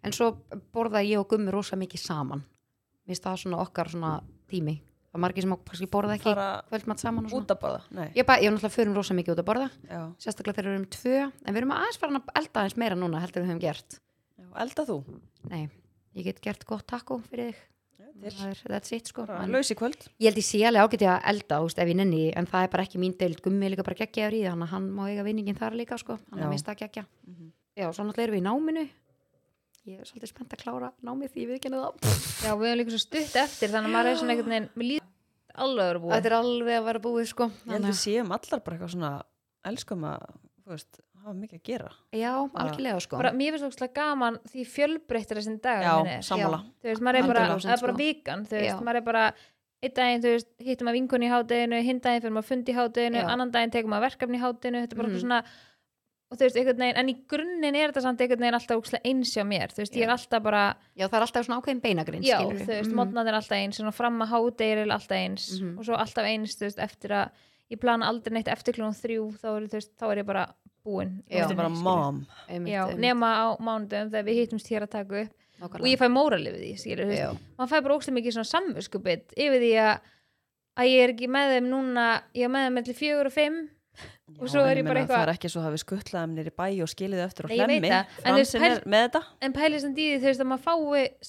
[SPEAKER 3] en svo borða ég og gummi rosa mikið saman mér finnst það svona okkar svona tími það er margir sem kannski borða ekki
[SPEAKER 1] fara
[SPEAKER 3] kvöldmatt saman og svona
[SPEAKER 1] út að borða, nei
[SPEAKER 3] ég, bara, ég náttúrulega förum rosa mikið út að borða
[SPEAKER 1] já.
[SPEAKER 3] sérstaklega þegar við erum tvö en við erum aðeins farin að elda aðeins meira núna heldur en við höfum gert
[SPEAKER 1] Já, elda þú,
[SPEAKER 3] nei, ég get gert gott takko fyrir þig Það er, that's it sko
[SPEAKER 1] bara
[SPEAKER 3] En-
[SPEAKER 1] laus í kvöld
[SPEAKER 3] Ég held ég sé alveg ágæti að elda, þú veist, ef ég nenni því, en það er bara ekki mín deild, gummi er líka bara geggjaður í það, þannig að hann má eiga vinningin þar líka, sko, hann
[SPEAKER 1] Já.
[SPEAKER 3] er minnst að geggja.
[SPEAKER 2] Mhm.
[SPEAKER 3] Já, svo náttúrulega erum við í náminu, ég er svolítið spennt að klára námið því ég viðkenni það.
[SPEAKER 2] Já, við erum líka svo stutt eftir þannig að maður er svona einhvern veginn, mér líður alveg að búið.
[SPEAKER 3] Þetta er alveg að vera búið, sko.
[SPEAKER 1] ég held við séum allar bara eitthvað svona elskum að, þú veist, hafa mikið að gera
[SPEAKER 3] Já, algjörlega, sko.
[SPEAKER 2] Bara, mér finnst ógslag gaman því fjölbreyttir þessin dag.
[SPEAKER 1] já, sammála
[SPEAKER 2] Þú veist, maður er bara,
[SPEAKER 3] 100%
[SPEAKER 2] það er bara
[SPEAKER 3] sko.
[SPEAKER 2] vikan, þú veist,
[SPEAKER 3] Já.
[SPEAKER 2] maður er bara, einn daginn, þú veist, hittum maður vinkunni í hádeginu, hinn daginn fyrir maður fundi í hádeginu,
[SPEAKER 3] Já.
[SPEAKER 2] annan daginn tekum maður verkefni í hádeginu, þetta er bara
[SPEAKER 3] Mhm.
[SPEAKER 2] mm. svona, og þú veist, einhvern veginn, en í grunninn er þetta samt einhvern veginn alltaf ógslag eins hjá mér, þú veist, ég er alltaf bara,
[SPEAKER 3] Já, það er alltaf svona ákveðin Mm, beinagrinn,
[SPEAKER 2] já,
[SPEAKER 3] skilur
[SPEAKER 2] þú
[SPEAKER 1] Mm.
[SPEAKER 2] veist, mótnað er alltaf eins, svona fram að hádegir er alltaf eins,
[SPEAKER 3] Mhm.
[SPEAKER 2] og svo alltaf eins, þú veist, eftir að, ég plana aldrei neitt eftir klunum þrjú, þá er, veist, þá er ég bara búin.
[SPEAKER 1] Þú
[SPEAKER 3] Já.
[SPEAKER 1] veist bara mom
[SPEAKER 2] Já, nema á mánudum þegar við hittumst hér að taka upp og ég
[SPEAKER 3] nefn.
[SPEAKER 2] fæ móralið við því, skilur, þú veist,
[SPEAKER 3] Já,
[SPEAKER 2] maður fær bara ógstlega mikið svona samvöskubit yfir því að, að ég er ekki með þeim núna, ég er með þeim mellir fjögur og fimm Og
[SPEAKER 1] Já,
[SPEAKER 2] svo
[SPEAKER 1] en
[SPEAKER 2] er
[SPEAKER 1] ég
[SPEAKER 2] ég bara
[SPEAKER 1] meina,
[SPEAKER 2] eitthvað-
[SPEAKER 1] það er ekki svo hafið skutlað þeim nýri bæ og skilið þau eftir og
[SPEAKER 2] Nei, ég veit
[SPEAKER 1] hlemmi
[SPEAKER 2] það, en þú veist,
[SPEAKER 1] fransinn er
[SPEAKER 2] pæl-
[SPEAKER 1] með þetta
[SPEAKER 2] en pælið samt í því þú veist að maður fái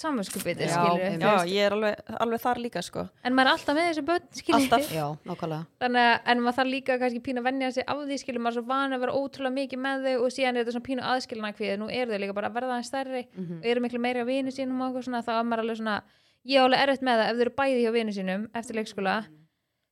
[SPEAKER 2] samvöskubit
[SPEAKER 3] Já,
[SPEAKER 2] skilur,
[SPEAKER 3] einmitt.
[SPEAKER 2] þú
[SPEAKER 1] já,
[SPEAKER 2] veist,
[SPEAKER 1] ég er alveg, alveg þar líka sko.
[SPEAKER 2] en maður er alltaf með þessu börn skilur,
[SPEAKER 1] Alltaf.
[SPEAKER 3] já, nákvæmlega.
[SPEAKER 2] þannig að en maður þarf líka kannski pínu að vennja sig af því skilur, maður er svo van að vera ótrúlega mikið með þau og síðan er þetta svona pínu aðskilna kvíð nú eru þau líka bara að verða aðeins stærri og eru miklu meiri á vinu sínum og okkur svona þá er maður alveg svona, ég er alveg erfitt með það ef þau eru bæði hjá vinu sínum eftir leikskóla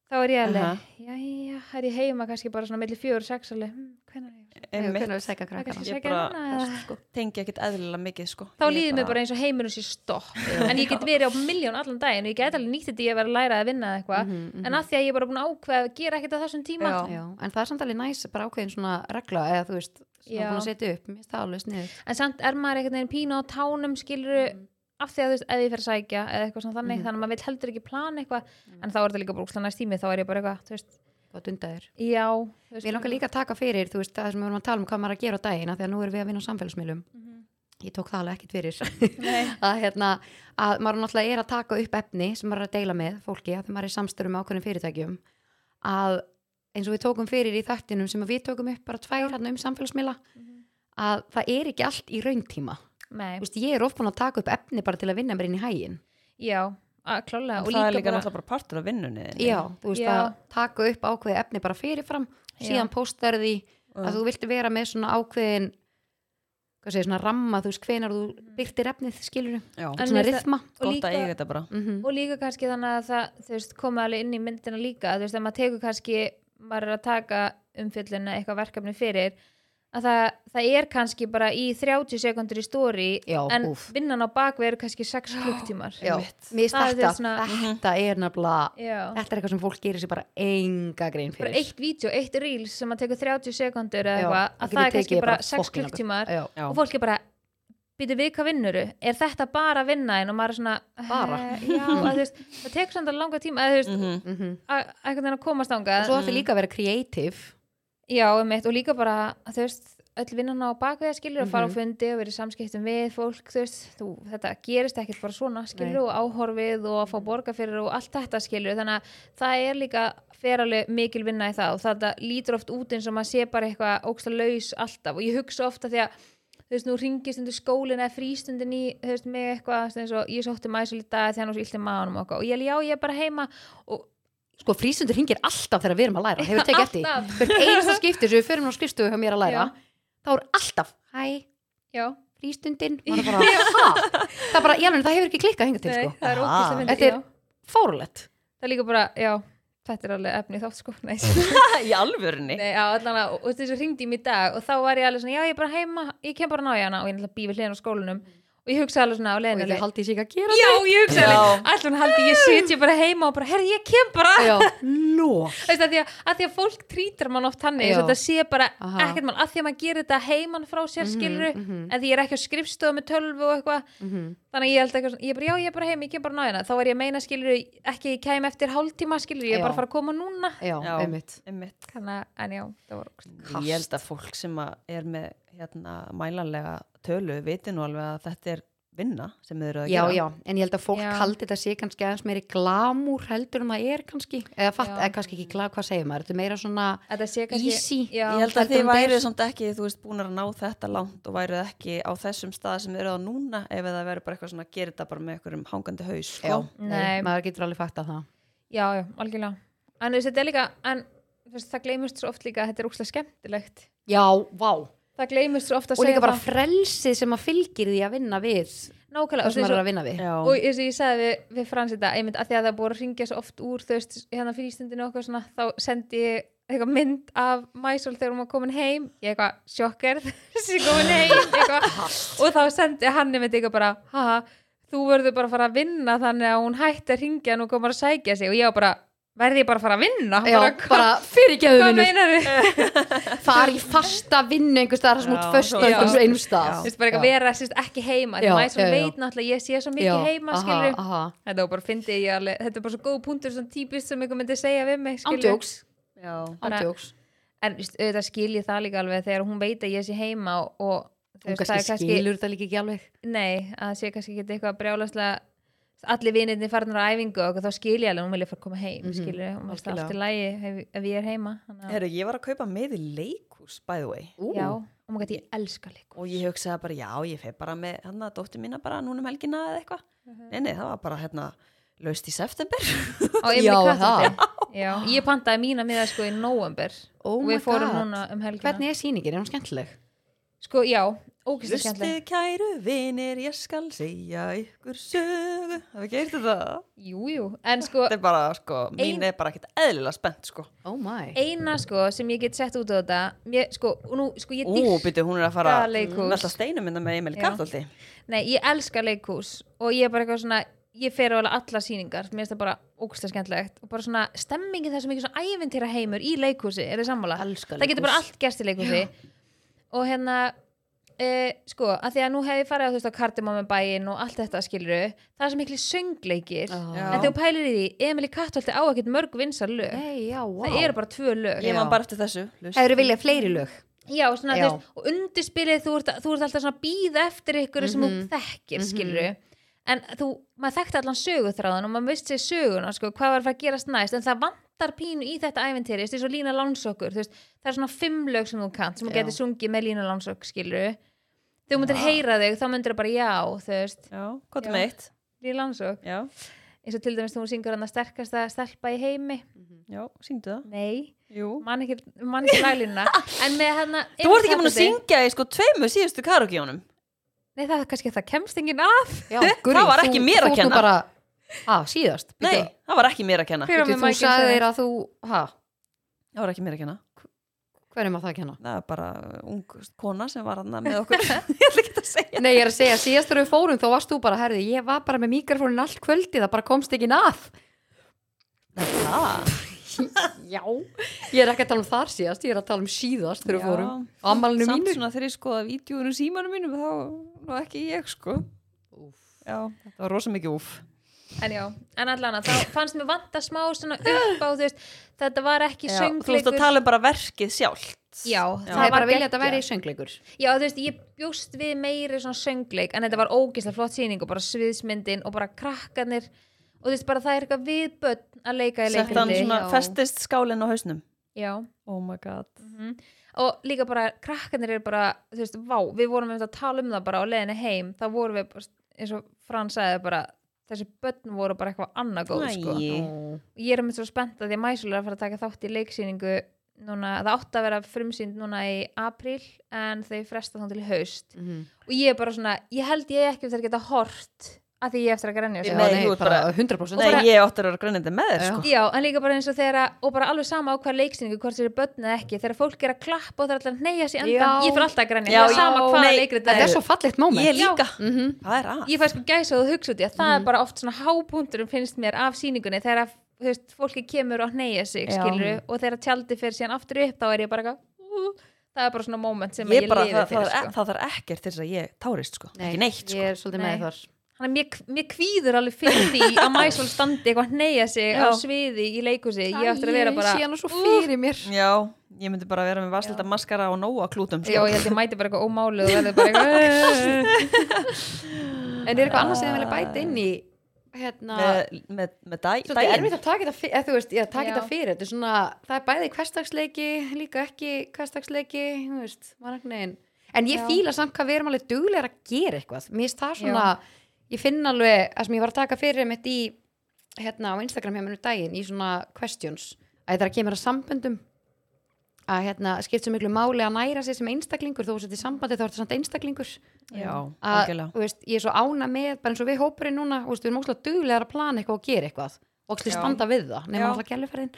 [SPEAKER 2] þá er ég alveg,
[SPEAKER 1] Aha.
[SPEAKER 2] jæja, er ég heima kannski bara svona milli fjögur og sex alveg, hm, hvenær er ég
[SPEAKER 3] Já,
[SPEAKER 1] Einmitt.
[SPEAKER 3] Hvernig við sækja
[SPEAKER 2] Það er
[SPEAKER 3] krakkana?
[SPEAKER 2] kannski
[SPEAKER 1] Ég
[SPEAKER 2] sækja
[SPEAKER 1] bara-
[SPEAKER 2] núna eða-
[SPEAKER 1] sko, tengi ekkit eðlilega mikið sko.
[SPEAKER 2] Þá líður mér bara eins og heimurinn sé stopp En ég get verið á miljón allan daginn og ég get alveg nýtt þetta í að vera að læra að vinna eða eitthvað
[SPEAKER 3] Mhm, mhm.
[SPEAKER 2] En að því að ég er bara búin að ákveða að gera ekkert á þessum tíma
[SPEAKER 3] Já, en það er samt alveg næs, bara ákveðin svona regla, eða þú veist, sem
[SPEAKER 2] Já.
[SPEAKER 3] hún seti upp, mér finnst það alveg sniðugt.
[SPEAKER 2] En samt er maður einhvern veginn pínu á tánum skiluru
[SPEAKER 1] Mm.
[SPEAKER 2] af því að þú veist ef ég fer að sækja eða eitthvað svona
[SPEAKER 1] Mhm.
[SPEAKER 2] þannig þannig að maður vill heldur ekki plana eitthvað
[SPEAKER 1] Mm.
[SPEAKER 2] en þá er þetta líka bara úkslega næst tími þá er ég bara eitthvað, þú veist,
[SPEAKER 3] Gott undaðir.
[SPEAKER 2] já þú veist,
[SPEAKER 3] Mér langar líka að taka fyrir, þú veist, það sem við vorum að tala um hvað maður er að gera á daginn, af því að nú erum við að vinna á samfélagsmiðlum.
[SPEAKER 2] Mhm.
[SPEAKER 3] Ég tók það alveg ekkert fyrir. að, hérna, að maður náttúrulega er að taka upp efni sem maður er að deila með fólki, að því maður er samstörum með ákveðnum fyrirtækjum, að eins og við tókum fyrir í þættinum sem að við tókum upp bara tvær hérna um samfélagsmiðla, að það er ekki allt í rauntíma.
[SPEAKER 2] Nei,
[SPEAKER 3] Þú veist, ég er oft búin að taka upp efni bara til að vinna mér inn í hæginn.
[SPEAKER 2] já, að, klálega
[SPEAKER 1] og
[SPEAKER 2] og
[SPEAKER 1] það er líka
[SPEAKER 2] líka bara,
[SPEAKER 1] náttúrulega bara partur af vinnunni þinni.
[SPEAKER 3] Já, þú veist
[SPEAKER 2] Já.
[SPEAKER 3] að taka upp ákveði efni bara fyrirfram, síðan póstar því að þú vilt vera með svona ákveðin hvað segir, svona ramma, þú veist hvenar þú byrtir efnið skilur
[SPEAKER 1] Já.
[SPEAKER 2] Mm. En
[SPEAKER 3] svona
[SPEAKER 2] mér finnst
[SPEAKER 3] rithma
[SPEAKER 2] og
[SPEAKER 1] gott að
[SPEAKER 2] líka-
[SPEAKER 1] eiga þetta bara
[SPEAKER 3] mm
[SPEAKER 2] og líka kannski þannig að það þú veist, komið alveg inn í myndina líka þú veist, ef maður tekur kannski maður er að taka umfjölluna eitthvað verkefni fyrir að það, það er kannski bara í 30 sekundur í stóri
[SPEAKER 3] Já,
[SPEAKER 2] en
[SPEAKER 3] úff.
[SPEAKER 2] vinnan á bakvið eru kannski 6 klukktímar
[SPEAKER 3] Já,
[SPEAKER 1] Einmitt.
[SPEAKER 3] mér
[SPEAKER 2] Það er
[SPEAKER 3] starta,
[SPEAKER 2] svona- Mhm.
[SPEAKER 3] þetta er nefnilega
[SPEAKER 2] Já.
[SPEAKER 3] þetta er eitthvað sem fólk gerir sér bara enga grein
[SPEAKER 2] bara
[SPEAKER 3] fyrir
[SPEAKER 2] eitt vídeo, eitt reels sem að tekur 30 sekundur eða
[SPEAKER 3] Já,
[SPEAKER 2] eitthvað,
[SPEAKER 3] það
[SPEAKER 2] að
[SPEAKER 3] getur
[SPEAKER 2] það er
[SPEAKER 3] tekið
[SPEAKER 2] kannski bara
[SPEAKER 3] bara
[SPEAKER 2] 6
[SPEAKER 3] fucking
[SPEAKER 2] klukktímar
[SPEAKER 3] Já.
[SPEAKER 1] Já.
[SPEAKER 2] og fólk er bara býtu við hvað vinnuru, er þetta bara að vinna þín og maður er svona
[SPEAKER 3] Bara?
[SPEAKER 2] eh, já, að, þú veist, það tekur samt að langa tíma eða, þú veist, mm
[SPEAKER 1] Mhm.
[SPEAKER 2] -hmm.
[SPEAKER 3] Mm -hmm.
[SPEAKER 2] einhvern veginn að komast ánga
[SPEAKER 3] Svo ætti líka að vera kreatív
[SPEAKER 2] já, einmitt, og líka bara þú veist, öll vinnan á bakveða skilur að
[SPEAKER 3] Mhm.
[SPEAKER 2] fara á fundi og verið samskiptum við fólk þú veist, þú, þetta gerist ekkert bara svona skilur og áhorfið og
[SPEAKER 3] Mhm.
[SPEAKER 2] að fá borga fyrir og allt þetta skilur, þannig að það er líka fer alveg mikil vinna í það og þetta lítur oft út eins og maður sé bara eitthvað ógsta laus alltaf og ég hugsa ofta því að þú veist, nú ringist undir skólinn eða frístundin í, þú veist, mig eitthvað þú veist, eins og ég sótti um maður svolítið dag því hann var svo illt í maðanum og eitthvað. og ég, já, ég er bara heima og
[SPEAKER 3] Sko frísundur hringir alltaf þegar við erum að læra Hefur tekið eftir því?
[SPEAKER 2] alltaf.
[SPEAKER 3] Hvert einasta skipti sem við förum á skrifstofu hjá mér að læra þá er alltaf, hæ,
[SPEAKER 2] já,
[SPEAKER 3] frístundin maður er bara, ha? það, er bara, já, það hefur ekki klikkað hingað til
[SPEAKER 2] nei,
[SPEAKER 3] sko.
[SPEAKER 2] það er
[SPEAKER 1] Ah.
[SPEAKER 2] ógæst að
[SPEAKER 3] Þetta er
[SPEAKER 2] já.
[SPEAKER 3] fárulegt
[SPEAKER 2] það er líka bara, já, þetta er alveg efni í þátt sko, nei,
[SPEAKER 1] í alvörunni
[SPEAKER 2] nei já, allan að, og þú veist þessu hringdi í mig í dag og þá var ég alveg svona, já, ég er bara heima ég kem bara að ná í hana og ég er alltaf býfið hliðin á skólanum og ég hugsa alveg svona á
[SPEAKER 3] og
[SPEAKER 2] leiðinu
[SPEAKER 3] þið
[SPEAKER 2] alveg,
[SPEAKER 3] haldið sér ekki að gera
[SPEAKER 2] já, ég hugsa
[SPEAKER 1] Já.
[SPEAKER 2] alveg, allan haldi ég sitja bara heima og bara, herri, ég kem bara
[SPEAKER 3] það Já, lók
[SPEAKER 2] Þú veist, að, því að, að því að fólk trítar mann oft þannig
[SPEAKER 3] Já.
[SPEAKER 2] eins og þetta sé bara
[SPEAKER 3] Aha.
[SPEAKER 2] ekkert mann að því að maður gerir þetta heiman frá sér mm
[SPEAKER 3] mhm.
[SPEAKER 2] en því ég er ekki á skrifstofu með tölvu og eitthvað þannig að ég held eitthvað svona, ég er bara, já, ég er bara heim, ég kem bara á náðina þá er ég að meina skilur, ekki að ég kem eftir hálftíma skilur, ég er
[SPEAKER 3] Já.
[SPEAKER 2] bara að fara að koma núna
[SPEAKER 3] Já,
[SPEAKER 1] Já.
[SPEAKER 3] einmitt
[SPEAKER 1] Einmitt.
[SPEAKER 2] þannig að, en já, það var
[SPEAKER 1] ég held að fólk sem að er með hérna, mælanlega tölu viti nú alveg að þetta er vinna sem þau eru að
[SPEAKER 3] Já,
[SPEAKER 1] gera
[SPEAKER 3] já, en ég held að fólk
[SPEAKER 2] Já.
[SPEAKER 3] haldi þetta sé kannski aðeins meiri glamúr heldur en það er kannski eða, fatt,
[SPEAKER 2] Já.
[SPEAKER 3] eða kannski ekki glam, hvað segir maður, þetta er meira svona
[SPEAKER 2] þetta sé kannski
[SPEAKER 3] Easy.
[SPEAKER 2] já,
[SPEAKER 1] ég held að
[SPEAKER 3] heldur
[SPEAKER 1] þið
[SPEAKER 3] hún
[SPEAKER 1] værið
[SPEAKER 3] deyr.
[SPEAKER 1] samt ekki þú veist búin að ná þetta langt og værið ekki á þessum stað sem þið eru á núna ef það verður bara eitthvað svona að gera þetta bara með einhverjum hangandi haus sko.
[SPEAKER 2] Nei.
[SPEAKER 3] maður getur alveg fatt að það
[SPEAKER 2] já, já, algjörlega en þú veist, þetta er líka, en þú veist, það gleymist svo oft líka að þetta er úkslega skemmtilegt
[SPEAKER 3] Já, vá,
[SPEAKER 2] það gleymist svo oft að
[SPEAKER 3] og líka
[SPEAKER 2] segja
[SPEAKER 3] bara
[SPEAKER 2] það
[SPEAKER 3] frelsið sem að fylgir því að vinna við það
[SPEAKER 2] nákvæmlega, og þú
[SPEAKER 3] sem maður er
[SPEAKER 2] veist,
[SPEAKER 3] að vinna við
[SPEAKER 1] Já.
[SPEAKER 2] og eins og ég sagði við, við Frans þetta einmitt að því að það er búið að ringja svo oft úr þú veist, hérna frístundinu og eitthvað svona þá sendi ég eitthvað mynd af Mæsól þegar hún var komin heim ég eitthvað sjokkerð sem komin heim eitthvað, og þá sendi hann einmitt eitthvað bara haha, þú verður bara að fara að vinna þannig að hún hætti að ringja en hún komar að sækja sig og ég var bara, verði ég bara að fara að vinna
[SPEAKER 3] Já,
[SPEAKER 2] bara,
[SPEAKER 3] bara fyrirgeðu
[SPEAKER 2] hvað
[SPEAKER 3] vinnur
[SPEAKER 2] meinar þið?
[SPEAKER 3] Það er í fasta vinnu einhvers staðar sem út
[SPEAKER 1] Já,
[SPEAKER 3] föstu
[SPEAKER 1] já.
[SPEAKER 3] einhvers einum
[SPEAKER 1] Já.
[SPEAKER 3] stað
[SPEAKER 2] Þú veist, bara eitthvað vera sérst, ekki heima því
[SPEAKER 3] Já,
[SPEAKER 2] Mæsól
[SPEAKER 3] já, já.
[SPEAKER 2] veit náttúrulega að ég sé svo mikið heima skilur
[SPEAKER 3] aha,
[SPEAKER 2] Þetta var bara, fyndi ég alveg, þetta er bara svo góð punktur svona típist sem einhver myndi segja við mig
[SPEAKER 3] aha.
[SPEAKER 2] skilurðu.
[SPEAKER 3] Ándjóks,
[SPEAKER 1] Já.
[SPEAKER 2] Bara-
[SPEAKER 3] ándjóks
[SPEAKER 2] En veist, auðvitað skil ég það líka alveg þegar hún veit að ég sé heima og, og þú
[SPEAKER 3] Hún
[SPEAKER 2] veist, það er
[SPEAKER 3] kannski skilur þetta líka ekki alveg
[SPEAKER 2] Nei, að það sé kannski ekki eitthvað brjálaslega allir vinirni farinur á æfingu og eitthvað, þá skil ég alveg að hún vilja fara að koma heim mm -hmm. skilur, hún veist
[SPEAKER 3] Mhm, algjörlega.
[SPEAKER 2] allt í lagi ef, ef ég er heima þannig að-
[SPEAKER 1] Heru, ég var að kaupa með í leikus by the way
[SPEAKER 3] Ú,
[SPEAKER 2] Já, og maður gæti ég elska leikur
[SPEAKER 1] og ég hugsaði bara já ég feg bara með hérna dóttir mína bara núna um helgina eða eitthvað nei nei það var bara hérna laust í september
[SPEAKER 2] Á Emily
[SPEAKER 3] Já,
[SPEAKER 2] Kattardi. Já, ég pantaði mína miða sko í november
[SPEAKER 3] Oh
[SPEAKER 2] og
[SPEAKER 3] my
[SPEAKER 2] við fórum
[SPEAKER 3] God.
[SPEAKER 2] núna um helgina
[SPEAKER 3] Hvernig er sýningin, er hún skemmtileg?
[SPEAKER 2] Sko, já, ókvæmst skemmtileg
[SPEAKER 1] Lusti kæru vinir ég skal segja ykkur sögu hafa gert þetta
[SPEAKER 2] Jú, jú, en sko
[SPEAKER 1] þetta er bara sko mín
[SPEAKER 2] Ein-
[SPEAKER 1] er bara ekkert eðlilega spennt sko
[SPEAKER 3] Oh my
[SPEAKER 2] eina sko sem ég get sett út á þetta mér, sko, og nú, sko, ég
[SPEAKER 1] Ú, byrju, hún er að fara
[SPEAKER 2] Dýrka leikhús.
[SPEAKER 1] hún er alltaf steinum innan með Emil
[SPEAKER 2] Já.
[SPEAKER 1] Kattaldi
[SPEAKER 2] Nei, ég elska leikhús og ég er bara eitthvað svona ég fer á alveg alla sýningar, mér finnst það bara ógustlega skemmtilegt og bara svona stemmingi það sem ekki svona ævintýra heimur í leikhúsi, er þið sammála?
[SPEAKER 3] Elska
[SPEAKER 2] það getur bara allt gerst í leikhúsi og hérna e, sko, að því að nú hef ég farið á þú veist á kardimómi bæinn og allt þetta skiluru það er sem miklu söngleikir
[SPEAKER 3] Ah, Já.
[SPEAKER 2] en þegar þú pælir í því, Emily Kattolti á ekkert mörg vinsar lög,
[SPEAKER 3] Nei, já, vá
[SPEAKER 2] það eru bara tvö lög
[SPEAKER 1] ég
[SPEAKER 3] Já.
[SPEAKER 1] man bara eftir þessu Lusti.
[SPEAKER 3] Hefur viljað fleiri lög?
[SPEAKER 2] Já, svona,
[SPEAKER 3] Já.
[SPEAKER 2] þú Veist, og undirspilið þú ert, þú ert alltaf svona býð eftir ykkur sem
[SPEAKER 1] Mhm.
[SPEAKER 2] þú þekkir, mm en þú, maður þekkti allan söguþráðan og maður veist sér söguna, sko, hvað var að fara að gerast næst en það vantar pínu í þetta æventýri þess að lína lánsokkur, þú veist, það er svona fimm lög sem þú kannt, sem þú
[SPEAKER 3] Já.
[SPEAKER 2] getur sungið með lína lánsokk, skilur þegar þú myndir heyra þig, þá myndir það bara já, þú veist,
[SPEAKER 1] já, gott
[SPEAKER 2] Já.
[SPEAKER 1] með eitt
[SPEAKER 2] lína lánsokk
[SPEAKER 1] já,
[SPEAKER 2] eins og til dæmis þegar hún syngur hann að sterkasta stelpa í heimi,
[SPEAKER 1] já, syngdu það
[SPEAKER 2] nei
[SPEAKER 1] Jú.
[SPEAKER 2] man ekki, man ekki laglínuna en með hérna
[SPEAKER 1] þú vart ekki búin að syngja í sko tveimu síðustu karaokeunum
[SPEAKER 2] Nei, það er kannski það kemst enginn að
[SPEAKER 3] Já,
[SPEAKER 1] Það var ekki mér að
[SPEAKER 3] Þú ert
[SPEAKER 1] kenna.
[SPEAKER 3] nú bara, að, síðast
[SPEAKER 1] nei, það var ekki mér að kenna
[SPEAKER 2] Hver var
[SPEAKER 3] Þú,
[SPEAKER 2] með
[SPEAKER 3] þú
[SPEAKER 2] Michael
[SPEAKER 3] sagði
[SPEAKER 2] Jackson?
[SPEAKER 3] þeir að þú, ha
[SPEAKER 1] það var ekki mér að kenna
[SPEAKER 3] Hvernig maður það að kenna?
[SPEAKER 1] það er bara ung kona sem var hann með okkur ég ætla ekki að segja
[SPEAKER 3] Nei, ég er að segja, síðast þegar við fórum þá varst þú bara, herði, ég var bara með mikrofónin allt kvöldi, það bara komst ekki nað.
[SPEAKER 1] það
[SPEAKER 3] Já, ég er ekki að tala um þar síðast, ég er að tala um síðast þegar við
[SPEAKER 1] Já.
[SPEAKER 3] fórum. Á Ammalinu
[SPEAKER 1] samt
[SPEAKER 3] mínu.
[SPEAKER 1] svona þegar ég skoða vídjúinu símanum mínum þá var ekki ég sko já, þetta var rosa mikið úf
[SPEAKER 2] En já, en allan að þá fannst mér vanta smá svona upp á þú veist, þetta var ekki
[SPEAKER 1] já, þú veist
[SPEAKER 2] söngleikur.
[SPEAKER 1] að tala um bara verkið sjálft
[SPEAKER 2] Já,
[SPEAKER 3] Það
[SPEAKER 2] það
[SPEAKER 3] er bara
[SPEAKER 2] var
[SPEAKER 3] að vilja að þetta
[SPEAKER 2] geggjað.
[SPEAKER 3] væri söngleikur.
[SPEAKER 1] um-
[SPEAKER 2] Já, þú veist, ég bjóst við meiri svona söngleik en þetta var ógeðslega flott sýning og bara sviðsmyndin og bara krakkanir og þú veist, bara það er eitthvað viðbönn að leika í
[SPEAKER 1] sett hann
[SPEAKER 2] leikriti.
[SPEAKER 1] svona
[SPEAKER 3] já.
[SPEAKER 1] festist skálinn á hausnum
[SPEAKER 2] Já, mhm.
[SPEAKER 1] oh my god
[SPEAKER 2] og líka bara krakkanir eru bara, þú veist, vá, við vorum einmitt að tala um það bara á leiðinni heim, þá vorum við bara, eins og Fran sagði bara, þessi börn voru bara eitthvað annað góð, sko.
[SPEAKER 1] Æi.
[SPEAKER 2] Ég er einmitt svo spennt að því að Mæsula er að fara að taka þátt í leiksýningu núna, það átti að vera frumsýnd núna í apríl en þau fresta þá til í haust
[SPEAKER 3] Mhm.
[SPEAKER 2] og ég er bara svona, ég held ég ekki eftir að geta hort að því ég eftir að grænja
[SPEAKER 1] Nei,
[SPEAKER 2] sig
[SPEAKER 1] þú
[SPEAKER 3] Nei,
[SPEAKER 1] ert
[SPEAKER 3] bara
[SPEAKER 1] bara-
[SPEAKER 3] 100%.
[SPEAKER 1] Nei, ég átti að vera grænandi með þér
[SPEAKER 3] Já.
[SPEAKER 1] sko.
[SPEAKER 2] Já, en líka bara eins og þegar að, og bara alveg sama á hvað leiksningu, hvort þeir eru börn eða ekki þegar fólk er að klappa og þeir allar neyja sér andan
[SPEAKER 3] Já.
[SPEAKER 2] ég fyrir alltaf að grænja,
[SPEAKER 1] Já,
[SPEAKER 2] það er sama
[SPEAKER 1] já.
[SPEAKER 2] hvað
[SPEAKER 1] Nei,
[SPEAKER 2] leikrið
[SPEAKER 3] Þetta
[SPEAKER 2] það
[SPEAKER 3] er
[SPEAKER 2] er
[SPEAKER 3] svo fallegt moment.
[SPEAKER 1] ég líka,
[SPEAKER 3] Mhm.
[SPEAKER 1] hvað er að?
[SPEAKER 2] ég fæ sko gæsa og hugsa út í að
[SPEAKER 1] Mm.
[SPEAKER 2] það er bara oft svona hábúndurum finnst mér af síningunni þegar að, þú veist, fólki kemur og neyja sig,
[SPEAKER 1] Já.
[SPEAKER 2] skilur og þegar tjaldi fyrir síðan aftur upp, þá er ég bara eitthvað, ú, það er bara svona moment sem
[SPEAKER 1] ég
[SPEAKER 2] ég,
[SPEAKER 1] bara,
[SPEAKER 2] lifi
[SPEAKER 1] það, það,
[SPEAKER 2] fyrir,
[SPEAKER 1] er, e-
[SPEAKER 2] sko.
[SPEAKER 1] það er ekkert til þess að ég tárist sko, ekki neitt sko
[SPEAKER 3] Ég er svolítið
[SPEAKER 2] Nei.
[SPEAKER 3] með þar.
[SPEAKER 2] Þannig að mér, mér kvíður alveg fyrir því að Mæsól standi eitthvað neyja sig á
[SPEAKER 1] Já.
[SPEAKER 2] sviði í leikhúsi. Ég ætti að vera bara,
[SPEAKER 3] Ég sé hana svo fyrir mér.
[SPEAKER 1] já, ég myndi bara vera með vasleita maskara og nóa klútum
[SPEAKER 2] já,
[SPEAKER 1] sko.
[SPEAKER 2] ég held ég mæti bara eitthvað ómálu og verður bara eitthvað.
[SPEAKER 3] En er eitthvað annars sem ég vilja bæta inn í, hérna...
[SPEAKER 1] með, með, með dæ,
[SPEAKER 3] Svolítið
[SPEAKER 1] dæin
[SPEAKER 3] erfitt að taka þetta fyrir, eða, þú veist, ég, taka
[SPEAKER 2] Já.
[SPEAKER 3] þetta fyrir, þetta er svona, það er bæði hverstagsleiki, líka ekki hverstagsleiki, þú veist, mannagnin. En ég
[SPEAKER 2] Já.
[SPEAKER 3] fíla samt hvað við erum alveg duglegar að gera eitthvað. Mér finnst það
[SPEAKER 2] Já.
[SPEAKER 3] svona, ég finn alveg, það sem ég var að taka fyrir mitt í, hérna á Instagram hjá mér um daginn, í svona questions, að það er að kemur að samböndum, að hérna, skipt svo miklu máli að næra sér sem einstaklingur, þó að þetta er sambandi þá er þetta samt einstaklingur
[SPEAKER 1] já,
[SPEAKER 3] að,
[SPEAKER 1] algjörlega
[SPEAKER 3] þú veist, ég er svo ána með bara eins og við hópurinn núna, þú veist, við erum óslega duglegar að plana eitthvað og gera eitthvað og óslega
[SPEAKER 1] Já.
[SPEAKER 3] standa við það,
[SPEAKER 1] Já.
[SPEAKER 3] nema alltaf gæluferðin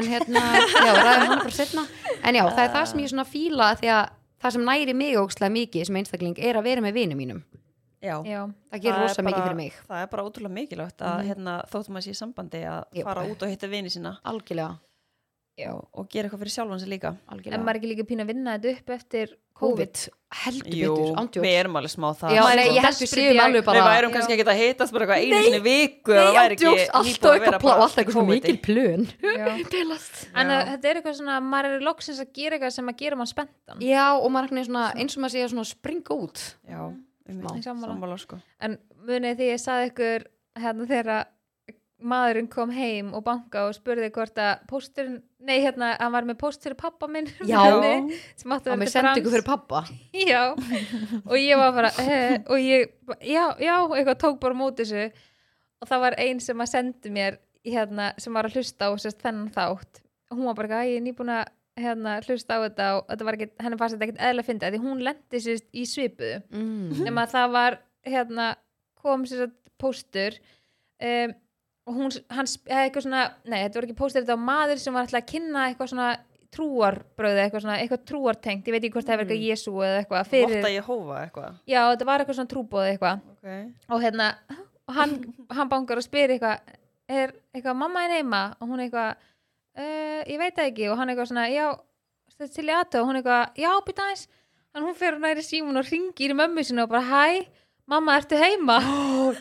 [SPEAKER 3] en hérna, já, ræðum hana bara setna en já, það er það sem ég svona fíla því að það sem næri mig óslega mikið sem einstakling er að vera með vinum mínum
[SPEAKER 1] já,
[SPEAKER 2] Já,
[SPEAKER 3] það gerir
[SPEAKER 1] er
[SPEAKER 3] rosa
[SPEAKER 1] bara-
[SPEAKER 3] mikið fyrir mig, Mhm.
[SPEAKER 1] það er bara ótrúlega mikilvægt að hérna, þóttum að sé í sambandi að
[SPEAKER 3] Jú.
[SPEAKER 1] fara út og hitta vini sína
[SPEAKER 3] algjörlega,
[SPEAKER 2] Já.
[SPEAKER 1] og, og gera eitthvað fyrir sjálfan sig líka
[SPEAKER 2] en
[SPEAKER 3] algjörlega
[SPEAKER 2] maður er ekki líka pín að vinna þetta upp eftir COVID.
[SPEAKER 3] COVID, heldur
[SPEAKER 1] Jú,
[SPEAKER 3] betur,
[SPEAKER 1] við
[SPEAKER 3] ándjóks
[SPEAKER 1] erum alveg smá það
[SPEAKER 3] Já,
[SPEAKER 1] sko.
[SPEAKER 3] nei, ég held við séum alveg
[SPEAKER 1] við
[SPEAKER 3] bara
[SPEAKER 1] værum kannski ekki að hittast bara eitthvað einu sinni í viku
[SPEAKER 3] Nei,
[SPEAKER 1] það væri ekki
[SPEAKER 3] ándjóks,
[SPEAKER 1] nýbúið
[SPEAKER 3] alltaf
[SPEAKER 1] að
[SPEAKER 3] eitthvað
[SPEAKER 1] vera
[SPEAKER 3] plá-
[SPEAKER 1] bara
[SPEAKER 3] alltaf eitthvað svo
[SPEAKER 1] COVID-i.
[SPEAKER 3] mikil plön
[SPEAKER 2] Já.
[SPEAKER 3] Deilast.
[SPEAKER 2] En
[SPEAKER 1] Já.
[SPEAKER 2] að, þetta er eitthvað svona, maður er loksins að gera eitthvað sem að gera mann spenntan.
[SPEAKER 3] Já, og maður er einhvern veginn svona- eins og maður sé að svona springa út
[SPEAKER 1] Já,
[SPEAKER 3] Smá.
[SPEAKER 1] um,
[SPEAKER 2] Sammála.
[SPEAKER 1] sammála sko
[SPEAKER 2] En munið því ég saði ykkur hérna þegar að maðurinn kom heim og banka og spurði hvort að pósturinn, nei hérna, hann var með póst fyrir pappa minn.
[SPEAKER 3] Já.
[SPEAKER 2] sem átti
[SPEAKER 3] að
[SPEAKER 2] að
[SPEAKER 3] maður
[SPEAKER 2] vera
[SPEAKER 3] sendi
[SPEAKER 2] Frans.
[SPEAKER 3] ykkur fyrir pappa
[SPEAKER 2] já, og ég var bara eh, og ég, já, já, eitthvað tók bara móti þessu og það var ein sem að sendi mér hérna, sem var að hlusta á sérst þennan þátt og hún var bara, eitthvað, "Æ, ég er nýbúin að hérna, hlusta á þetta og þetta var ekki, henni fannst þetta ekkert eðla að finna því hún lendi sérst í svipuðu
[SPEAKER 3] mm.
[SPEAKER 2] nema að það var hérna, kom sér að póstur um, og hún, hann sp- eða eitthvað svona, nei þetta var ekki póstur þetta var maður sem var alltaf að kynna eitthvað svona trúarbröð eitthvað svona, eitthvað trúartengt ég veit ekki hvort það var eitthvað Jésu eða eitthvað fyrir,
[SPEAKER 1] Votta Jehóva eitthvað
[SPEAKER 2] já þetta var eitthvað svona trúbóð eitthvað
[SPEAKER 1] okay.
[SPEAKER 2] og hérna, og hann, hann bankar og spyr eitthvað, er eitthvað mamma er heima og hún eitthvað uh, ég veit það ekki og hann eitthvað svona já, þetta er til í aðtöð og hún eitthvað já, býta aðeins, en hún fer næri símun og ringir í mömmu sinni og bara hæ mamma, ertu heima?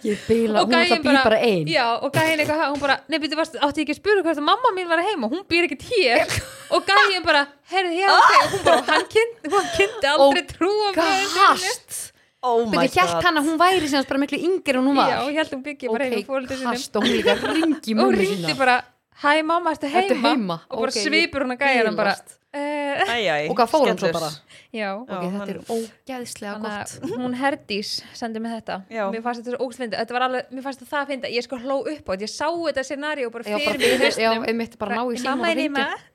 [SPEAKER 3] Ég bila, hún ætla að býr bara ein
[SPEAKER 2] já, og gæin eitthvað, ha- hún bara, nei, býttu, varst, átti ég ekki að spura hvort að mamma mín var heima, hún býr ekkert hér og gæin bara, herði, já, ok og hún bara, hann kynnti, hún kynnti aldrei
[SPEAKER 3] Og
[SPEAKER 2] trúa
[SPEAKER 3] Gast
[SPEAKER 1] Oh my
[SPEAKER 3] Byrði hjælt
[SPEAKER 1] god
[SPEAKER 3] hann að hún væri sem sagt bara miklu yngri en hún var
[SPEAKER 2] já, ég held hún byggja bara heima
[SPEAKER 3] Ok,
[SPEAKER 2] fólöldur sinni
[SPEAKER 3] gast og hún líka ringi
[SPEAKER 2] og
[SPEAKER 3] mömmu
[SPEAKER 2] ringdi
[SPEAKER 3] sína
[SPEAKER 2] bara hæ mamma, ertu heima?
[SPEAKER 3] Ertu heima?
[SPEAKER 2] og bara
[SPEAKER 3] Ok, ég
[SPEAKER 2] svipur hún að gæja hann bara
[SPEAKER 3] bilast.
[SPEAKER 2] eh,
[SPEAKER 1] Æ, æ,
[SPEAKER 3] Og hvað fór hann svo
[SPEAKER 1] skellur.
[SPEAKER 3] bara?
[SPEAKER 1] Já,
[SPEAKER 2] já,
[SPEAKER 3] Ok, þetta
[SPEAKER 1] hann-
[SPEAKER 3] er ógæðslega
[SPEAKER 2] Þannig
[SPEAKER 3] gott
[SPEAKER 2] að hún Herdís sendi mig þetta
[SPEAKER 1] Já.
[SPEAKER 2] mér fannst þetta svo ógst fyndi, þetta var alveg, mér fannst þetta það fyndi ég sko hló upp á þetta, ég sá þetta scenaríu bara
[SPEAKER 3] Já,
[SPEAKER 2] fyrir
[SPEAKER 3] bara
[SPEAKER 2] mig í
[SPEAKER 3] fyrir, já,
[SPEAKER 2] hausnum
[SPEAKER 3] einmitt bara ná í símann
[SPEAKER 2] mamma
[SPEAKER 3] og
[SPEAKER 2] er heima
[SPEAKER 3] ringja.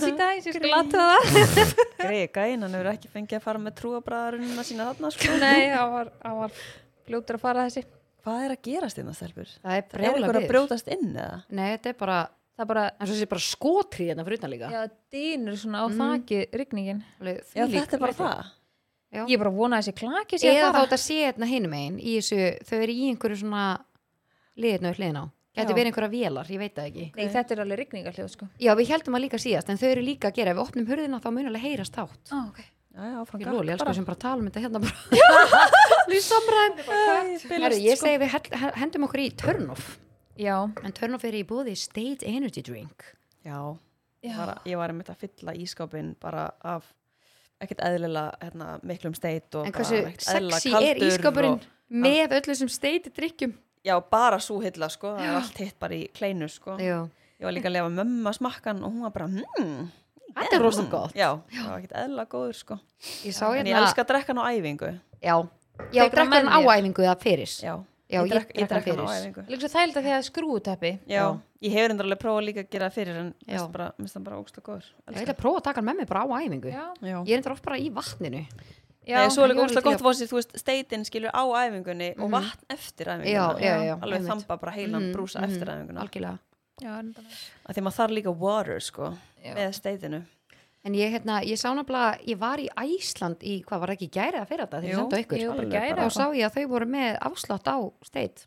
[SPEAKER 2] í dag, ég sko lata það
[SPEAKER 1] Greið, gæinn, hann hefur ekki fengið að fara með trúabræðarunina sína þarna sko
[SPEAKER 2] nei, það var, það var fljótur að fara þessi
[SPEAKER 1] Hvað er að gerast innan stelpur?
[SPEAKER 3] Það er
[SPEAKER 1] Er
[SPEAKER 3] brjóla
[SPEAKER 1] ykkur að
[SPEAKER 3] við
[SPEAKER 1] brjótast inn eða?
[SPEAKER 3] Nei, þetta er bara
[SPEAKER 2] það er bara,
[SPEAKER 3] en svo sé bara skotri hérna fyrir utan líka
[SPEAKER 2] já, dýnur svona á
[SPEAKER 3] Mm.
[SPEAKER 2] þaki rigningin.
[SPEAKER 3] Alveg
[SPEAKER 1] Já,
[SPEAKER 3] þvílík
[SPEAKER 1] þetta er bara
[SPEAKER 3] læti.
[SPEAKER 1] það.
[SPEAKER 3] Já.
[SPEAKER 2] Ég er bara að vona að þessi klaki sé
[SPEAKER 3] eða
[SPEAKER 2] að
[SPEAKER 3] þá
[SPEAKER 2] fara.
[SPEAKER 3] þetta sé hérna hinum einn í þessu, þau eru í einhverju svona liðinu við hliðina á
[SPEAKER 2] Já.
[SPEAKER 3] gæti verið einhverja vélar, ég veit það ekki
[SPEAKER 2] Nei, þetta er alveg rigningarhljóð, sko.
[SPEAKER 3] já, við heldum að líka síðast, en þau eru líka að gera ef við opnum hurðina þá munulega heyrast þátt
[SPEAKER 2] Ó, ok.
[SPEAKER 1] Já, já, áfram
[SPEAKER 3] ég
[SPEAKER 1] gakk
[SPEAKER 3] lóli,
[SPEAKER 1] bara.
[SPEAKER 3] elsku, sem bara tala um þetta hérna bara í samræðum
[SPEAKER 1] Æ, bilast,
[SPEAKER 3] Heru, ég
[SPEAKER 1] sko.
[SPEAKER 3] segi við hell- he- hendum okkur í turnoff
[SPEAKER 2] Já.
[SPEAKER 3] en turnoff er í búði State Energy Drink
[SPEAKER 1] Já,
[SPEAKER 2] Já.
[SPEAKER 1] ég var, að- ég var einmitt að fylla ískápin bara af ekkert eðlilega hérna, miklum steit og
[SPEAKER 3] en
[SPEAKER 1] bara
[SPEAKER 3] hversu
[SPEAKER 1] ekkert eðlilega
[SPEAKER 3] sexy er
[SPEAKER 1] kaldur
[SPEAKER 3] ískapurinn
[SPEAKER 1] og, Ah.
[SPEAKER 3] með öllu sem State drikkjum
[SPEAKER 1] já, bara svo hilla sko, það er allt hitt bara í kleinu sko.
[SPEAKER 3] já,
[SPEAKER 1] ég var líka að lefa mömmu að smakkan og hún var bara hmm,
[SPEAKER 3] þetta er rosa gott
[SPEAKER 1] já, það var ekkert eðlilega góður sko.
[SPEAKER 3] ég sá
[SPEAKER 1] en ég
[SPEAKER 3] hérna
[SPEAKER 1] elska að drekka hann á æfingu
[SPEAKER 3] já, já,
[SPEAKER 2] Tekur hann
[SPEAKER 3] drekkur hann
[SPEAKER 2] með þér?
[SPEAKER 3] áæfingu eða fyrir
[SPEAKER 1] já,
[SPEAKER 3] Já, ég
[SPEAKER 1] drekk-
[SPEAKER 3] drekk hann
[SPEAKER 1] drekk hann á
[SPEAKER 3] fyrir.
[SPEAKER 1] æfingu
[SPEAKER 2] Líka svo þægild að því að skrúutappi.
[SPEAKER 1] já, ég hefur endur alveg prófað líka að gera það fyrir en
[SPEAKER 3] Já.
[SPEAKER 1] minnst bara, minnst hann bara ógst og góður
[SPEAKER 3] Ég ætla að prófa að taka hann með mig bara á æfingu.
[SPEAKER 2] Já.
[SPEAKER 1] já
[SPEAKER 3] Ég er þetta oft bara í vatninu.
[SPEAKER 2] Já,
[SPEAKER 1] Nei, svo er
[SPEAKER 3] ég
[SPEAKER 1] líka
[SPEAKER 3] var alveg
[SPEAKER 1] óslega
[SPEAKER 3] til í
[SPEAKER 1] gott fósið, þú veist, steitin skilur á æfingunni og vatn eftir æfinguna.
[SPEAKER 3] Mhm. Já, já, já,
[SPEAKER 1] Alveg
[SPEAKER 3] einmitt.
[SPEAKER 1] þamba bara heilan
[SPEAKER 3] Mhm,
[SPEAKER 1] brúsa
[SPEAKER 3] mhm,
[SPEAKER 1] eftir æfinguna.
[SPEAKER 3] Algjörlega.
[SPEAKER 2] Já, nefnilega.
[SPEAKER 1] Af því maður þarf líka water, sko,
[SPEAKER 2] Já.
[SPEAKER 1] með steitinu.
[SPEAKER 3] En ég, hérna, ég sá nefnilega, ég var í Æsland í, hvað var ekki gæra að fyrir þetta þegar ég
[SPEAKER 1] Jú,
[SPEAKER 3] senda ykkur.
[SPEAKER 2] jú, bara
[SPEAKER 1] Alveg
[SPEAKER 2] gæra.
[SPEAKER 3] Þá sá ég að þau voru með afslátt á steit.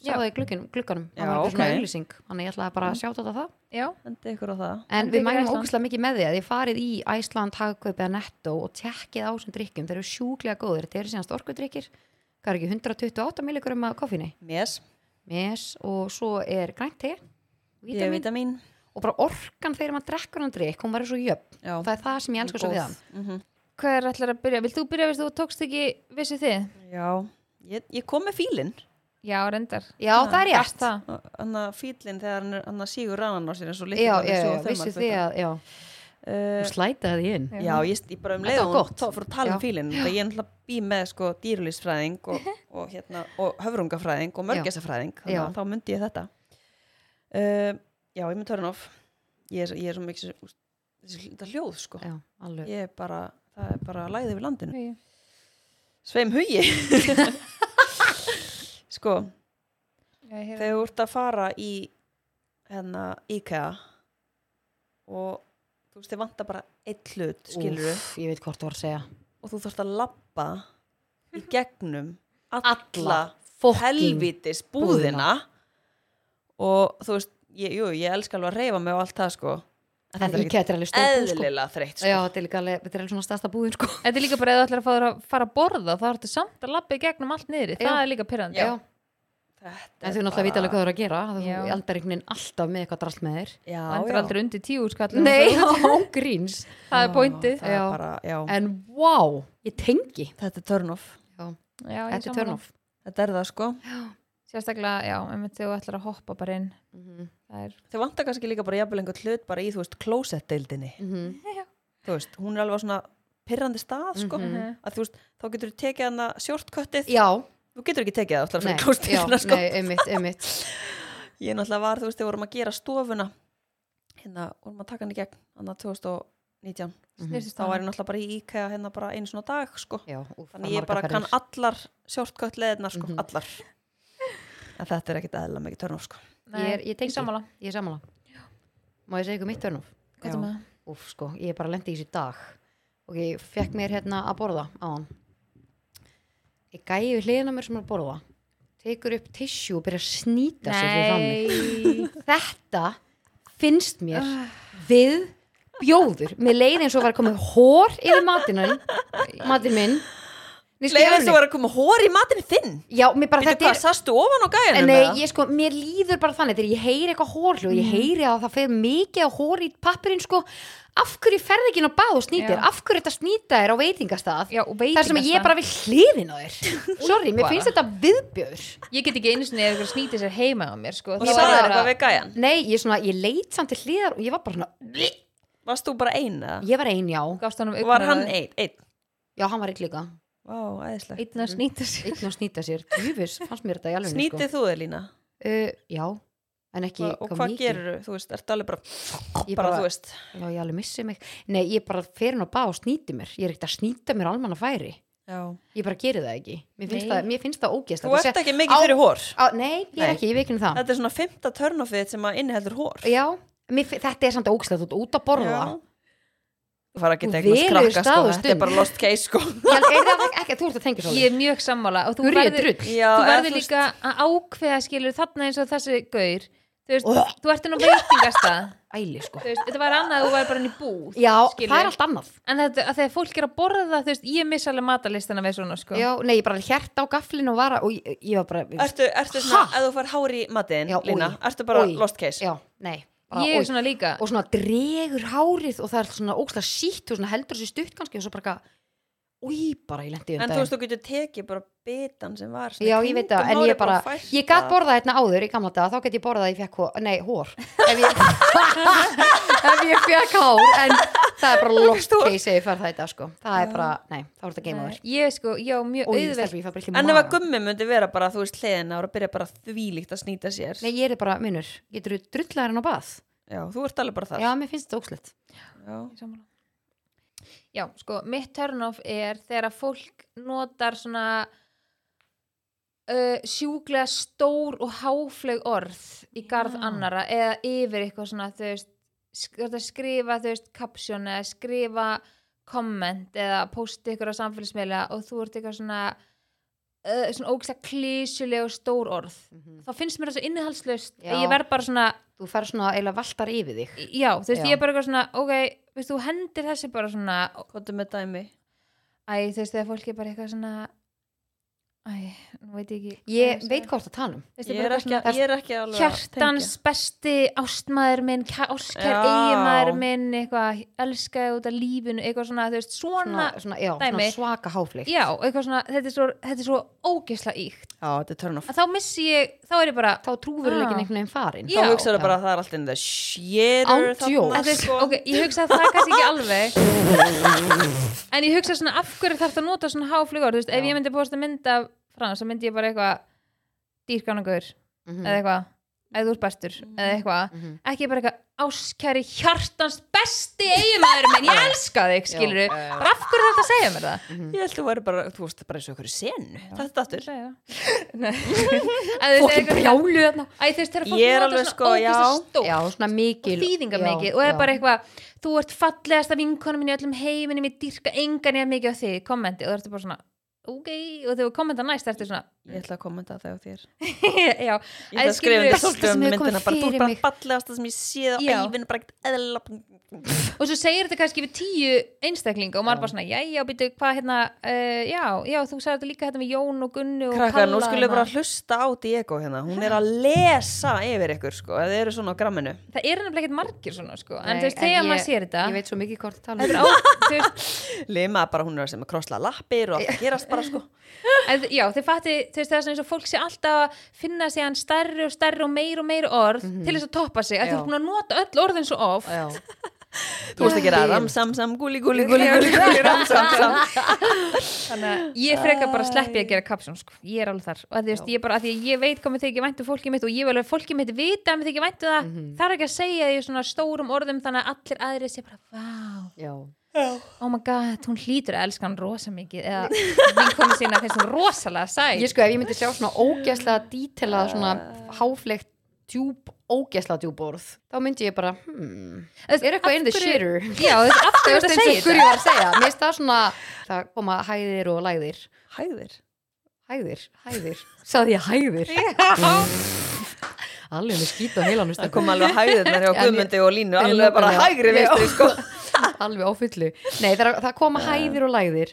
[SPEAKER 3] Sá
[SPEAKER 2] Já. Mhm.
[SPEAKER 3] það í glukkanum, glukkanum.
[SPEAKER 1] Já,
[SPEAKER 3] Það var okay. svona
[SPEAKER 1] ok.
[SPEAKER 3] auðlýsing. Þannig ég ætlaði bara að sjáta þetta það.
[SPEAKER 2] Já.
[SPEAKER 1] Endi ykkur á það.
[SPEAKER 3] En
[SPEAKER 2] Endið
[SPEAKER 3] við
[SPEAKER 2] ykkur
[SPEAKER 3] mælum
[SPEAKER 2] Iceland.
[SPEAKER 3] ógustlega mikið með því að þið farið í Æsland, Hagkaup eða Netto og tekkið á sem drikkjum. Þeir eru sjúklega góðir. Þeir eru síðan storkudrykkir. Hvað er ekki 128 milligurum af koffinni?
[SPEAKER 1] Mjess,
[SPEAKER 3] Mes og svo er grænt te,
[SPEAKER 1] ég er
[SPEAKER 3] vítamin
[SPEAKER 1] vitamín.
[SPEAKER 3] og bara orkan þegar maður drekkur hann drikk, hún verður svo jöfn
[SPEAKER 1] Já,
[SPEAKER 3] og það er það sem ég elskar svo við hann
[SPEAKER 1] Mhm.
[SPEAKER 2] Hvað er allar að byrja? Vilt þú byrja veist þú tókst ekki vissu þið?
[SPEAKER 1] Já, ég, ég kom með fílinn.
[SPEAKER 2] Já, reyndar.
[SPEAKER 3] já, það er
[SPEAKER 2] Gast
[SPEAKER 3] rétt já,
[SPEAKER 2] það.
[SPEAKER 1] Þannig að fílinn þegar hann, er- hann sígur rannan á sér eins og litið.
[SPEAKER 3] já, já, vissu því að já.
[SPEAKER 1] Uh,
[SPEAKER 3] og slætaði því inn
[SPEAKER 1] já, ég, ég bara um
[SPEAKER 3] Mhm. Þetta
[SPEAKER 1] leið
[SPEAKER 3] var
[SPEAKER 1] og
[SPEAKER 3] gott.
[SPEAKER 1] tó, fór að tala um
[SPEAKER 3] Já. Mhm.
[SPEAKER 1] fílinn. Ég er náttúrulega bý með sko dýrulísfræðing og, og, hérna, og höfrungafræðing og mörgæsafræðing. Þannig að
[SPEAKER 3] Já.
[SPEAKER 1] þá myndi ég þetta. Uh, já, ég er með turn off. Ég er, ég er svo mikið, úst, þessi þetta hljóð sko.
[SPEAKER 3] já, alveg
[SPEAKER 1] Ég er bara, það er bara læðið við landinu.
[SPEAKER 2] Hugi.
[SPEAKER 1] Sveim hugi. sko,
[SPEAKER 2] Já, ég heyri.
[SPEAKER 1] þegar þú ert að fara í hérna IKEA og þú veist þið vantar bara eitt hlut skilur
[SPEAKER 3] Úff, ég veit hvort þú var að segja
[SPEAKER 1] og þú þarfst að labba í gegnum alla
[SPEAKER 3] Alla fucking
[SPEAKER 1] helvitis búðina og þú veist ég, jú, ég elska alveg að reyfa mig og allt það sko en
[SPEAKER 3] en
[SPEAKER 1] þetta er
[SPEAKER 3] ekki
[SPEAKER 1] ekki
[SPEAKER 3] þetta er alveg stór búð, sko.
[SPEAKER 1] eðlilega þreytt
[SPEAKER 3] já,
[SPEAKER 1] sko.
[SPEAKER 3] þetta er líka alveg, þetta er alveg svona stærsta búðin sko
[SPEAKER 2] Þetta er líka bara eða þú ætlar að fara, fara að borða þá ertu samt að labba í gegnum allt niðri.
[SPEAKER 3] Já.
[SPEAKER 2] Það er líka pyrrandi.
[SPEAKER 1] Já.
[SPEAKER 3] en þau náttúrulega vita alveg hvað þú eru að gera þú
[SPEAKER 2] Já.
[SPEAKER 3] eldar einhvern veginn alltaf með eitthvað drast með þér
[SPEAKER 1] já,
[SPEAKER 2] Það endur
[SPEAKER 1] já.
[SPEAKER 2] aldrei undir tíu skall.
[SPEAKER 3] nei, án gríns
[SPEAKER 2] Það er pointið.
[SPEAKER 1] það er
[SPEAKER 3] Já.
[SPEAKER 1] bara, já.
[SPEAKER 3] en wow, ég tengi
[SPEAKER 1] þetta er turn off
[SPEAKER 2] Já, ég
[SPEAKER 3] þetta er
[SPEAKER 2] sammála.
[SPEAKER 3] turn off
[SPEAKER 1] þetta er það sko
[SPEAKER 2] Sérstaklega, já, einmitt þegar þú ætlar að hoppa bara inn.
[SPEAKER 1] Mhm.
[SPEAKER 3] Mhm.
[SPEAKER 2] Það er,
[SPEAKER 1] þau vantar kannski líka bara jafnvel einhvern hlut bara í þú veist klósettdeildinni
[SPEAKER 3] Mhm.
[SPEAKER 1] þú veist, hún er alveg á svona pirrandi stað, sko,
[SPEAKER 2] Mhm.
[SPEAKER 1] að þú veist þá getur þú tekið hana sjórtköttið
[SPEAKER 3] já,
[SPEAKER 1] þú getur ekki tekið það, þú ætlar að fyrir
[SPEAKER 3] nei, já,
[SPEAKER 1] klóstíðina, sko
[SPEAKER 3] nei, einmitt, einmitt
[SPEAKER 1] ég náttúrulega var, þú veist, þegar vorum að gera stofuna hérna, vorum að taka hann í gegn hann 2019,
[SPEAKER 2] snýrtist
[SPEAKER 1] þá var ég náttúrulega bara í IKEA hérna bara einu svona dag, sko
[SPEAKER 3] Mhm. já, úf,
[SPEAKER 1] þannig ég bara kann allar sjórtköttleðina, sko, allar en þetta er ekkit eðla mikið törnum, sko
[SPEAKER 2] Nei,
[SPEAKER 3] Ég er- ég tengi.
[SPEAKER 2] sammála.
[SPEAKER 3] Ég er sammála. Má ég segja ykkur mitt törnum?
[SPEAKER 2] Hvað
[SPEAKER 1] Já.
[SPEAKER 2] er með?
[SPEAKER 3] Úf, sko, ég er bara lendi í þessu í dag. Og ég fekk mér hérna að borða á hann. Ég gæi við hliðina á mér sem er að borða. Tekur upp tissjú og byrjar að snýta sig fyrir frammi.
[SPEAKER 2] Nei.
[SPEAKER 3] Þetta finnst mér
[SPEAKER 1] Ah.
[SPEAKER 3] við bjóður. Mér leiði eins og var komið hór yfir matinan, matin minn. Nei, sko, í
[SPEAKER 1] leiðið þú
[SPEAKER 3] alvörunni.
[SPEAKER 1] var að koma hór í matinn þinn
[SPEAKER 3] Já, mér bara
[SPEAKER 1] Veitu
[SPEAKER 3] þetta
[SPEAKER 1] hvað,
[SPEAKER 3] er...
[SPEAKER 1] sastu ofan á gæjanum? eða?
[SPEAKER 3] Nei, ég sko, mér líður bara þannig þegar ég heyri eitthvað hórlu og ég
[SPEAKER 1] Mhm.
[SPEAKER 3] heyri að það fer mikið að hóri í pappirinn sko, af hverju ferð ekki inn á bað og snýtir
[SPEAKER 2] Já.
[SPEAKER 3] af hverju þetta snýta er á veitingastað
[SPEAKER 2] Já, og
[SPEAKER 3] þar sem
[SPEAKER 2] veitingastað.
[SPEAKER 3] ég bara vil hliðin á þér sorry, mér
[SPEAKER 2] Bara.
[SPEAKER 3] finnst þetta viðbjör
[SPEAKER 2] Ég get ekki einu sinni eða ykkur snýti sér heima á mér, sko.
[SPEAKER 1] og það
[SPEAKER 2] Þá er
[SPEAKER 1] var
[SPEAKER 2] ég bara-
[SPEAKER 1] eitthvað við gæjan
[SPEAKER 3] nei, ég, svona, ég leit samt til hliðar og ég var bara svona
[SPEAKER 1] varst þú bara ein eða?
[SPEAKER 3] ég var ein já,
[SPEAKER 2] Gafst honum
[SPEAKER 1] var hann
[SPEAKER 2] augnaráðið.
[SPEAKER 1] einn? Einn?
[SPEAKER 3] já, hann var einn líka
[SPEAKER 1] Vá, æðislega.
[SPEAKER 2] Einn
[SPEAKER 3] Mm.
[SPEAKER 2] að snýta sér.
[SPEAKER 3] einn að snýta sér, djúfis, fannst mér þetta í alveg
[SPEAKER 1] Snýtið þú þig lína?
[SPEAKER 3] sko. uh, já, en ekki
[SPEAKER 1] Hva, og hvað
[SPEAKER 3] mikið.
[SPEAKER 1] gerur þú? veist, ertu alveg bara,
[SPEAKER 3] Ég
[SPEAKER 1] bara,
[SPEAKER 3] bara-
[SPEAKER 1] þú veist,
[SPEAKER 3] já, ég alveg missi mig nei, ég bara fer inn á bað og snýti mér ég er ekkert að snýta mér almanna færi
[SPEAKER 1] Já.
[SPEAKER 3] ég bara geri það ekki mér finnst,
[SPEAKER 2] Nei.
[SPEAKER 3] það, mér finnst það ógæst
[SPEAKER 1] Þú ert ekki mikið fyrir hór
[SPEAKER 3] nei, ég er
[SPEAKER 1] Nei.
[SPEAKER 3] ekki, ég veikinu það
[SPEAKER 1] Þetta er svona fymta törnofið sem að inniheldur hór
[SPEAKER 3] já, mér, fi- þetta er samt ógæst þú ert út að borða
[SPEAKER 1] Já. Þú fara að
[SPEAKER 3] Þú
[SPEAKER 1] geta eitthvað
[SPEAKER 3] velur
[SPEAKER 1] skrakka
[SPEAKER 3] stað
[SPEAKER 1] sko,
[SPEAKER 3] og
[SPEAKER 1] þetta er
[SPEAKER 3] stund.
[SPEAKER 1] bara lost case sko
[SPEAKER 3] Ég- er það ekki, þú ert að tengja svo
[SPEAKER 2] ég er mjög sammála og þú
[SPEAKER 3] Þú ríður
[SPEAKER 2] verður-
[SPEAKER 3] drull
[SPEAKER 1] Já,
[SPEAKER 2] þú
[SPEAKER 1] eða
[SPEAKER 2] verður
[SPEAKER 1] veist-
[SPEAKER 2] líka að ákveða skilur þarna eins og þessi gaur þú veist, þú ert inn á veitingastað
[SPEAKER 3] Æli sko
[SPEAKER 2] þú veist, þetta var annað að þú væri bara inn í búð
[SPEAKER 3] Já,
[SPEAKER 2] skilur.
[SPEAKER 3] það er allt annað
[SPEAKER 1] Sko.
[SPEAKER 2] en þetta, að þegar fólk er að borða það, þú veist, ég missa alveg matalistana við svona, sko
[SPEAKER 3] Já, nei, ég bara hérta á gaflin og vara og ég, ég var bara
[SPEAKER 1] Ertu, ertu svona,
[SPEAKER 3] Ha?
[SPEAKER 1] ef þú far hár í matinn,
[SPEAKER 3] Já,
[SPEAKER 1] Lína,
[SPEAKER 3] oj,
[SPEAKER 1] ertu bara
[SPEAKER 3] oj.
[SPEAKER 1] lost case
[SPEAKER 3] Já, nei bara,
[SPEAKER 2] ég
[SPEAKER 3] oj.
[SPEAKER 2] er svona líka
[SPEAKER 3] og svona dregur hárið og það er svona ógst að sítt og svona heldur þessi stutt kannski og svo bara eitthvað Új, bara ég lendi um
[SPEAKER 1] En þú
[SPEAKER 3] daginn.
[SPEAKER 1] veist, þú getur tekið bara bitan sem var
[SPEAKER 3] Já, ég veit það, en ég bara, ég gat borðað hérna áður í gamla dag, þá get ég borðað að ég fekk hór, nei, hór, ef ég, ef ég fekk hár, en það er bara lost
[SPEAKER 1] hor.
[SPEAKER 3] case ef ég fær það í dag, sko, það er bara, nei, þá er þetta geima þér.
[SPEAKER 2] ég sko, já, mjög
[SPEAKER 3] Og ég
[SPEAKER 2] auðveld
[SPEAKER 3] stelpur, ég fær bara ekki
[SPEAKER 1] En ef að gummi myndi vera bara, þú veist, hliðina og byrja bara þvílíkt að snýta sér
[SPEAKER 3] Nei, ég er bara, munur, getur þú drullar en á bað?
[SPEAKER 1] Já, þú ert alveg bara þar
[SPEAKER 3] Já, mér finnst þetta ógslitt.
[SPEAKER 1] Já.
[SPEAKER 2] Sammála. Já, sko, mitt turn-off er þegar að fólk notar svona uh, sjúklega stór og háfleg orð í garð
[SPEAKER 3] Já.
[SPEAKER 2] annara eða yfir eitthvað svona, þú veist, sk þú ert að skrifa, þú veist, caption eða skrifa komment eða posta ykkur á samfélagsmiðla og þú ert eitthvað svona uh, svona ógæslega klísuleg og stór orð
[SPEAKER 1] Mhm.
[SPEAKER 2] þá finnst mér það svo innihalslaust
[SPEAKER 3] Já.
[SPEAKER 2] ég verð bara svona
[SPEAKER 3] Þú fær svona eiginlega valtar yfir þig.
[SPEAKER 2] já, þú veist,
[SPEAKER 3] Já.
[SPEAKER 2] ég er bara eitthvað svona ok, veist, þú hendir þessi bara svona
[SPEAKER 1] Kvotum með dæmi
[SPEAKER 2] æ, þú veist, þegar fólk er bara eitthvað svona æ, nú veit ég ekki
[SPEAKER 3] Ég veit hvort að tala um.
[SPEAKER 2] veist,
[SPEAKER 1] Ég er ekki,
[SPEAKER 3] svona-
[SPEAKER 1] ég er ekki alveg að
[SPEAKER 2] hjartans besti ástmaður minn kæ- áskær
[SPEAKER 1] Já.
[SPEAKER 2] eigimaður minn eitthvað, elskaði út af lífinu eitthvað svona, þú veist, svona,
[SPEAKER 3] Svona, svona, já, svona
[SPEAKER 2] dæmi.
[SPEAKER 3] svaka háflikt.
[SPEAKER 2] já, eitthvað svona, þetta er svo, þetta er svo ógisla íkt,
[SPEAKER 1] Já, þetta er turn off
[SPEAKER 2] að þá missi ég þá er ég bara,
[SPEAKER 3] Þá trúveruleikin
[SPEAKER 2] Ah.
[SPEAKER 3] einhvern veginn farin.
[SPEAKER 2] Já.
[SPEAKER 1] Þá hugsaðu
[SPEAKER 3] Já.
[SPEAKER 1] bara að það er allt inn í það Shit sko.
[SPEAKER 3] Án djóks.
[SPEAKER 2] að þú veist, ok, ég hugsa að það er kannski ekki alveg en ég hugsa svona af hverju þarf það að nota svona háflugur þú veist, ef
[SPEAKER 3] Já.
[SPEAKER 2] ég myndi posta mynd af frans þá myndi ég bara eitthvað dýrgánugur
[SPEAKER 3] Mhm.
[SPEAKER 2] eða eitthvað, eða þú ert bestur eða eitthvað,
[SPEAKER 3] Mhm.
[SPEAKER 2] ekki bara eitthvað áskæri hjartans besti eiginmaður minn, ég elska þig, skilur
[SPEAKER 3] Já, já, já.
[SPEAKER 2] bara af hverju þarf það að segja mér það
[SPEAKER 1] Ég held þú væri bara, þú veist, bara eins og ykkur senu Þetta aftur
[SPEAKER 2] Segja það. Nei. Að þú veist,
[SPEAKER 3] Fokkin
[SPEAKER 2] eitthvað-
[SPEAKER 3] brjálu þarna.
[SPEAKER 2] Æ, þú veist, þegar fólk
[SPEAKER 1] Ég er
[SPEAKER 2] nota
[SPEAKER 1] alveg
[SPEAKER 2] svona
[SPEAKER 1] sko, já.
[SPEAKER 2] ógeðslega stórt
[SPEAKER 3] Já, svona mikil.
[SPEAKER 2] og þýðinga
[SPEAKER 3] já,
[SPEAKER 2] mikið og er
[SPEAKER 3] já.
[SPEAKER 2] bara eitthvað þú ert fallegasta vinkonum minn í öllum heiminum ég dýrka engan ég mikið á þig kommenti og þú ertu bara svona ok og þegar þú kommenta næst ertu svona
[SPEAKER 1] Ég ætla að kommenta það á þér
[SPEAKER 2] já,
[SPEAKER 1] Ég ætla
[SPEAKER 2] Æ,
[SPEAKER 1] að
[SPEAKER 2] skilur
[SPEAKER 1] skrifa um
[SPEAKER 2] við-
[SPEAKER 1] þetta
[SPEAKER 3] Besta sem
[SPEAKER 1] stöðum
[SPEAKER 3] hefur komið
[SPEAKER 1] myndina bara, Þú
[SPEAKER 3] fyrir
[SPEAKER 1] er bara
[SPEAKER 3] mig.
[SPEAKER 1] ballegasta sem ég séð á
[SPEAKER 2] Já.
[SPEAKER 1] ævinn bara ekkert eðla
[SPEAKER 2] og svo segir þetta kannski við tíu einstaklinga og maður bara svona jæja býtu hvað hérna uh, já, já þú sagði þetta líka hérna við Jón og Gunnu og
[SPEAKER 1] Krakkar, nú
[SPEAKER 2] Kalla
[SPEAKER 1] skulle
[SPEAKER 2] hana."
[SPEAKER 1] bara hlusta á Diego hérna Hún er að lesa yfir ykkur sko Ef þið eru svona á gramminu
[SPEAKER 2] það er nefnilega ekkert margir svona sko en
[SPEAKER 3] Nei,
[SPEAKER 2] þú veist þegar
[SPEAKER 3] ég-
[SPEAKER 2] maður sér þetta
[SPEAKER 3] Ég veit svo mikið hvort að tala um.
[SPEAKER 2] þetta er á, þú veist,
[SPEAKER 1] Lima bara, hún er sem að krossla lappir og allt gerast bara sko
[SPEAKER 2] En, já, þið fatti, þú veist það er svona eins og fólk sé alltaf að finna sig hann stærri og stærri og meir og meir orð til þess að toppa sig, að þú
[SPEAKER 3] Mhm. Já.
[SPEAKER 2] ert búin að nota öll orðin svo of
[SPEAKER 3] Já.
[SPEAKER 1] Þú veist að gera
[SPEAKER 3] Ég-
[SPEAKER 1] ram, sam, sam, gúli, gúli, gúli, gúli, gúli, ram, sam, sam
[SPEAKER 2] þannig að ég frekar bara sleppi að gera kapsjón sko. ég er alveg þar, og að, þú veist, ég bara, að því að ég veit hvað mér þykir væntu fólkið mitt og ég vil að fólkið mitt vita að mér þykir væntu það, mm
[SPEAKER 3] Mhm.
[SPEAKER 2] þarf ekki að segja því svona stórum orðum þannig að allir aðri sé bara, vá,
[SPEAKER 3] Já.
[SPEAKER 2] oh my god hún hlýtur að elska hann rosa mikið eða vinkonu sína finnst hún rosalega sæt
[SPEAKER 3] Ég sko, ef ég myndi sjá svona ógæslega dítelað, svona
[SPEAKER 2] Uh.
[SPEAKER 3] háflegt djúb, ógæslega djúb orð, þá myndi ég bara, hmm, er eitthvað in the shitter?
[SPEAKER 2] já, þú veist, af
[SPEAKER 3] Það
[SPEAKER 2] hverju
[SPEAKER 3] veist
[SPEAKER 2] ertu að
[SPEAKER 3] eins og
[SPEAKER 2] segja
[SPEAKER 3] hverju
[SPEAKER 2] þetta
[SPEAKER 3] ég var að segja. Mér finnst það svona, það koma hæðir og læðir.
[SPEAKER 1] Hæðir
[SPEAKER 3] Hæðir, hæðir. Saði ég hæðir? Allir með skýt á heilanum
[SPEAKER 1] Það
[SPEAKER 3] stakkum.
[SPEAKER 1] kom alveg hæðirnar hjá
[SPEAKER 3] En-
[SPEAKER 1] Guðmundi og Línu Alveg
[SPEAKER 3] Nákvæmlega.
[SPEAKER 1] bara hægri veistri sko
[SPEAKER 3] Alveg á fullu. Nei, það, það koma hæðir og læðir.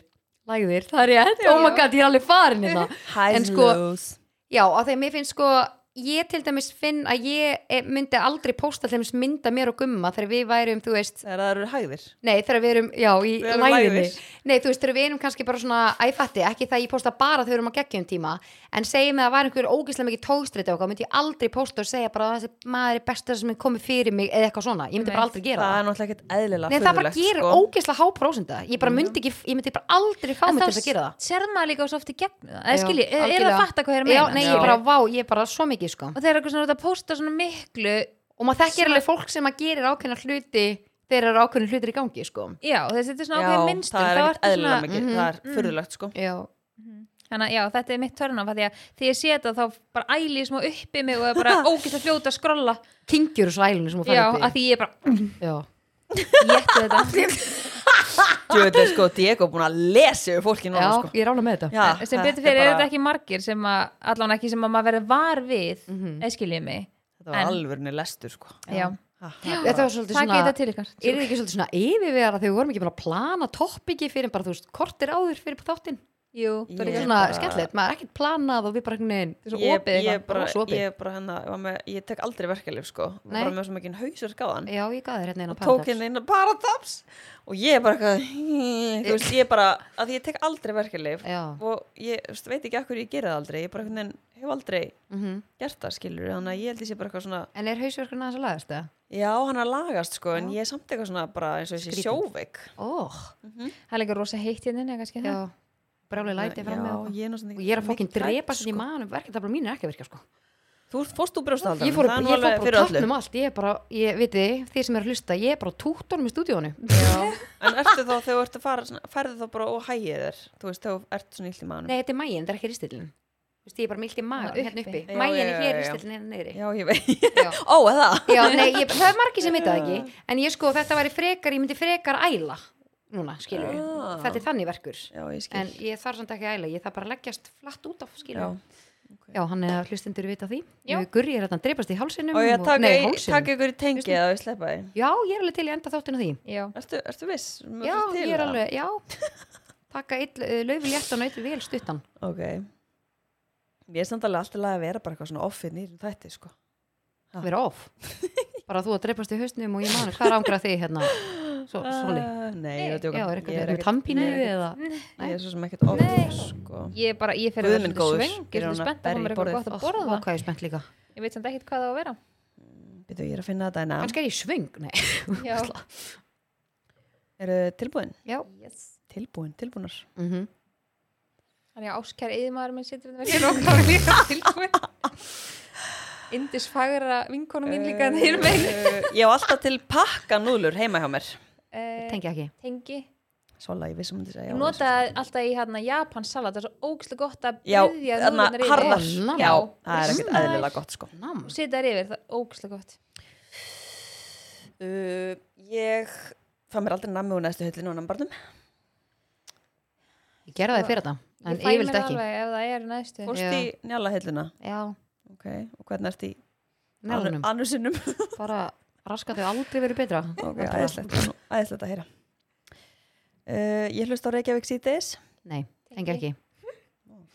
[SPEAKER 3] Læðir, það er rétt. Oh my god, ég er alveg farin í það. En sko,
[SPEAKER 1] Hæðlós
[SPEAKER 3] já, af því að mér finnst sko, ég til dæmis finn að ég eh, myndi aldrei pósta til dæmis mynda mér og gumma þegar við værum, þú veist,
[SPEAKER 1] Þegar það eru hæðir
[SPEAKER 3] Nei, þegar við erum, já, í
[SPEAKER 1] Við erum
[SPEAKER 3] læðinni
[SPEAKER 1] læðir.
[SPEAKER 3] Nei, þú veist, þegar við erum kannski bara svona æ, ég fatti, ekki það ég posta bara þegar við erum á geggjum tíma en segjum að það væri einhver ógeðslega mikið tókstriti okkar, myndi ég aldrei posta og segja bara að þessi maður er besta sem er komið fyrir mig eða eitthvað svona, ég myndi
[SPEAKER 2] Nei,
[SPEAKER 3] bara aldrei gera
[SPEAKER 1] Það
[SPEAKER 3] það
[SPEAKER 1] er náttúrulega ekkert eðlilega
[SPEAKER 3] Nei, það bara
[SPEAKER 1] furðulegt,
[SPEAKER 3] gerir
[SPEAKER 1] sko.
[SPEAKER 3] ógeðslega háprósenda ég
[SPEAKER 2] Mm.
[SPEAKER 3] bara myndi ekki, ég myndi bara aldrei fá mig til þess að gera það
[SPEAKER 2] serð maður líka svo oft í gegn það eða
[SPEAKER 3] Já,
[SPEAKER 2] skilji, er það
[SPEAKER 3] algjörlega.
[SPEAKER 2] að fatta hvað þeir
[SPEAKER 3] Já,
[SPEAKER 2] meina
[SPEAKER 3] nei,
[SPEAKER 1] Já.
[SPEAKER 3] ég bara, vá, ég er bara svo mikið sko
[SPEAKER 2] og þeir eru eitthvað svona út að posta svona miklu
[SPEAKER 3] og maður þekkir alveg fólk sem að gerir ákveðna hluti þegar eru ákveðin hlutir í gangi sko.
[SPEAKER 2] já, þessi þetta er svona ákveðin minnstum
[SPEAKER 1] það er ekkert eðlilega
[SPEAKER 2] svona,
[SPEAKER 1] mikið,
[SPEAKER 3] Mhm.
[SPEAKER 1] það er furðulegt sko.
[SPEAKER 3] já,
[SPEAKER 2] þannig að já, þetta er mitt törn af því að því ég sé þetta þá bara æli ég smá uppi mig og er bara ógist að fljóta að skrolla
[SPEAKER 3] kingjur og sælunni sem hún
[SPEAKER 2] já,
[SPEAKER 3] fær
[SPEAKER 2] að
[SPEAKER 3] upp í
[SPEAKER 2] því ég bara
[SPEAKER 3] já,
[SPEAKER 2] jættu þetta
[SPEAKER 1] Djöfull er sko Diego búin að lesa yfir fólki núna
[SPEAKER 3] já
[SPEAKER 1] sko.
[SPEAKER 3] ég rána með þetta
[SPEAKER 1] Já,
[SPEAKER 2] sem betur
[SPEAKER 1] er
[SPEAKER 2] fyrir er
[SPEAKER 1] bara-
[SPEAKER 2] þetta ekki margir sem að, allan ekki sem að maður verður var við mm -hmm. eða skiljið mig
[SPEAKER 1] Þetta var
[SPEAKER 2] en-
[SPEAKER 1] alvörni lestur sko.
[SPEAKER 2] já,
[SPEAKER 1] Ha, ha,
[SPEAKER 3] þetta
[SPEAKER 1] bara-
[SPEAKER 3] var svolítið
[SPEAKER 2] það geta
[SPEAKER 3] svona
[SPEAKER 2] til ykkar
[SPEAKER 3] er þetta ekki svolítið svona yfirvera þegar við vorum ekki bara að plana toppiki fyrir bara þú veist kortir áður fyrir þáttinn
[SPEAKER 2] jú,
[SPEAKER 1] Ég
[SPEAKER 2] það er
[SPEAKER 3] Þetta
[SPEAKER 2] ekki
[SPEAKER 3] er
[SPEAKER 1] bara-
[SPEAKER 3] svona skemmtilegt, maður er ekkert planað og við bara einhvern veginn
[SPEAKER 2] svona
[SPEAKER 1] Ég, ég,
[SPEAKER 2] opið eitthvað
[SPEAKER 1] bara,
[SPEAKER 3] rosa hérna. opið.
[SPEAKER 1] ég, bara hennar, ég, var með, ég tek aldrei verkeflið sko.
[SPEAKER 3] Nei.
[SPEAKER 1] bara með svo mikið hausverkaðan
[SPEAKER 3] Já, ég gaf þér hérna inn á
[SPEAKER 1] og tók hérna inn að Parataps og ég er bara eitthvað þú veist, ég er bara, að ég tek aldrei verkeflið
[SPEAKER 3] Já,
[SPEAKER 1] og ég þú veist, veit ekki af hverju ég gera það aldrei ég bara einhvern veginn hef aldrei
[SPEAKER 3] mm
[SPEAKER 1] gert það skilur þannig að ég held ég sé bara eitthvað svona
[SPEAKER 3] en er hausverkurinn aðeins að lagast það?
[SPEAKER 1] já hann er að lagast sko en ég er samt eitthvað svona bara eins og þessi
[SPEAKER 3] Skrýtin.
[SPEAKER 1] sjóveik
[SPEAKER 3] Ó,
[SPEAKER 2] það er líka rosa heitt hérna inni, kannski það.
[SPEAKER 3] Mhm. já, brálega læti fram með
[SPEAKER 1] já
[SPEAKER 3] og
[SPEAKER 1] ég er náttúrulega
[SPEAKER 3] og ég er að hérna fokkin
[SPEAKER 1] mikið hrædd, sko.
[SPEAKER 3] drepa sem ég manum verkið, það bara mín er ekki að virka sko
[SPEAKER 1] þú fórst úr brjóstahaldar
[SPEAKER 3] Ég fór, ég fór bara á tannum allt, ég er bara, ég veit þið, þið sem er að hlusta, ég er bara á túttunum í stúdíónu
[SPEAKER 1] en ertu þá þegar þú ert að fara svona, ferðu þá bara og hægir þér þú veist þegar þú ert svona illt í maðunum
[SPEAKER 3] Nei, þetta er mægin, þetta er ekki ristillin Þú veist, ég er bara milt í magan,
[SPEAKER 2] Já,
[SPEAKER 3] hérna
[SPEAKER 2] uppi.
[SPEAKER 3] uppi
[SPEAKER 1] Já, já,
[SPEAKER 3] Mægin er
[SPEAKER 1] já,
[SPEAKER 3] hér,
[SPEAKER 1] já.
[SPEAKER 3] ristillin er niðri
[SPEAKER 1] já ég veit
[SPEAKER 3] Já.
[SPEAKER 1] ó er það
[SPEAKER 3] Já, nei, ég, það er margir sem veit það ekki En ég sko, þetta væri frekar, ég myndi frekar æla Núna, skilur
[SPEAKER 1] Já.
[SPEAKER 3] Þetta er þannig verkur
[SPEAKER 1] já ég Ah. skil
[SPEAKER 3] En ég þarf samt ekki að æla, ég þarf bara að leggjast flatt út af skilur
[SPEAKER 1] já.
[SPEAKER 3] Já, hann er að hlustendur vita því
[SPEAKER 2] Já.
[SPEAKER 3] Ég gurri er að hann dreipast í hálsinum
[SPEAKER 1] og ég
[SPEAKER 3] og-
[SPEAKER 1] taka
[SPEAKER 3] Nei,
[SPEAKER 1] í- taka
[SPEAKER 3] hálsinum
[SPEAKER 1] ykkur í tengi eða ég sleppa því
[SPEAKER 3] Já, ég er alveg til í að enda þáttinu því
[SPEAKER 2] já,
[SPEAKER 1] ertu, ertu viss? Mér
[SPEAKER 3] Já,
[SPEAKER 1] finnst til
[SPEAKER 3] ég er
[SPEAKER 1] það.
[SPEAKER 3] alveg, já Taka laufi léttan og eitt vel stuttan
[SPEAKER 1] Ok. Ég er samt alveg alltaf að vera bara eitthvað svona offið nýrjum þætti, sko. Ha.
[SPEAKER 3] Vera off Bara þú að dreipast í hausnum og ég manu Hvað rángra þig hérna? Svo, Sóli
[SPEAKER 1] Ah, Nei, ég er að djóka.
[SPEAKER 3] Já, er
[SPEAKER 1] Ég
[SPEAKER 3] eitthvað tampínu
[SPEAKER 1] Nei,
[SPEAKER 3] eða
[SPEAKER 1] Ég er svo sem ekkert offið, sko.
[SPEAKER 2] ég er bara, ég fer
[SPEAKER 1] Guð
[SPEAKER 2] að vera
[SPEAKER 1] minn
[SPEAKER 2] svolítið
[SPEAKER 1] góður,
[SPEAKER 2] svöng ég
[SPEAKER 1] er
[SPEAKER 2] er
[SPEAKER 1] hún að
[SPEAKER 2] svolítið spennt að
[SPEAKER 1] berja
[SPEAKER 2] koma
[SPEAKER 1] í
[SPEAKER 2] mér eitthvað
[SPEAKER 1] borðið?
[SPEAKER 2] gott
[SPEAKER 3] Ó,
[SPEAKER 2] að borða
[SPEAKER 3] Hvað ég er spennt líka
[SPEAKER 2] ég veit samt ekkert hvað það á að vera
[SPEAKER 1] Býtu, ég er að finna þetta hérna. en að.
[SPEAKER 3] Kannski er ég svöng, nei
[SPEAKER 2] já,
[SPEAKER 1] Eru tilbúin?
[SPEAKER 3] Já
[SPEAKER 2] yes
[SPEAKER 1] Tilbúin, tilbúnar.
[SPEAKER 3] Mhm.
[SPEAKER 2] Þannig að áskær yðmaður minn situr þetta verið og klára líka tilkomin. Indis fagra vinkonu mín líka en þeir megin.
[SPEAKER 1] Eh, Ég á alltaf til pakka núðlur heima hjá mér.
[SPEAKER 2] Uh,
[SPEAKER 3] Tengi ekki
[SPEAKER 2] tengi.
[SPEAKER 1] Svola, ég vissum að þetta segja.
[SPEAKER 2] Ég notaði alltaf í hérna Japan salat, það er svo ógæslega gott að
[SPEAKER 1] Já,
[SPEAKER 2] bryðja
[SPEAKER 1] þarna
[SPEAKER 2] núðurnar yfir.
[SPEAKER 1] harðar.
[SPEAKER 3] Namma.
[SPEAKER 1] Já, það er ekkert eðlilega gott, sko.
[SPEAKER 3] Nam
[SPEAKER 2] Og setja þær yfir, það er ógæslega gott.
[SPEAKER 1] Uh, Ég fann mér aldrei nammi úr næstu höllinu og nambarnum.
[SPEAKER 3] Ég gerði það fyrir þetta En
[SPEAKER 2] Ég fæ mér
[SPEAKER 3] yfirleitt ekki
[SPEAKER 2] alveg ef það er í næstu.
[SPEAKER 1] Fórst í njala höllina.
[SPEAKER 3] Já,
[SPEAKER 1] Ok, og hvernig ert í
[SPEAKER 3] nælunum
[SPEAKER 1] annusinnum?
[SPEAKER 3] Bara raskat hefur aldrei verið betra
[SPEAKER 1] Ok,
[SPEAKER 3] Bara-
[SPEAKER 1] æðislegt, æðislegt að heyra. Uh, ég hlust á Reykjavík síðdeis.
[SPEAKER 3] Nei, tengi ekki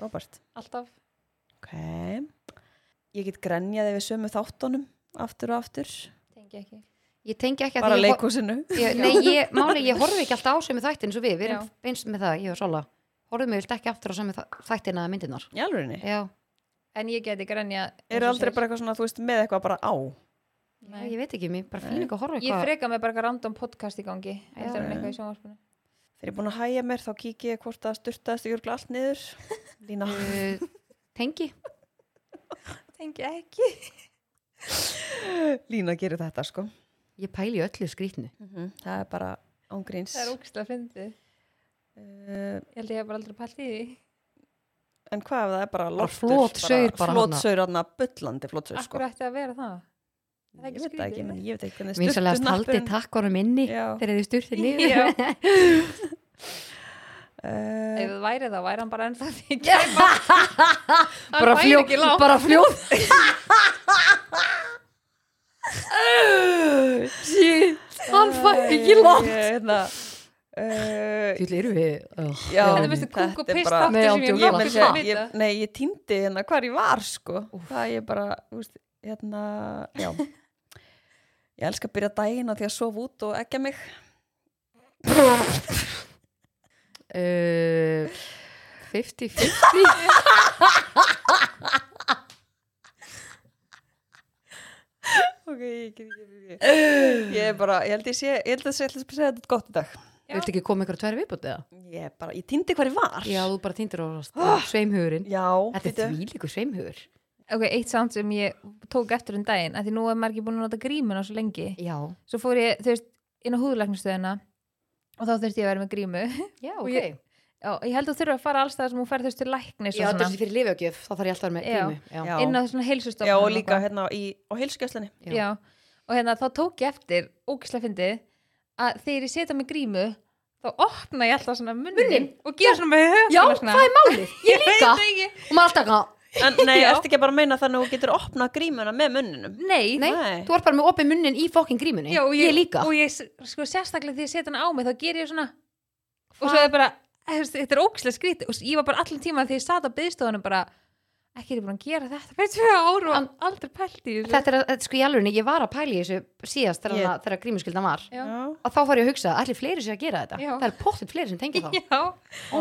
[SPEAKER 1] Robert.
[SPEAKER 2] Alltaf.
[SPEAKER 1] Ok. Ég get grenjað yfir sömu þáttunum aftur og aftur.
[SPEAKER 2] Tengi ekki.
[SPEAKER 3] Ég tengi ekki að
[SPEAKER 1] Bara
[SPEAKER 3] því ég hor-
[SPEAKER 1] leikúsinu.
[SPEAKER 3] ég, Nei, ég, máli, ég horfi ekki alltaf á sem þættin eins og við, við
[SPEAKER 2] Já.
[SPEAKER 3] erum eins með það, ég og Sola Horfum við vilt ekki aftur á sem þættin að myndirnar
[SPEAKER 1] Í alvörinni.
[SPEAKER 3] Já,
[SPEAKER 2] En ég geti grænja.
[SPEAKER 1] Eru aldrei bara eitthvað svona, þú veist, með eitthvað bara á.
[SPEAKER 3] Já, ég veit ekki, mér bara fín ekki að horfa
[SPEAKER 2] Ég
[SPEAKER 3] eitthvað
[SPEAKER 2] freka mig bara eitthvað random podcast í gangi.
[SPEAKER 3] Já.
[SPEAKER 2] Eftir hann eitthvað í sjónvarspunni.
[SPEAKER 1] Þegar ég er búin að hæja mér, þá kík ég hvort það styrtaðist og jörgla allt niður. Lína.
[SPEAKER 3] Uh, Tengi
[SPEAKER 2] Tengi ekki.
[SPEAKER 1] Lína gerir þetta, sko.
[SPEAKER 3] Ég pæli í öllu skrýtnu
[SPEAKER 1] Það er bara ángríns.
[SPEAKER 2] Mhm. Það er ógæslega fyndið.
[SPEAKER 3] Eh,
[SPEAKER 1] Uh,
[SPEAKER 2] Ég held ég hef bara aldrei pælt í því.
[SPEAKER 1] en hvað ef það er bara loftur?
[SPEAKER 3] flotsaur bara þarna.
[SPEAKER 1] Flotsaur, hann að bullandi flotsaur, sko.
[SPEAKER 2] Akkur ætti að vera það. Það er
[SPEAKER 1] Ég
[SPEAKER 2] ekki
[SPEAKER 1] veit það ekki,
[SPEAKER 2] skrítið.
[SPEAKER 1] menn ég veit ekki hvernig
[SPEAKER 3] Vinsalegast haldi
[SPEAKER 1] sturtusnappurinn-
[SPEAKER 3] takkonum inni
[SPEAKER 1] Já.
[SPEAKER 3] þegar þið sturtið niður
[SPEAKER 2] Já.
[SPEAKER 1] Eh,
[SPEAKER 2] Ef það væri þá væri hann bara ennþá því kæpa. Hann
[SPEAKER 3] bara
[SPEAKER 2] væri
[SPEAKER 3] fljóð
[SPEAKER 2] ekki langt.
[SPEAKER 3] bara fljóð shit hann fær ekki langt
[SPEAKER 1] ég, hérna, eh,
[SPEAKER 3] Þú erum við oh,
[SPEAKER 1] já,
[SPEAKER 2] Þetta er mest kúk og
[SPEAKER 1] þetta er
[SPEAKER 2] pist
[SPEAKER 1] bara-
[SPEAKER 2] þáttur
[SPEAKER 3] Nei,
[SPEAKER 2] sem ég
[SPEAKER 3] ándjóks.
[SPEAKER 1] Ég
[SPEAKER 2] hef
[SPEAKER 1] meira
[SPEAKER 2] nokkuð
[SPEAKER 1] að
[SPEAKER 2] sem
[SPEAKER 1] segja, ég-
[SPEAKER 2] vita.
[SPEAKER 1] Nei, ég týndi hérna hvar ég var sko Það ég bara, þú veist, hérna Já Ég elska að byrja daginn á því að sofa út og ekja mig
[SPEAKER 3] uh, 50-50
[SPEAKER 1] Ok, ég get ekki fyrir Ég er bara, ég held ég sé, ég held að sé ætla að segja þetta gott í dag
[SPEAKER 2] Já.
[SPEAKER 3] Viltu ekki koma ykkur tverri viðbútt eða?
[SPEAKER 1] Ég er bara, ég týndi hvar ég var
[SPEAKER 3] Já, þú bara týndir á sveimhugurinn
[SPEAKER 1] Já,
[SPEAKER 3] Þetta er
[SPEAKER 1] bíddu.
[SPEAKER 3] því líkur sveimhugur
[SPEAKER 2] Ok, eitt samt sem ég tók eftir um daginn, að því nú er maður ekki búin að nota grímun á svo lengi.
[SPEAKER 3] Já,
[SPEAKER 2] Svo fór ég, þú veist, inn á húðlæknistöðina og þá þurfti ég að vera með grímu
[SPEAKER 3] já,
[SPEAKER 2] Og ég- Já, ég held að þú þurfa að fara alls það sem hún fer þess til læknis og
[SPEAKER 3] já, þetta er
[SPEAKER 2] svona,
[SPEAKER 3] þessi fyrir lifjögjöf, þá þarf ég alltaf að vera með
[SPEAKER 2] Já.
[SPEAKER 3] grímu já.
[SPEAKER 1] Já.
[SPEAKER 2] inn á þessuna heilsustofnun
[SPEAKER 1] Já, og líka hérna í, á heilsugjöflinni.
[SPEAKER 3] Já.
[SPEAKER 2] já. og hérna þá tók ég eftir ógislega fyndið að þegar ég setja mig grímu þá opna ég alltaf svona munnin,
[SPEAKER 3] Munninn?
[SPEAKER 2] og gera svona með höfn
[SPEAKER 3] já, það er málið, ég líka og maður alltaf eitthvað,
[SPEAKER 1] En nei,
[SPEAKER 2] Já.
[SPEAKER 1] ertu ekki bara að meina þannig að þú getur opnað grímuna með munninum?
[SPEAKER 2] nei,
[SPEAKER 3] nei,
[SPEAKER 1] Nei.
[SPEAKER 3] þú ert bara með opið munnin í fokkin grímunni,
[SPEAKER 2] Já, og
[SPEAKER 3] ég, líka
[SPEAKER 2] og ég s- sko sérstaklega því ég setja hana á mig þá ger ég svona og svo er bara, þú veist, þetta er ógislega skrítið og s- ég var bara allan tíma því ég sat á byðstofunum bara, ekki er ég búin að gera þetta fyrir tvö ár og aldrei pælt í þessu
[SPEAKER 3] þetta er, að- þetta er sko í alveg, ég var að pæla í þessu síðast þegar,
[SPEAKER 1] Ég-
[SPEAKER 3] yeah. þegar grímuskyldan var
[SPEAKER 2] Já.
[SPEAKER 3] að þá fór ég að hugsa, allir fleiri sér að gera þetta
[SPEAKER 2] Já.
[SPEAKER 3] það er pottitt fleiri sem tengja þá
[SPEAKER 2] já,
[SPEAKER 1] Oh
[SPEAKER 3] oh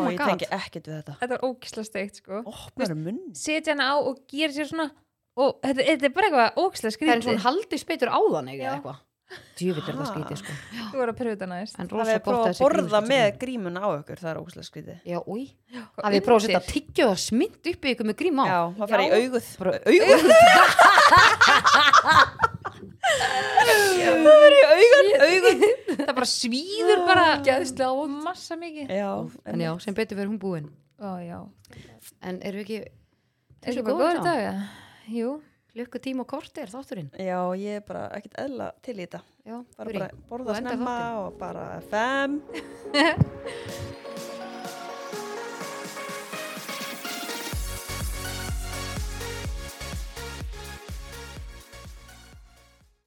[SPEAKER 3] my
[SPEAKER 1] ég
[SPEAKER 3] god,
[SPEAKER 1] tengi ekkert við þetta.
[SPEAKER 2] þetta var ógislega steikt sko
[SPEAKER 1] Opnar munnin?
[SPEAKER 2] setja hana á og gera sér svona og þetta, þetta er bara eitthvað ókslega
[SPEAKER 3] það er eins
[SPEAKER 2] skrítið
[SPEAKER 3] og hún haldi spytur á þannig
[SPEAKER 2] Já.
[SPEAKER 3] eða eitthvað djúvill er það
[SPEAKER 1] Ha.
[SPEAKER 3] skrítið sko
[SPEAKER 2] þú voru að pröfa þetta næst
[SPEAKER 3] en
[SPEAKER 1] Það
[SPEAKER 3] rosa
[SPEAKER 1] er
[SPEAKER 3] gott
[SPEAKER 1] prófa
[SPEAKER 3] að
[SPEAKER 1] að
[SPEAKER 3] þessi
[SPEAKER 1] borða
[SPEAKER 3] grímuskyldan-
[SPEAKER 1] með grímuna á ykkur, það er ógæslega skrítið.
[SPEAKER 3] já, úi, að við prófa að setja tyggju og smynt upp í ykkur með grím á
[SPEAKER 1] Já, það fer í
[SPEAKER 2] Já.
[SPEAKER 1] auguð. Auguð? Það fer í augun, augun.
[SPEAKER 2] það bara svíður bara
[SPEAKER 3] Geðslega
[SPEAKER 2] og massa mikið
[SPEAKER 1] Já,
[SPEAKER 3] en já, sem betur verið hún búin
[SPEAKER 2] ó já
[SPEAKER 3] en eru við ekki
[SPEAKER 2] er
[SPEAKER 3] Þessi
[SPEAKER 2] ekki bara
[SPEAKER 3] góður
[SPEAKER 2] góður
[SPEAKER 3] þá?
[SPEAKER 2] dag eða? jú
[SPEAKER 3] klukku tíma og kortir þátturinn
[SPEAKER 1] já, ég er bara ekkert eðla til í þetta.
[SPEAKER 3] já,
[SPEAKER 1] Bara,
[SPEAKER 3] Guri.
[SPEAKER 1] bara borða
[SPEAKER 3] Og enda
[SPEAKER 1] snemma
[SPEAKER 3] þáttinn.
[SPEAKER 1] og bara fem.